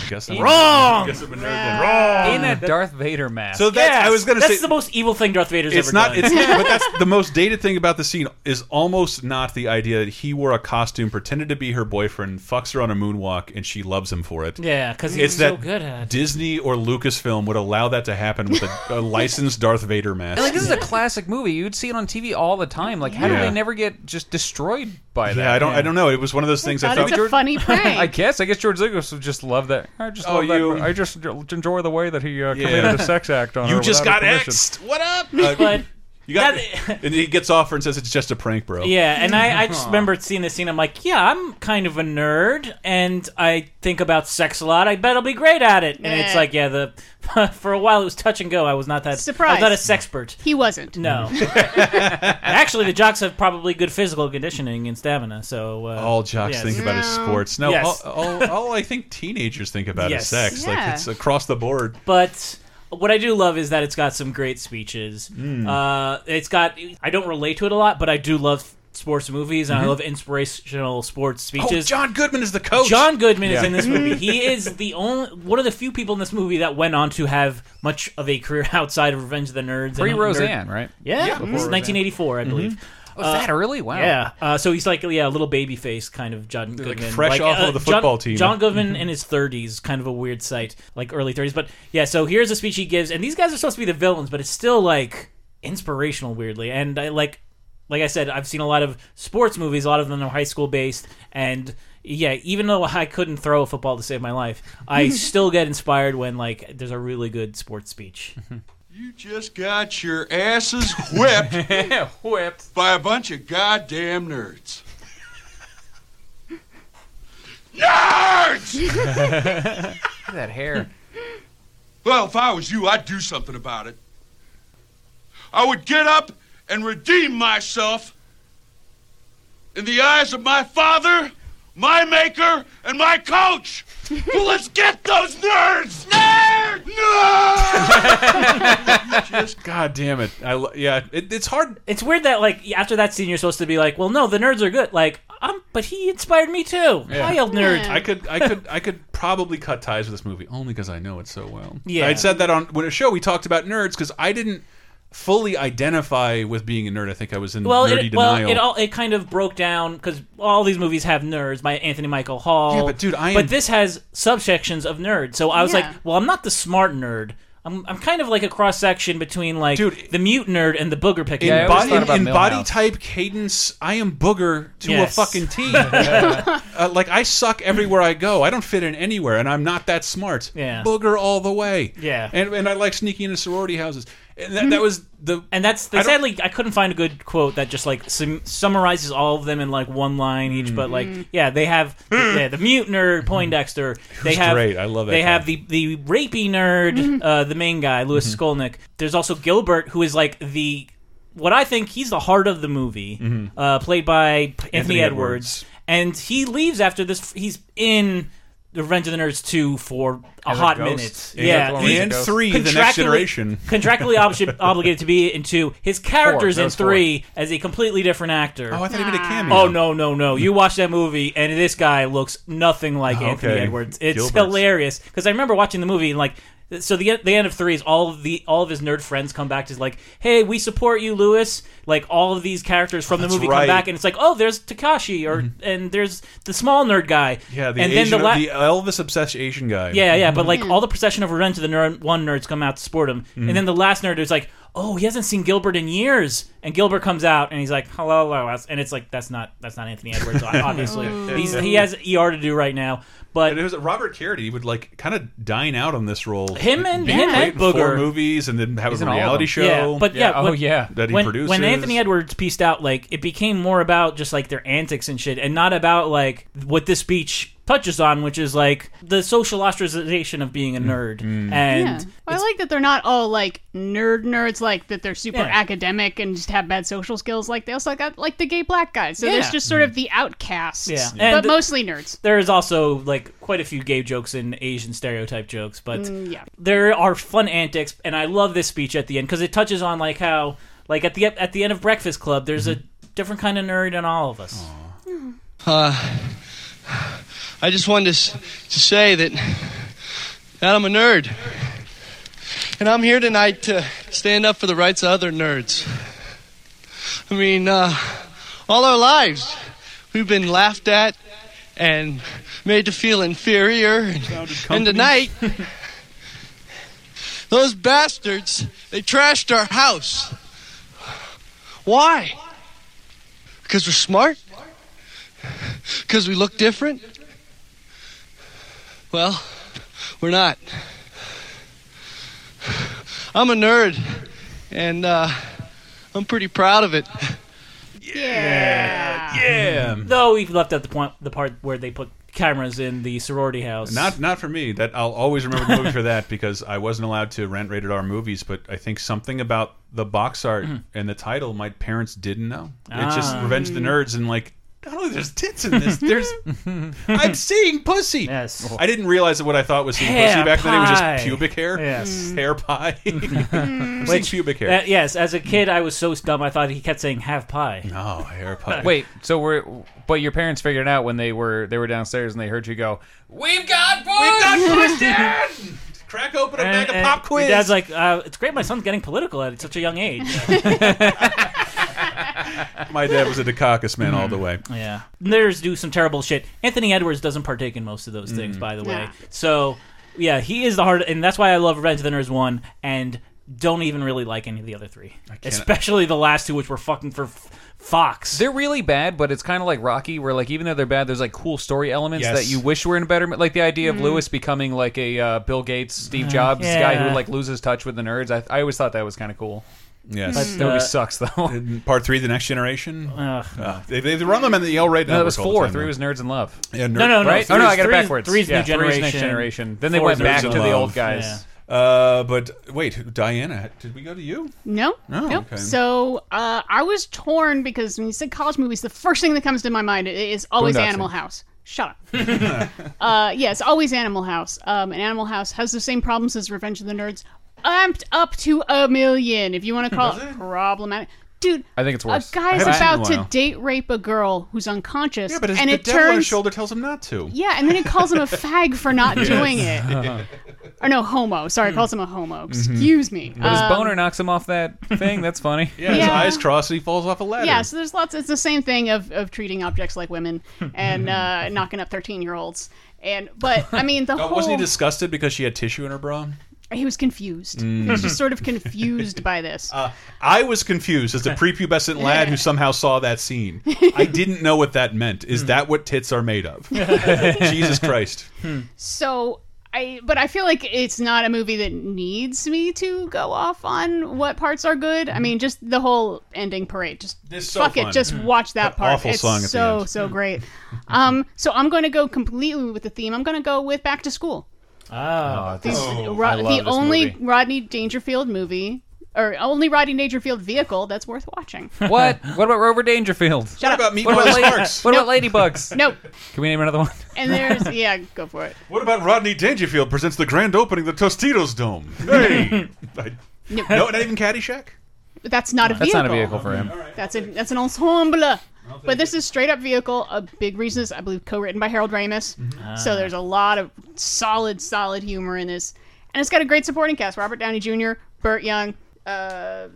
[SPEAKER 1] guess
[SPEAKER 13] Wrong!
[SPEAKER 1] Guess I'm a nerd then. Wrong!
[SPEAKER 4] In a Darth Vader mask.
[SPEAKER 1] So that's- I was gonna
[SPEAKER 2] that's
[SPEAKER 1] say-
[SPEAKER 2] the most evil thing Darth Vader's
[SPEAKER 1] It's
[SPEAKER 2] ever
[SPEAKER 1] not.
[SPEAKER 2] done.
[SPEAKER 1] It's not. But that's the most dated thing about the scene is almost not the idea that he wore a costume, pretended to be her boyfriend, fucks her on a moonwalk, and she loves him for it.
[SPEAKER 2] Yeah, 'cause he's
[SPEAKER 1] it's
[SPEAKER 2] so
[SPEAKER 1] that
[SPEAKER 2] good at it.
[SPEAKER 1] Disney or Lucasfilm would allow that to happen with a, a licensed Darth Vader mask.
[SPEAKER 4] And, like this is a classic movie. You'd see it on TV all the time. Like, how do
[SPEAKER 1] Yeah.
[SPEAKER 4] they never get just destroyed by that?
[SPEAKER 1] yeah, I don't. I don't know. It was one of those things. I thought
[SPEAKER 3] funny
[SPEAKER 4] I guess. I guess George Lucas would just love that. I just
[SPEAKER 1] Oh,
[SPEAKER 4] love that-
[SPEAKER 1] you-
[SPEAKER 4] I just enjoy the way that he uh,
[SPEAKER 1] Yeah.
[SPEAKER 4] committed a sex act on
[SPEAKER 1] You
[SPEAKER 4] her
[SPEAKER 1] just
[SPEAKER 4] without her
[SPEAKER 1] got
[SPEAKER 4] permission.
[SPEAKER 1] X'd. What up? Uh,
[SPEAKER 2] but
[SPEAKER 1] You got, and he gets off her and says it's just a prank, bro.
[SPEAKER 2] Yeah, and I, I just
[SPEAKER 1] Aw.
[SPEAKER 2] remember seeing this scene. I'm like, yeah, I'm kind of a nerd, and I think about sex a lot. I bet I'll be great at it. And it's
[SPEAKER 3] Nah.
[SPEAKER 2] like, yeah, the for a while it was touch and go. I was not that I was
[SPEAKER 3] Surprise.
[SPEAKER 2] not a sexpert.
[SPEAKER 3] He wasn't.
[SPEAKER 2] No. Actually, the jocks have probably good physical conditioning and stamina. So uh,
[SPEAKER 1] All jocks
[SPEAKER 2] yes.
[SPEAKER 1] think about is sports. No,
[SPEAKER 2] Yes.
[SPEAKER 1] all, all, all I think teenagers think about
[SPEAKER 2] Yes.
[SPEAKER 1] is sex. Like
[SPEAKER 2] Yeah.
[SPEAKER 1] it's across the board.
[SPEAKER 2] But what I do love is that it's got some great speeches.
[SPEAKER 1] Mm.
[SPEAKER 2] Uh, it's got I don't relate to it a lot, but I do love sports movies and
[SPEAKER 1] Mhm.
[SPEAKER 2] I love inspirational sports speeches.
[SPEAKER 1] Oh, John Goodman is the coach.
[SPEAKER 2] John Goodman is
[SPEAKER 1] Yeah.
[SPEAKER 2] in this movie. He is the only one of the few people in this movie that went on to have much of a career outside of Revenge of the Nerds. and
[SPEAKER 4] Pre
[SPEAKER 2] Nerd-
[SPEAKER 4] Roseanne, right?
[SPEAKER 2] Yeah, mhm.
[SPEAKER 4] Yeah, before
[SPEAKER 2] This is
[SPEAKER 4] Roseanne.
[SPEAKER 2] 1984, I
[SPEAKER 4] Mhm.
[SPEAKER 2] believe.
[SPEAKER 4] Oh, is that early? Wow.
[SPEAKER 2] Yeah. Uh, so he's like yeah, a little baby face kind of John
[SPEAKER 1] like,
[SPEAKER 2] Goodman, uh,
[SPEAKER 1] fresh off of the football
[SPEAKER 2] John,
[SPEAKER 1] team.
[SPEAKER 2] John Goodman in his 30s, kind of a weird sight, like early 30s. But yeah, so here's a speech he gives, and these guys are supposed to be the villains, but it's still like inspirational, weirdly. And I like, like I said, I've seen a lot of sports movies. A lot of them are high school based, and yeah, even though I couldn't throw a football to save my life, I still get inspired when like there's a really good sports speech.
[SPEAKER 14] You just got your asses whipped, whipped by a bunch of goddamn nerds. nerds!
[SPEAKER 4] that hair.
[SPEAKER 14] Well, if I was you, I'd do something about it. I would get up and redeem myself in the eyes of my father, my maker, and my coach. well, let's get those nerds! Nerds!
[SPEAKER 1] God damn it! I lo- yeah, it, it's hard.
[SPEAKER 2] It's weird that like after that scene, you're supposed to be like, well, no, the nerds are good. Like, um, but he inspired me too. I old nerd.
[SPEAKER 1] I could, I could, I could probably cut ties with this movie only because I know it so well.
[SPEAKER 2] Yeah.
[SPEAKER 1] I said that on when a show we talked about nerds because I didn't fully identify with being a nerd. I think I was in
[SPEAKER 2] well,
[SPEAKER 1] nerdy
[SPEAKER 2] it,
[SPEAKER 1] denial.
[SPEAKER 2] well, it all it kind of broke down because all these movies have nerds by Anthony Michael Hall.
[SPEAKER 1] Yeah, but dude, I am-
[SPEAKER 2] but this has subsections of nerds. So I was
[SPEAKER 1] Yeah.
[SPEAKER 2] like, well, I'm not the smart nerd. I'm, I'm kind of like a cross section between like the mute nerd and the booger picker.
[SPEAKER 1] in body, in- in body type cadence, I am booger to
[SPEAKER 2] Yes.
[SPEAKER 1] a fucking T. uh, like I suck everywhere I go. I don't fit in anywhere, and I'm not that smart.
[SPEAKER 2] Yeah.
[SPEAKER 1] booger all the way.
[SPEAKER 2] Yeah.
[SPEAKER 1] and and I like sneaking into sorority houses. And that, that was the
[SPEAKER 2] and that's
[SPEAKER 1] I
[SPEAKER 2] they,
[SPEAKER 1] don't-
[SPEAKER 2] sadly I couldn't find a good quote that just like sum, summarizes all of them in like one line each. But like
[SPEAKER 1] Mm.
[SPEAKER 2] yeah, they have yeah, the mute nerd Poindexter. They
[SPEAKER 1] Who's
[SPEAKER 2] have
[SPEAKER 1] great. I love that
[SPEAKER 2] They
[SPEAKER 1] guy. Mm-hmm.
[SPEAKER 2] have the the rapey nerd, uh, the main guy Louis Skolnick. There's also Gilbert, who is like the what I think he's the heart of the movie,
[SPEAKER 1] Mhm.
[SPEAKER 2] uh, played by Anthony,
[SPEAKER 1] Anthony
[SPEAKER 2] Edwards. and he leaves after this. He's in. The Revenge of the Nerds 2 for a
[SPEAKER 1] As a
[SPEAKER 2] hot
[SPEAKER 1] ghost?
[SPEAKER 2] minute.
[SPEAKER 1] Is that
[SPEAKER 2] yeah.
[SPEAKER 1] the one where he's a And ghost? three, the next
[SPEAKER 2] Contractually-
[SPEAKER 1] generation.
[SPEAKER 2] contractually obli- obligated to be in two. His character's
[SPEAKER 1] Four. That
[SPEAKER 2] in
[SPEAKER 1] was four.
[SPEAKER 2] three as a completely different actor.
[SPEAKER 1] Oh, I thought he made a cameo.
[SPEAKER 2] Oh no, no, no! You watch that movie, and this guy looks nothing like
[SPEAKER 1] Okay.
[SPEAKER 2] Anthony Edwards. It's
[SPEAKER 1] Gilbert's.
[SPEAKER 2] hilarious because I remember watching the movie and like. So the the end of three is all of the all of his nerd friends come back to like, hey, we support you, Lewis. Like all of these characters from the
[SPEAKER 1] that's
[SPEAKER 2] movie
[SPEAKER 1] right. Mm-hmm.
[SPEAKER 2] come back, and it's like, oh, there's Takashi, or and there's the small nerd guy.
[SPEAKER 1] Yeah, the
[SPEAKER 2] and
[SPEAKER 1] Asian,
[SPEAKER 2] la-
[SPEAKER 1] the Elvis obsessed Asian guy.
[SPEAKER 2] yeah, yeah, but like all the procession of revenge to the nerd, one nerds come out to support him,
[SPEAKER 1] Mhm.
[SPEAKER 2] and then the last nerd is like, "Oh, he hasn't seen Gilbert in years," and Gilbert comes out and he's like, "Hello, hello," that's- and it's like that's not that's not Anthony Edwards, obviously. He's, he has ER to do right now, but
[SPEAKER 1] it was Robert Carity would like kind of dine out on this role.
[SPEAKER 2] Him and-
[SPEAKER 1] Be
[SPEAKER 2] him
[SPEAKER 1] great
[SPEAKER 2] and
[SPEAKER 1] in four
[SPEAKER 2] Booger.
[SPEAKER 1] movies, and then have
[SPEAKER 2] He's
[SPEAKER 1] a
[SPEAKER 2] in all of
[SPEAKER 1] reality
[SPEAKER 2] them.
[SPEAKER 1] show.
[SPEAKER 2] Yeah, but yeah,
[SPEAKER 4] Oh,
[SPEAKER 2] when,
[SPEAKER 1] that he
[SPEAKER 2] when,
[SPEAKER 1] produces.
[SPEAKER 2] When Anthony Edwards pieced out, like it became more about just like their antics and shit, and not about like what this speech touches on, which is like the social ostracization of
[SPEAKER 1] Mm.
[SPEAKER 2] being a nerd and.
[SPEAKER 3] yeah. Well, I like that they're not all like nerd nerds, like that they're super
[SPEAKER 2] Yeah.
[SPEAKER 3] academic and just have bad social skills. Like they also got like the gay black guys. So
[SPEAKER 2] Yeah.
[SPEAKER 3] there's just sort of the outcasts,
[SPEAKER 2] Yeah.
[SPEAKER 3] but
[SPEAKER 2] And-
[SPEAKER 3] mostly nerds.
[SPEAKER 2] There is also like quite a few gay jokes and Asian stereotype jokes, but
[SPEAKER 3] Mm, yeah.
[SPEAKER 2] there are fun antics, and I love this speech at the end because it touches on like how like at the at the end of Breakfast Club, there's
[SPEAKER 1] Mm-hmm.
[SPEAKER 2] a different kind of nerd in all of us.
[SPEAKER 12] Uh, I just wanted to, s- to say that that I'm a nerd, and I'm here tonight to stand up for the rights of other nerds. I mean, uh, all our lives we've been laughed at and made to feel inferior, and, and tonight those bastards they trashed our house. Why? Because we're smart. Because we look different? Well, we're not. I'm a nerd, and uh, I'm pretty proud of it.
[SPEAKER 1] Yeah. Yeah.
[SPEAKER 2] Though we've left out the point, the part where they put cameras in the sorority house.
[SPEAKER 1] Not not for me. That I'll always remember the movie for that because I wasn't allowed to rent rated R movies. But I think something about the box art and the title my parents didn't know. It's just
[SPEAKER 2] Mm. Ah.
[SPEAKER 1] Revenge of the Nerds and like. Not only there's tits in this, there's I'm seeing pussy.
[SPEAKER 2] Yes,
[SPEAKER 1] I didn't realize that what I thought was seeing
[SPEAKER 2] Hair
[SPEAKER 1] pussy back then. It was
[SPEAKER 2] pie.
[SPEAKER 1] just pubic hair.
[SPEAKER 2] Yes.
[SPEAKER 1] hair pie. I'm seeing pubic hair.
[SPEAKER 2] Uh, yes, as a kid, I was so dumb. I thought he kept saying "have pie."
[SPEAKER 1] No, Oh, hair pie.
[SPEAKER 4] Wait, so we're but your parents figured it out when they were they were downstairs and they heard you go.
[SPEAKER 11] We've got boys!
[SPEAKER 1] We've got boys, Crack open a bag of pop quiz.
[SPEAKER 2] Your dad's like, uh, "It's great, my son's getting political at such a young age."
[SPEAKER 1] My dad was a Dukakis man all the
[SPEAKER 2] Mm.
[SPEAKER 1] way.
[SPEAKER 2] Yeah. There's do some terrible shit. Anthony Edwards doesn't partake in most of those things,
[SPEAKER 1] Mm.
[SPEAKER 2] by the way.
[SPEAKER 1] Nah.
[SPEAKER 2] So, yeah, he is the hard, and that's why I love Revenge of the Nerds one, and don't even really like any of the other three, especially the last two, which were fucking for f- Fox.
[SPEAKER 4] They're really bad, but it's kind of like Rocky, where like even though they're bad, there's like cool story elements
[SPEAKER 2] Yes.
[SPEAKER 4] that you wish were in a better. Like the idea of
[SPEAKER 2] Mm.
[SPEAKER 4] Lewis becoming like a uh, Bill Gates, Steve
[SPEAKER 2] Uh,
[SPEAKER 4] Jobs guy
[SPEAKER 2] yeah.
[SPEAKER 4] who like loses touch with the nerds. I, I always thought that was kind of cool.
[SPEAKER 1] Yes.
[SPEAKER 4] but
[SPEAKER 1] Mm.
[SPEAKER 4] that
[SPEAKER 1] Uh,
[SPEAKER 4] movie sucks though.
[SPEAKER 1] Part three, the next generation.
[SPEAKER 2] Ugh.
[SPEAKER 1] Uh, they, they run them in the L rated.
[SPEAKER 4] No, that was four. Three was Nerds in Love.
[SPEAKER 1] Yeah, nerd,
[SPEAKER 4] No, no, no.
[SPEAKER 1] Right?
[SPEAKER 4] Oh, no, I got it
[SPEAKER 1] Three's-
[SPEAKER 4] backwards. Yeah, three's Next Generation. Then they
[SPEAKER 1] Four's
[SPEAKER 4] went back
[SPEAKER 1] Nerds in
[SPEAKER 4] to the
[SPEAKER 1] Love.
[SPEAKER 4] old guys.
[SPEAKER 1] Uh, but wait, Diana, did we go to you?
[SPEAKER 3] No,
[SPEAKER 1] Oh,
[SPEAKER 3] nope.
[SPEAKER 1] okay.
[SPEAKER 3] So uh, I was torn because when you said college movies, the first thing that comes to my mind is always
[SPEAKER 11] Boondock
[SPEAKER 3] Animal
[SPEAKER 11] Saints.
[SPEAKER 3] House. Shut up. uh, yeah, it's always Animal House. Um, and Animal House has the same problems as Revenge of the Nerds, amped up to a million. If you want to call it, problematic, dude.
[SPEAKER 4] I think it's worse.
[SPEAKER 3] A guy's
[SPEAKER 1] I haven't seen it in
[SPEAKER 3] about
[SPEAKER 1] a
[SPEAKER 3] to
[SPEAKER 1] while.
[SPEAKER 3] date rape a girl who's unconscious,
[SPEAKER 1] Yeah, but his,
[SPEAKER 3] and
[SPEAKER 1] the
[SPEAKER 3] it
[SPEAKER 1] devil on his
[SPEAKER 3] turns
[SPEAKER 1] shoulder tells him not to.
[SPEAKER 3] yeah, and then it calls him a fag for not
[SPEAKER 1] Yes.
[SPEAKER 3] doing it. Or no, homo. Sorry, it calls him a homo.
[SPEAKER 1] Mm-hmm.
[SPEAKER 3] Excuse me.
[SPEAKER 4] But his
[SPEAKER 3] Um,
[SPEAKER 4] boner knocks him off that thing. That's funny.
[SPEAKER 1] Yeah, his
[SPEAKER 3] Yeah.
[SPEAKER 1] eyes cross and he falls off a ladder.
[SPEAKER 3] Yeah, so there's lots. It's the same thing of, of treating objects like women
[SPEAKER 1] Hmm.
[SPEAKER 3] and uh, knocking up thirteen year olds. And but I mean the
[SPEAKER 1] Oh,
[SPEAKER 3] whole
[SPEAKER 1] wasn't he disgusted because she had tissue in her bra?
[SPEAKER 3] he was confused. He was
[SPEAKER 1] Mm.
[SPEAKER 3] just sort of confused by this.
[SPEAKER 1] Uh, I was confused as a prepubescent lad who somehow saw that scene. I didn't know what that meant.
[SPEAKER 4] Hmm.
[SPEAKER 1] Is that what tits are made of? Jesus Christ.
[SPEAKER 3] So I, but I feel like it's not a movie that needs me to go off on what parts are good. I mean, just the whole ending parade. Just
[SPEAKER 1] It's Hmm. so
[SPEAKER 3] fuck
[SPEAKER 1] fun. Hmm.
[SPEAKER 3] it, just watch that
[SPEAKER 1] That
[SPEAKER 3] part.
[SPEAKER 1] awful
[SPEAKER 3] it's
[SPEAKER 1] song at the
[SPEAKER 3] so
[SPEAKER 1] end. Hmm.
[SPEAKER 3] so great. Um, so I'm going to go completely with the theme. I'm going to go with Back to School.
[SPEAKER 4] Oh,
[SPEAKER 2] Ah,
[SPEAKER 3] This-
[SPEAKER 1] Oh,
[SPEAKER 3] Ro- the only Rodney Dangerfield movie, or only Rodney Dangerfield vehicle that's worth watching.
[SPEAKER 4] What? What about Rover Dangerfield?
[SPEAKER 3] Shut up.
[SPEAKER 4] what about,
[SPEAKER 3] Meatball
[SPEAKER 4] lady-
[SPEAKER 3] Sparks?
[SPEAKER 4] what about Ladybugs?
[SPEAKER 3] Nope.
[SPEAKER 4] Can we name another one?
[SPEAKER 3] And there's yeah, go for it.
[SPEAKER 1] What about Rodney Dangerfield presents the grand opening of the Tostitos Dome? Hey! I-
[SPEAKER 3] No.
[SPEAKER 1] no, not even Caddyshack?
[SPEAKER 3] But that's not a
[SPEAKER 1] That's
[SPEAKER 3] vehicle.
[SPEAKER 1] not a vehicle for him.
[SPEAKER 3] That's a that's an ensemble. But this is straight up vehicle. A big reason is I believe co-written by Harold Ramis.
[SPEAKER 11] Ah.
[SPEAKER 1] Mm-hmm.
[SPEAKER 3] So there's a lot of solid solid humor in this, and it's got a great supporting cast: Robert Downey Jr., Burt Young. Uh,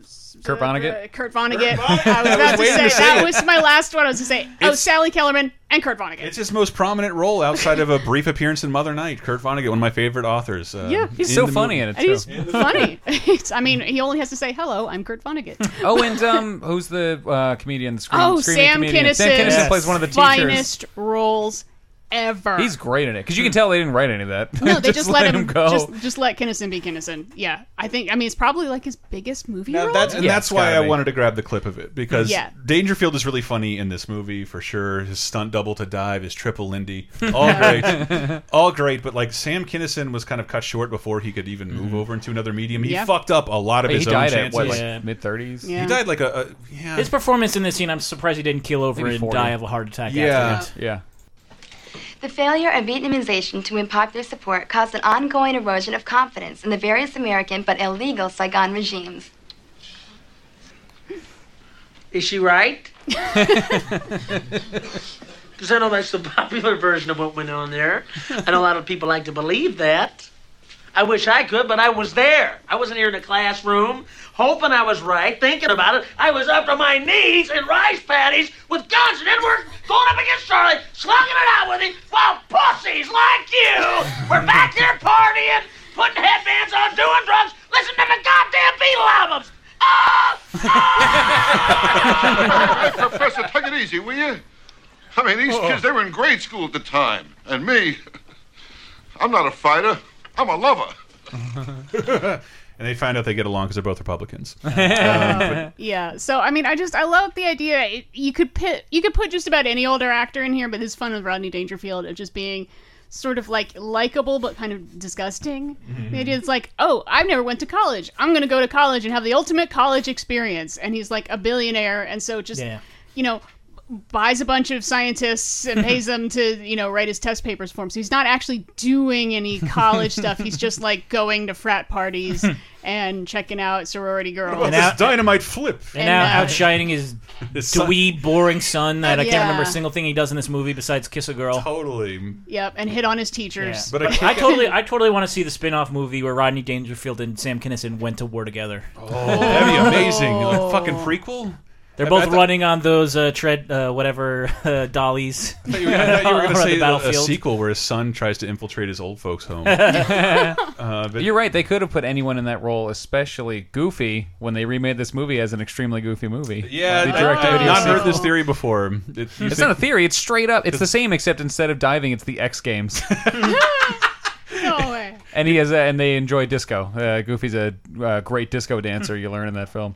[SPEAKER 4] Kurt Vonnegut?
[SPEAKER 3] Kurt Vonnegut.
[SPEAKER 1] Vonnegut.
[SPEAKER 3] I was
[SPEAKER 1] I was
[SPEAKER 3] about to
[SPEAKER 1] waiting
[SPEAKER 3] say,
[SPEAKER 1] to say
[SPEAKER 3] that
[SPEAKER 1] it.
[SPEAKER 3] was my last one. I was going to say, oh,
[SPEAKER 1] It's-
[SPEAKER 3] Sally Kellerman and Kurt Vonnegut.
[SPEAKER 1] It's his most prominent role outside of a brief appearance in Mother Night. Kurt Vonnegut, one of my favorite authors. uh,
[SPEAKER 3] yeah,
[SPEAKER 1] in the movie.
[SPEAKER 3] And He's funny. It's- I mean, he only has to say hello. I'm Kurt Vonnegut.
[SPEAKER 4] Oh, and um, who's the uh, comedian? The screen,
[SPEAKER 3] oh,
[SPEAKER 4] screaming
[SPEAKER 3] Sam
[SPEAKER 4] comedian.
[SPEAKER 3] Kinison.
[SPEAKER 4] Sam Kinison plays one of the teachers.
[SPEAKER 3] finest roles ever.
[SPEAKER 4] He's great in it because you can tell they didn't write any of that.
[SPEAKER 3] Mm-hmm. No, they just, let, him,
[SPEAKER 4] go.
[SPEAKER 3] Just, just let Kinnison be Kinnison. Yeah, I think. I mean, it's probably like his biggest movie
[SPEAKER 1] Now
[SPEAKER 3] role.
[SPEAKER 1] that's and
[SPEAKER 4] Yeah,
[SPEAKER 1] that's
[SPEAKER 4] it's
[SPEAKER 1] why
[SPEAKER 4] gotta
[SPEAKER 1] I
[SPEAKER 4] be.
[SPEAKER 1] wanted to grab the clip of it because
[SPEAKER 3] Yeah.
[SPEAKER 1] Dangerfield is really funny in this movie for sure. His stunt double to dive, his triple Lindy, all great, all great. But like Sam Kinison was kind of cut short before he could even move over into another medium. He
[SPEAKER 2] Yeah.
[SPEAKER 1] fucked up a lot of
[SPEAKER 4] He
[SPEAKER 1] his own
[SPEAKER 4] died at,
[SPEAKER 1] chances.
[SPEAKER 4] what, like, Yeah. mid thirties.
[SPEAKER 1] He
[SPEAKER 2] Yeah.
[SPEAKER 1] died like a, a yeah.
[SPEAKER 2] His performance in this scene, I'm surprised he didn't keel over
[SPEAKER 1] Maybe
[SPEAKER 2] and
[SPEAKER 1] 40.
[SPEAKER 2] die of a heart attack.
[SPEAKER 1] Yeah.
[SPEAKER 2] after
[SPEAKER 4] yeah.
[SPEAKER 10] The failure of Vietnamization to win popular support caused an ongoing erosion of confidence in the various American but illegal Saigon regimes.
[SPEAKER 23] Is she right? Because I know that's the popular version of what went on there, and a lot of people like to believe that. I wish I could, but I was there. I wasn't here in a classroom, hoping I was right, thinking about it. I was up to my knees in rice patties with guns and Edward going up against Charlie, slugging it out with him, while pussies like you were back there partying, putting headbands on, doing drugs, listening to the goddamn Beatle albums.
[SPEAKER 28] Hey, Professor, take it easy, will you? I mean, these kids, they were in grade school at the time. And me, I'm not a fighter, I'm a lover.
[SPEAKER 1] and they find out they get along because they're both Republicans. Um, but-
[SPEAKER 3] Yeah. So I mean, I just I love the idea. It, you could pit you could put just about any older actor in here, but this fun with Rodney Dangerfield of just being sort of like likable but kind of disgusting. The idea is like, oh, I've never went to college. I'm gonna go to college and have the ultimate college experience. And he's like a billionaire, and so just
[SPEAKER 2] Yeah.
[SPEAKER 3] you know buys a bunch of scientists and pays them to you know write his test papers for him so he's not actually doing any college stuff he's just like going to frat parties and checking out sorority girls
[SPEAKER 1] Well, this dynamite flip,
[SPEAKER 2] And, now
[SPEAKER 3] uh,
[SPEAKER 2] outshining his
[SPEAKER 1] son-
[SPEAKER 2] dweeb, boring son that I can't
[SPEAKER 3] Yeah.
[SPEAKER 2] remember a single thing he does in this movie besides kiss a girl.
[SPEAKER 1] Totally.
[SPEAKER 3] Yep, and hit on his
[SPEAKER 2] Yeah.
[SPEAKER 3] teachers.
[SPEAKER 2] But I, totally, I totally want to see the spin-off movie where Rodney Dangerfield and Sam Kinison went to war together. Oh,
[SPEAKER 1] that'd be amazing.
[SPEAKER 3] Oh.
[SPEAKER 1] Like, fucking prequel.
[SPEAKER 2] They're
[SPEAKER 1] I-
[SPEAKER 2] both
[SPEAKER 1] I thought-
[SPEAKER 2] running on those uh, tread, uh, whatever uh, dollies.
[SPEAKER 1] you were- I thought you were going
[SPEAKER 2] around
[SPEAKER 1] to
[SPEAKER 2] the
[SPEAKER 1] say a- a
[SPEAKER 2] battlefield.
[SPEAKER 1] sequel where his son tries to infiltrate his old folks' home. Uh, but-
[SPEAKER 4] You're right. They could have put anyone in that role, especially Goofy, when they remade this movie as an extremely goofy movie.
[SPEAKER 1] yeah,
[SPEAKER 4] The
[SPEAKER 1] I-
[SPEAKER 4] direct-to-video
[SPEAKER 1] I've not heard
[SPEAKER 4] sequel.
[SPEAKER 1] this theory before. It- you
[SPEAKER 4] It's
[SPEAKER 1] think-
[SPEAKER 4] not a theory. It's straight up. It's the same, except instead of diving, it's the X Games.
[SPEAKER 3] no way.
[SPEAKER 4] and he is, a, and they enjoy disco. Uh, Goofy's a uh, great disco dancer. You learn in that film.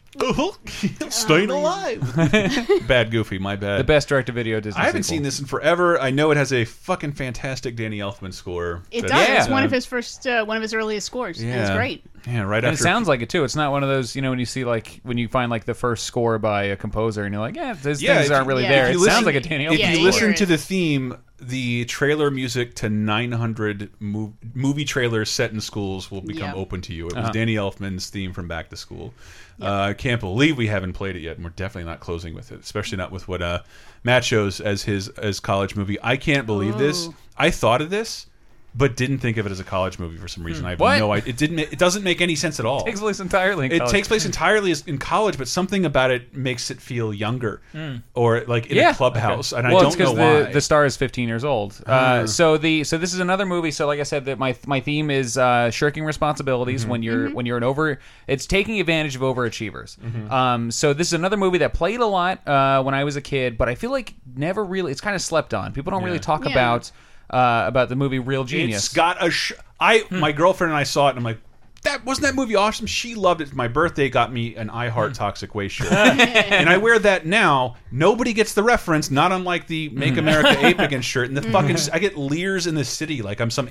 [SPEAKER 1] Staying alive. Uh-huh. bad Goofy, my bad.
[SPEAKER 4] The best direct-to-video Disney.
[SPEAKER 1] I haven't
[SPEAKER 4] sequel.
[SPEAKER 1] seen this in forever. I know it has a fucking fantastic Danny Elfman score.
[SPEAKER 3] It does.
[SPEAKER 1] That's-
[SPEAKER 3] It's one of
[SPEAKER 1] uh,
[SPEAKER 3] his first, uh, one of his earliest scores. and it's
[SPEAKER 1] Yeah.
[SPEAKER 3] great.
[SPEAKER 1] Yeah, right
[SPEAKER 4] And
[SPEAKER 1] after-
[SPEAKER 4] It sounds like it too. It's not one of those, you know, when you see like when you find like the first score by a composer, and you're like, yeah, those things
[SPEAKER 1] if you-
[SPEAKER 4] aren't really
[SPEAKER 1] if
[SPEAKER 4] there.
[SPEAKER 1] you
[SPEAKER 4] It
[SPEAKER 1] listen-
[SPEAKER 4] sounds like a Danny
[SPEAKER 1] If
[SPEAKER 4] Elfman
[SPEAKER 1] you
[SPEAKER 4] score.
[SPEAKER 1] listen to the theme, the trailer music to 900 mov- movie trailers set in schools will become
[SPEAKER 4] Yeah.
[SPEAKER 1] open to you. It was
[SPEAKER 4] Uh-huh.
[SPEAKER 1] Danny Elfman's theme from Back to School. Uh, I can't believe we haven't played it yet, and we're definitely not closing with it, especially not with what uh, Matt shows as his as college movie. I can't believe this.
[SPEAKER 4] Oh.
[SPEAKER 1] I thought of this. But didn't think of it as a college movie for some reason.
[SPEAKER 4] Hmm.
[SPEAKER 1] I have
[SPEAKER 4] What?
[SPEAKER 1] no idea. It didn't. ma- It doesn't make any sense at all.
[SPEAKER 4] takes place entirely. in
[SPEAKER 1] It
[SPEAKER 4] college.
[SPEAKER 1] takes place entirely as- in college, but something about it makes it feel younger,
[SPEAKER 4] Mm.
[SPEAKER 1] or like in
[SPEAKER 4] yeah.
[SPEAKER 1] a clubhouse,
[SPEAKER 4] Okay.
[SPEAKER 1] and
[SPEAKER 4] well,
[SPEAKER 1] I
[SPEAKER 4] it's
[SPEAKER 1] don't know
[SPEAKER 4] the,
[SPEAKER 1] why.
[SPEAKER 4] The star is 15 years old.
[SPEAKER 1] Ah.
[SPEAKER 4] Uh, so the so this is another movie. So like I said, that my my theme is uh, shirking responsibilities
[SPEAKER 1] Mm-hmm.
[SPEAKER 4] when you're when you're an over. It's taking advantage of overachievers.
[SPEAKER 1] Mm-hmm.
[SPEAKER 4] Um, so this is another movie that played a lot uh, when I was a kid, but I feel like never really. It's kind of slept on. People don't really talk
[SPEAKER 1] Yeah.
[SPEAKER 4] about uh, about the movie Real Genius. Hmm.
[SPEAKER 1] It's got a. Sh I my girlfriend and I saw it, and I'm like, that wasn't that movie awesome. She loved it. My birthday got me an I
[SPEAKER 4] Hmm.
[SPEAKER 1] Heart Toxic Waste shirt, and I wear that now. Nobody gets the reference. Not unlike the
[SPEAKER 4] Hmm.
[SPEAKER 1] Make America Ape Again shirt, and the
[SPEAKER 4] Mhm.
[SPEAKER 1] fucking I get leers in the city like I'm some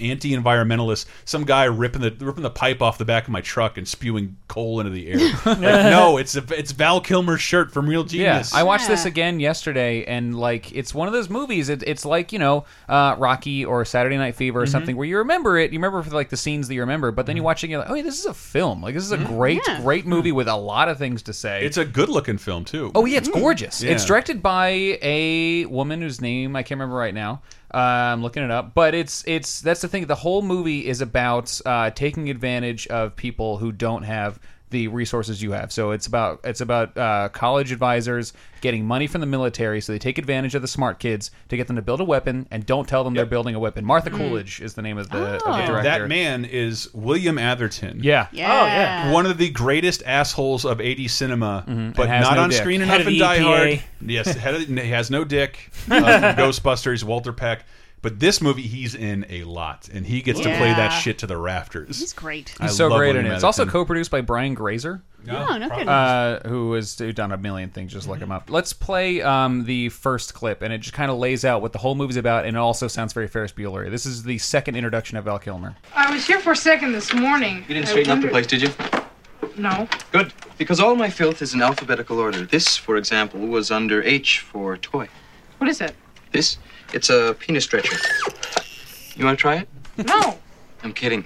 [SPEAKER 1] anti-environmentalist, some guy ripping the ripping the pipe off the back of my truck and spewing coal into the air. like, no, it's a, it's Val Kilmer's shirt from Real Genius.
[SPEAKER 4] Yeah, I watched this again yesterday, and like it's one of those movies. It, it's like you know uh, Rocky or Saturday Night Fever or
[SPEAKER 1] Mhm.
[SPEAKER 4] something where you remember it. You remember for, like the scenes that you remember, but
[SPEAKER 1] Mm-hmm.
[SPEAKER 4] then you watch it, and you're like, oh, yeah, this is a film. Like this is a great, great movie with a lot of things to say.
[SPEAKER 1] It's a good-looking film too.
[SPEAKER 4] Oh yeah, it's gorgeous.
[SPEAKER 1] Hmm. Yeah.
[SPEAKER 4] It's directed by a woman whose name I can't remember right now. Uh, I'm looking it up, but it's it's that's the thing. The whole movie is about uh, taking advantage of people who don't have the resources you have. So it's about it's about uh, college advisors getting money from the military, so they take advantage of the smart kids to get them to build a weapon and don't tell them they're building a weapon. Martha Coolidge is the name of the, of the
[SPEAKER 1] And
[SPEAKER 4] director.
[SPEAKER 1] that man is William Atherton.
[SPEAKER 4] Yeah.
[SPEAKER 1] Yeah. Oh, yeah. One of the greatest assholes of 80s cinema, but
[SPEAKER 4] And has
[SPEAKER 1] not
[SPEAKER 4] no
[SPEAKER 1] on
[SPEAKER 4] dick.
[SPEAKER 1] screen
[SPEAKER 4] Head
[SPEAKER 1] enough
[SPEAKER 4] of
[SPEAKER 1] in
[SPEAKER 4] the E
[SPEAKER 1] Die Hard.
[SPEAKER 4] EPA.
[SPEAKER 1] Yes, head of the, he has no dick. Uh, from Ghostbusters, Walter Peck. But this movie, he's in a lot, and he gets to play that
[SPEAKER 3] Yeah.
[SPEAKER 1] shit to the rafters.
[SPEAKER 3] He's great.
[SPEAKER 1] I
[SPEAKER 4] He's so
[SPEAKER 1] love
[SPEAKER 4] great in
[SPEAKER 1] William
[SPEAKER 4] it. It's also
[SPEAKER 1] Atherton.
[SPEAKER 4] co-produced by Brian Grazer.
[SPEAKER 3] Oh, no kidding.
[SPEAKER 4] Uh, who has done a million things. Just
[SPEAKER 1] Mm-hmm.
[SPEAKER 4] look him up. Let's play um, the first clip, and it just kind of lays out what the whole movie's about, and it also sounds very Ferris Bueller. This is the second introduction of Val Kilmer.
[SPEAKER 7] I was here for a second this morning.
[SPEAKER 21] You didn't
[SPEAKER 7] I
[SPEAKER 21] straighten up the
[SPEAKER 7] wondered-
[SPEAKER 21] place, did you?
[SPEAKER 7] No.
[SPEAKER 21] Good, because all my filth is in alphabetical order. This, for example, was under H for toy.
[SPEAKER 7] What is it?
[SPEAKER 21] This, it's a penis stretcher. You want to try it?
[SPEAKER 7] No.
[SPEAKER 21] I'm kidding.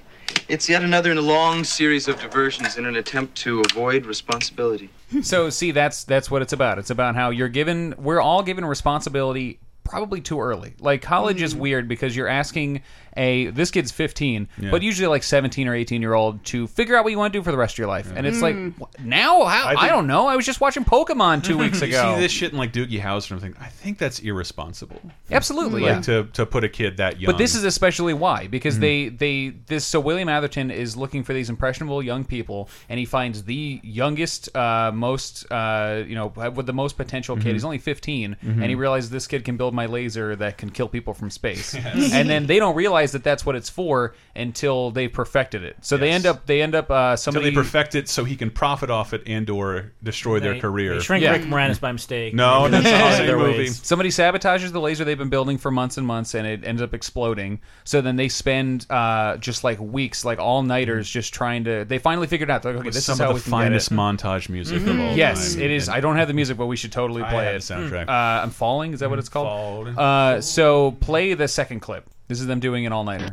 [SPEAKER 21] It's yet another in a long series of diversions in an attempt to avoid responsibility.
[SPEAKER 4] so see, that's that's what it's about. It's about how you're given. We're all given responsibility probably too early. Like college is
[SPEAKER 1] Mm.
[SPEAKER 4] weird because you're asking a this kid's 15,
[SPEAKER 1] Yeah.
[SPEAKER 4] but usually like 17 or 18 year old to figure out what you want to do for the rest of your life, and it's
[SPEAKER 1] Mm.
[SPEAKER 4] like wh- now how I,
[SPEAKER 1] think-
[SPEAKER 4] don't know. I was just watching Pokemon two weeks
[SPEAKER 1] You
[SPEAKER 4] ago.
[SPEAKER 1] see this shit in like Doogie Howser, and I'm thinking, I think that's irresponsible.
[SPEAKER 4] Absolutely,
[SPEAKER 1] Like
[SPEAKER 4] Oh, yeah.
[SPEAKER 1] to, to put a kid that young. Mm.
[SPEAKER 4] But this is especially why because they they this so William Atherton is looking for these impressionable young people and he finds the youngest uh, most uh, you know with the most potential kid.
[SPEAKER 1] Mhm.
[SPEAKER 4] He's only 15
[SPEAKER 1] Mhm.
[SPEAKER 4] and he realizes this kid can build my laser that can kill people from space.
[SPEAKER 2] Yes.
[SPEAKER 4] and then they don't realize that that's what it's for until they perfected it. So they end up they end up uh, somebody
[SPEAKER 1] Until they perfect it so he can profit off it and or destroy their
[SPEAKER 4] They-
[SPEAKER 1] career.
[SPEAKER 4] they shrink Yeah. Rick Moranis by
[SPEAKER 2] mistake.
[SPEAKER 1] No, that's not the same movie.
[SPEAKER 4] Somebody sabotages the laser they've been building for months and months, and it ends up exploding. So then they spend uh, just like weeks, like all nighters, just trying to. They finally figured out. They're Like, okay,
[SPEAKER 1] Mm-hmm. With
[SPEAKER 4] this
[SPEAKER 1] some
[SPEAKER 4] is how
[SPEAKER 1] of
[SPEAKER 4] we
[SPEAKER 1] the
[SPEAKER 4] can get
[SPEAKER 1] finest
[SPEAKER 4] it. Mm-hmm.
[SPEAKER 1] montage music of all
[SPEAKER 4] yes,
[SPEAKER 1] time.
[SPEAKER 4] it is. I don't have the music, but we should totally
[SPEAKER 1] I
[SPEAKER 4] play
[SPEAKER 1] have
[SPEAKER 4] it.
[SPEAKER 1] the soundtrack.
[SPEAKER 4] Uh, I'm falling. Is that what it's called?
[SPEAKER 1] Falling.
[SPEAKER 4] Uh, so play the second clip. This is them doing an all nighter.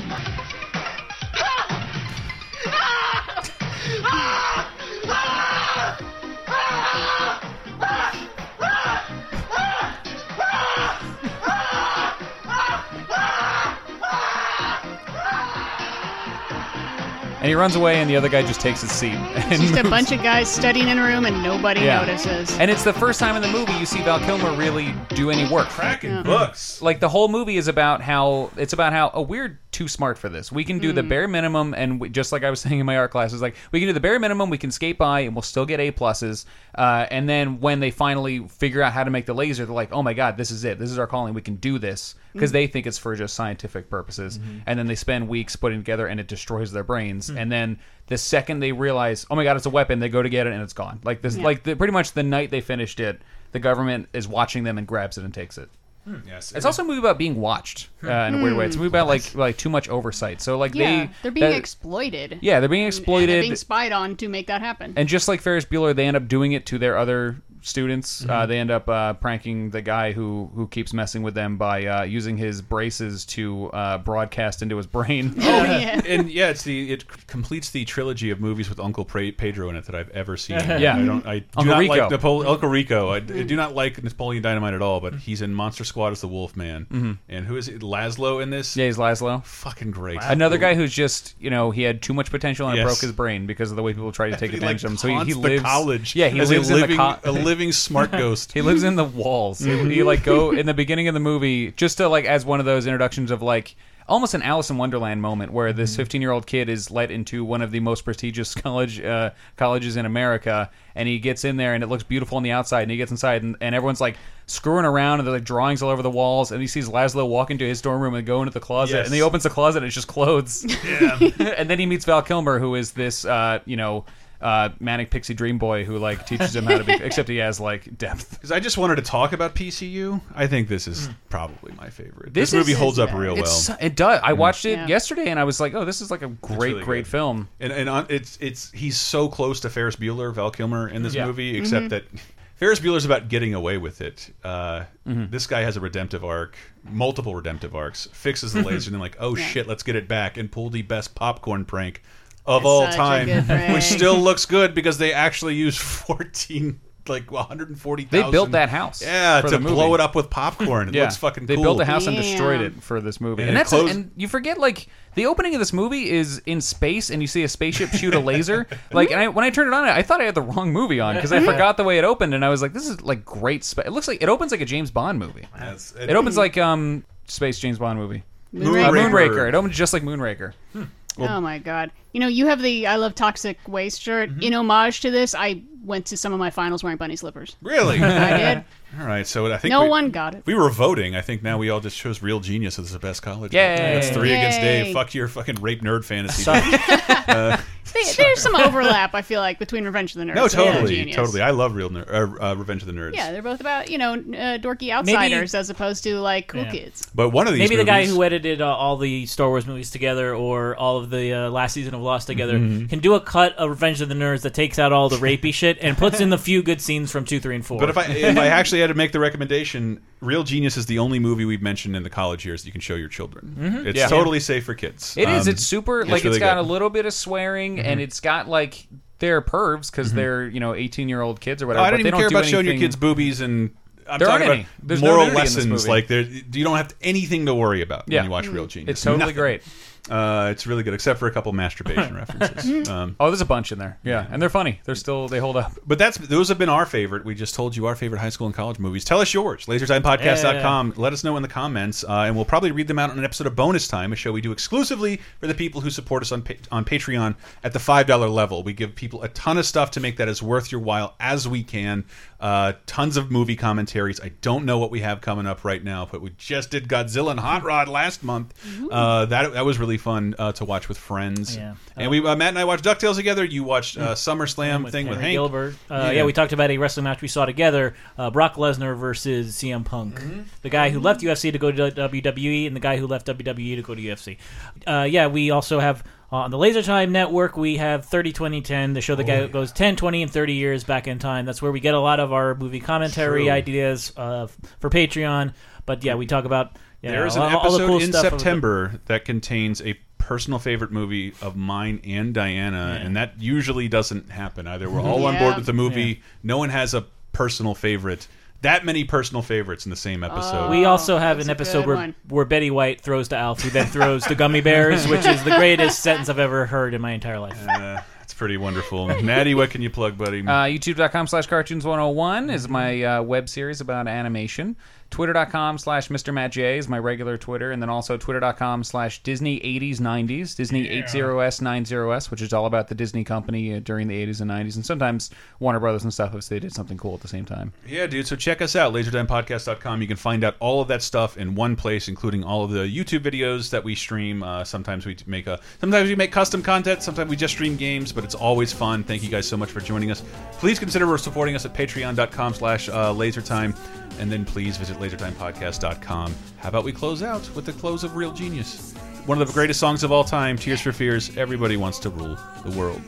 [SPEAKER 4] And he runs away, and the other guy just takes his seat.
[SPEAKER 3] It's
[SPEAKER 4] And
[SPEAKER 3] just a
[SPEAKER 4] moves
[SPEAKER 3] bunch of guys studying in a room and nobody
[SPEAKER 4] Yeah.
[SPEAKER 3] notices.
[SPEAKER 4] And it's the first time in the movie you see Val Kilmer really do any work. Cracking
[SPEAKER 3] Yeah.
[SPEAKER 1] books.
[SPEAKER 4] Like the whole movie is about how it's about how oh we're too smart for this. We can do the
[SPEAKER 1] Mm.
[SPEAKER 4] bare minimum, and we, just like I was saying in my art classes, like we can do the bare minimum. We can skate by, and we'll still get A pluses. Uh, and then when they finally figure out how to make the laser, they're like, oh my god, this is it. This is our calling. We can do this because
[SPEAKER 1] Mm. Mm-hmm.
[SPEAKER 4] they think it's for just scientific purposes. And then they spend weeks putting it together, and it destroys their brains.
[SPEAKER 1] Mm.
[SPEAKER 4] And then the second they realize, oh my god, it's a weapon, they go to get it, and it's gone. Like this,
[SPEAKER 1] Yeah.
[SPEAKER 4] like the, pretty much the night they finished it, the government is watching them and grabs it and takes it.
[SPEAKER 1] Yes,
[SPEAKER 4] It's also a movie about being watched uh, in a weird way. It's a movie about like like too much oversight. So like
[SPEAKER 3] yeah,
[SPEAKER 4] they
[SPEAKER 3] they, are being
[SPEAKER 4] that-
[SPEAKER 3] exploited.
[SPEAKER 4] yeah they're being
[SPEAKER 3] And
[SPEAKER 4] exploited.
[SPEAKER 3] they're being spied on to make that happen.
[SPEAKER 4] And just like Ferris Bueller, they end up doing it to their other students. Uh,
[SPEAKER 1] Mm-hmm.
[SPEAKER 4] they end up uh, pranking the guy who who keeps messing with them by uh, using his braces to uh, broadcast into his brain.
[SPEAKER 1] Oh, and yeah, it's the it c- completes the trilogy of movies with Uncle Pre- Pedro in it that I've ever seen.
[SPEAKER 4] Yeah.
[SPEAKER 1] I don't. I do
[SPEAKER 4] Uncle
[SPEAKER 1] not
[SPEAKER 4] Rico.
[SPEAKER 1] like Napoleon. Uncle Rico. I, d- I do not like Napoleon Dynamite at all. But he's in Monster Squad as the Wolf Man.
[SPEAKER 4] Mhm.
[SPEAKER 1] And who is it? Laszlo in this?
[SPEAKER 4] Yeah, he's Laszlo.
[SPEAKER 1] Fucking great.
[SPEAKER 4] Another guy who's just you know he had too much potential and it
[SPEAKER 1] Yes.
[SPEAKER 4] broke his brain because of the way people tried to take
[SPEAKER 1] He, like,
[SPEAKER 4] advantage of him. So he,
[SPEAKER 1] haunts
[SPEAKER 4] he
[SPEAKER 1] the
[SPEAKER 4] lives
[SPEAKER 1] college
[SPEAKER 4] Yeah, he
[SPEAKER 1] as a
[SPEAKER 4] lives in the
[SPEAKER 1] living-
[SPEAKER 4] co-
[SPEAKER 1] a living smart ghost.
[SPEAKER 4] he lives in the walls. He, he, like go in the beginning of the movie just to like as one of those introductions of like almost an Alice in Wonderland moment where this 15 year old kid is let into one of the most prestigious college uh, colleges in America and he gets in there and it looks beautiful on the outside and he gets inside and, and everyone's like screwing around and there's like drawings all over the walls and he sees Laszlo walk into his dorm room and go into the closet
[SPEAKER 1] Yes.
[SPEAKER 4] and he opens the closet and it's just clothes and then he meets Val Kilmer who is this uh, you know uh, manic pixie dream boy who like teaches him how to be except he has like depth
[SPEAKER 1] Because I just wanted to talk about PCU. I think this is probably my favorite.
[SPEAKER 4] Mm. This
[SPEAKER 1] This, movie
[SPEAKER 4] is-
[SPEAKER 1] holds up real well.
[SPEAKER 4] It's- it does. I watched it
[SPEAKER 1] Yeah.
[SPEAKER 4] yesterday and I was like, oh, this is like a great,
[SPEAKER 1] really
[SPEAKER 4] great film.
[SPEAKER 1] and and on, it's it's he's so close to Ferris Bueller, Val Kilmer in this
[SPEAKER 4] Yeah.
[SPEAKER 1] movie, except
[SPEAKER 4] Mhm.
[SPEAKER 1] that Ferris Bueller's about getting away with it. Uh,
[SPEAKER 4] Mhm.
[SPEAKER 1] This guy has a redemptive arc, multiple redemptive arcs. Fixes
[SPEAKER 4] Mm-hmm.
[SPEAKER 1] the laser, and then like, oh
[SPEAKER 4] Yeah.
[SPEAKER 1] shit, let's get it back, and pull the best popcorn prank of
[SPEAKER 4] It's
[SPEAKER 1] all
[SPEAKER 4] such a
[SPEAKER 1] time,
[SPEAKER 4] good prank.
[SPEAKER 1] which still looks good because they actually use fourteen. Like 140,000.
[SPEAKER 4] They built that house
[SPEAKER 1] Yeah,
[SPEAKER 4] for
[SPEAKER 1] to
[SPEAKER 4] the movie.
[SPEAKER 1] blow it up with popcorn. It
[SPEAKER 4] Yeah.
[SPEAKER 1] looks fucking
[SPEAKER 4] They
[SPEAKER 1] cool.
[SPEAKER 4] built a house and destroyed it for this movie.
[SPEAKER 1] And
[SPEAKER 4] And,
[SPEAKER 1] it
[SPEAKER 4] that's
[SPEAKER 1] closed-
[SPEAKER 4] and you forget like the opening of this movie is in space and you see a spaceship shoot a laser. like and I, when I turned it on, I thought I had the wrong movie on because I
[SPEAKER 1] Yeah.
[SPEAKER 4] forgot the way it opened and I was like, this is like great. Spa-. It looks like it opens like a James Bond movie.
[SPEAKER 1] That's-
[SPEAKER 4] it, opens like um space James Bond movie.
[SPEAKER 1] Moonraker.
[SPEAKER 4] Uh, Moonraker. It opens just like Moonraker.
[SPEAKER 3] oh my god! You know, you have the "I love toxic waste" shirt.
[SPEAKER 4] Mm-hmm.
[SPEAKER 3] In homage to this, I went to some of my finals wearing bunny slippers.
[SPEAKER 1] Really?
[SPEAKER 3] I did.
[SPEAKER 1] All right, so I think
[SPEAKER 3] No
[SPEAKER 1] we-
[SPEAKER 3] one got it.
[SPEAKER 1] We were voting. I think now we all just chose real genius as the best college.
[SPEAKER 3] Yay.
[SPEAKER 1] That's three against
[SPEAKER 3] Yay.
[SPEAKER 1] Dave. Fuck your fucking rape nerd fantasy.
[SPEAKER 3] Sorry.
[SPEAKER 1] uh,
[SPEAKER 3] They- there's some overlap, I feel like, between Revenge of the Nerds.
[SPEAKER 1] no,
[SPEAKER 3] and
[SPEAKER 1] totally,
[SPEAKER 3] Genius.
[SPEAKER 1] totally. I love real nerd, uh, uh, Revenge of the Nerds.
[SPEAKER 3] Yeah, they're both about you know uh, dorky outsiders as opposed to like cool
[SPEAKER 2] Yeah.
[SPEAKER 3] kids.
[SPEAKER 1] But one of these
[SPEAKER 2] maybe the guy
[SPEAKER 1] movies-
[SPEAKER 2] who edited uh, all the Star Wars movies together or all of the uh, last season of Lost together
[SPEAKER 1] Mhm.
[SPEAKER 2] can do a cut of Revenge of the Nerds that takes out all the rapey shit and puts in the few good scenes from two, three, and four.
[SPEAKER 1] But if I if I actually had to make the recommendation, Real Genius is the only movie we've mentioned in the college years that you can show your children.
[SPEAKER 4] Mhm.
[SPEAKER 1] It's
[SPEAKER 4] Yeah.
[SPEAKER 1] totally safe for kids.
[SPEAKER 4] It is.
[SPEAKER 1] Um,
[SPEAKER 4] It's super. like it's
[SPEAKER 1] really
[SPEAKER 4] got
[SPEAKER 1] good.
[SPEAKER 4] a little bit of swearing, and
[SPEAKER 1] Mhm.
[SPEAKER 4] it's got like they're pervs because
[SPEAKER 1] Mm-hmm.
[SPEAKER 4] they're you know eighteen year old kids or whatever.
[SPEAKER 1] Oh, I
[SPEAKER 4] but
[SPEAKER 1] don't
[SPEAKER 4] they
[SPEAKER 1] even care
[SPEAKER 4] do
[SPEAKER 1] about showing your
[SPEAKER 4] anything-
[SPEAKER 1] kids boobies and. I'm
[SPEAKER 4] There aren't
[SPEAKER 1] talking about
[SPEAKER 4] any. There's no
[SPEAKER 1] moral
[SPEAKER 4] nudity in this
[SPEAKER 1] lessons.
[SPEAKER 4] movie.
[SPEAKER 1] Like there, you don't have anything to worry about
[SPEAKER 4] Yeah. Mm.
[SPEAKER 1] when you watch Real Genius.
[SPEAKER 4] It's totally
[SPEAKER 1] Nothing.
[SPEAKER 4] great.
[SPEAKER 1] Uh, it's really good, except for a couple masturbation
[SPEAKER 4] Mm.
[SPEAKER 1] references. Um, oh, there's a bunch in there.
[SPEAKER 4] Yeah, and they're funny. They're still they hold up.
[SPEAKER 1] But that's those have been our favorite. We just told you our favorite high school and college movies. Tell us yours. LaserTimePodcast.com. Let us know in the comments, uh, and we'll probably read them out on an episode of Bonus Time, a show we do exclusively for the people who support us on pa on Patreon at the five dollar level. We give people a ton of stuff to make that as worth your while as we can. Uh, tons of movie commentaries. I don't know what we have coming up right now, but we just did Godzilla and Hot Rod last month.
[SPEAKER 9] Ooh.
[SPEAKER 1] Uh, that that was really fun uh, to watch with friends.
[SPEAKER 2] Mm-hmm. Yeah.
[SPEAKER 1] And we uh, Matt and I watched Ducktales together. You watched uh, SummerSlam
[SPEAKER 2] with
[SPEAKER 1] thing with
[SPEAKER 2] Henry
[SPEAKER 1] Hank
[SPEAKER 2] Gilbert. Uh, yeah. we talked about a wrestling match we saw together: uh, Brock Lesnar versus CM Punk,
[SPEAKER 1] Mm-hmm.
[SPEAKER 2] the guy who left UFC to go to WWE, and the guy who left WWE to go to UFC. Uh, yeah, we also have uh, on the Laser Time Network we have 30, 20, 10, the show that
[SPEAKER 22] Oh,
[SPEAKER 2] guy
[SPEAKER 22] yeah.
[SPEAKER 2] goes 10, 20, and 30 years back in time. That's where we get a lot of our movie commentary
[SPEAKER 1] True.
[SPEAKER 2] ideas uh, f- for Patreon. But yeah, we talk about. you know,
[SPEAKER 1] There is an
[SPEAKER 2] all, all
[SPEAKER 1] episode
[SPEAKER 2] the cool
[SPEAKER 1] in
[SPEAKER 2] stuff of the-
[SPEAKER 1] September that contains a personal favorite movie of mine and Diana, and that usually doesn't happen either. We're all on
[SPEAKER 2] Yeah.
[SPEAKER 1] board with the movie. No one has a personal favorite. That many personal favorites in the same episode.
[SPEAKER 2] Uh, we also have an
[SPEAKER 22] a
[SPEAKER 2] episode
[SPEAKER 22] good
[SPEAKER 2] where,
[SPEAKER 22] one.
[SPEAKER 2] where Betty White throws to Alf, who then throws to gummy bears, which is the greatest sentence I've ever heard in my entire life.
[SPEAKER 1] Uh, it's pretty wonderful. Natty, what can you plug, buddy?
[SPEAKER 4] Uh, YouTube.com slash cartoons 101 is my uh, web series about animation. Twitter.com slash Mr. Matt J is my regular Twitter. And then also Twitter.com slash Disney 80s 90s, Disney 80s 90s, which is all about the Disney company uh, during the 80s and 90s. And sometimes Warner Brothers and stuff if they did something cool at the same time.
[SPEAKER 1] Yeah, dude. So check us out, lasertimepodcast.com. You can find out all of that stuff in one place, including all of the YouTube videos that we stream. Uh, sometimes we make a, sometimes we make custom content. Sometimes we just stream games, but it's always fun. Thank you guys so much for joining us. Please consider supporting us at patreon.com slash uh, lasertime. And then please visit lasertimepodcast.com. How about we close out with the close of Real Genius? One of the greatest songs of all time, Tears for Fears. Everybody wants to rule the world.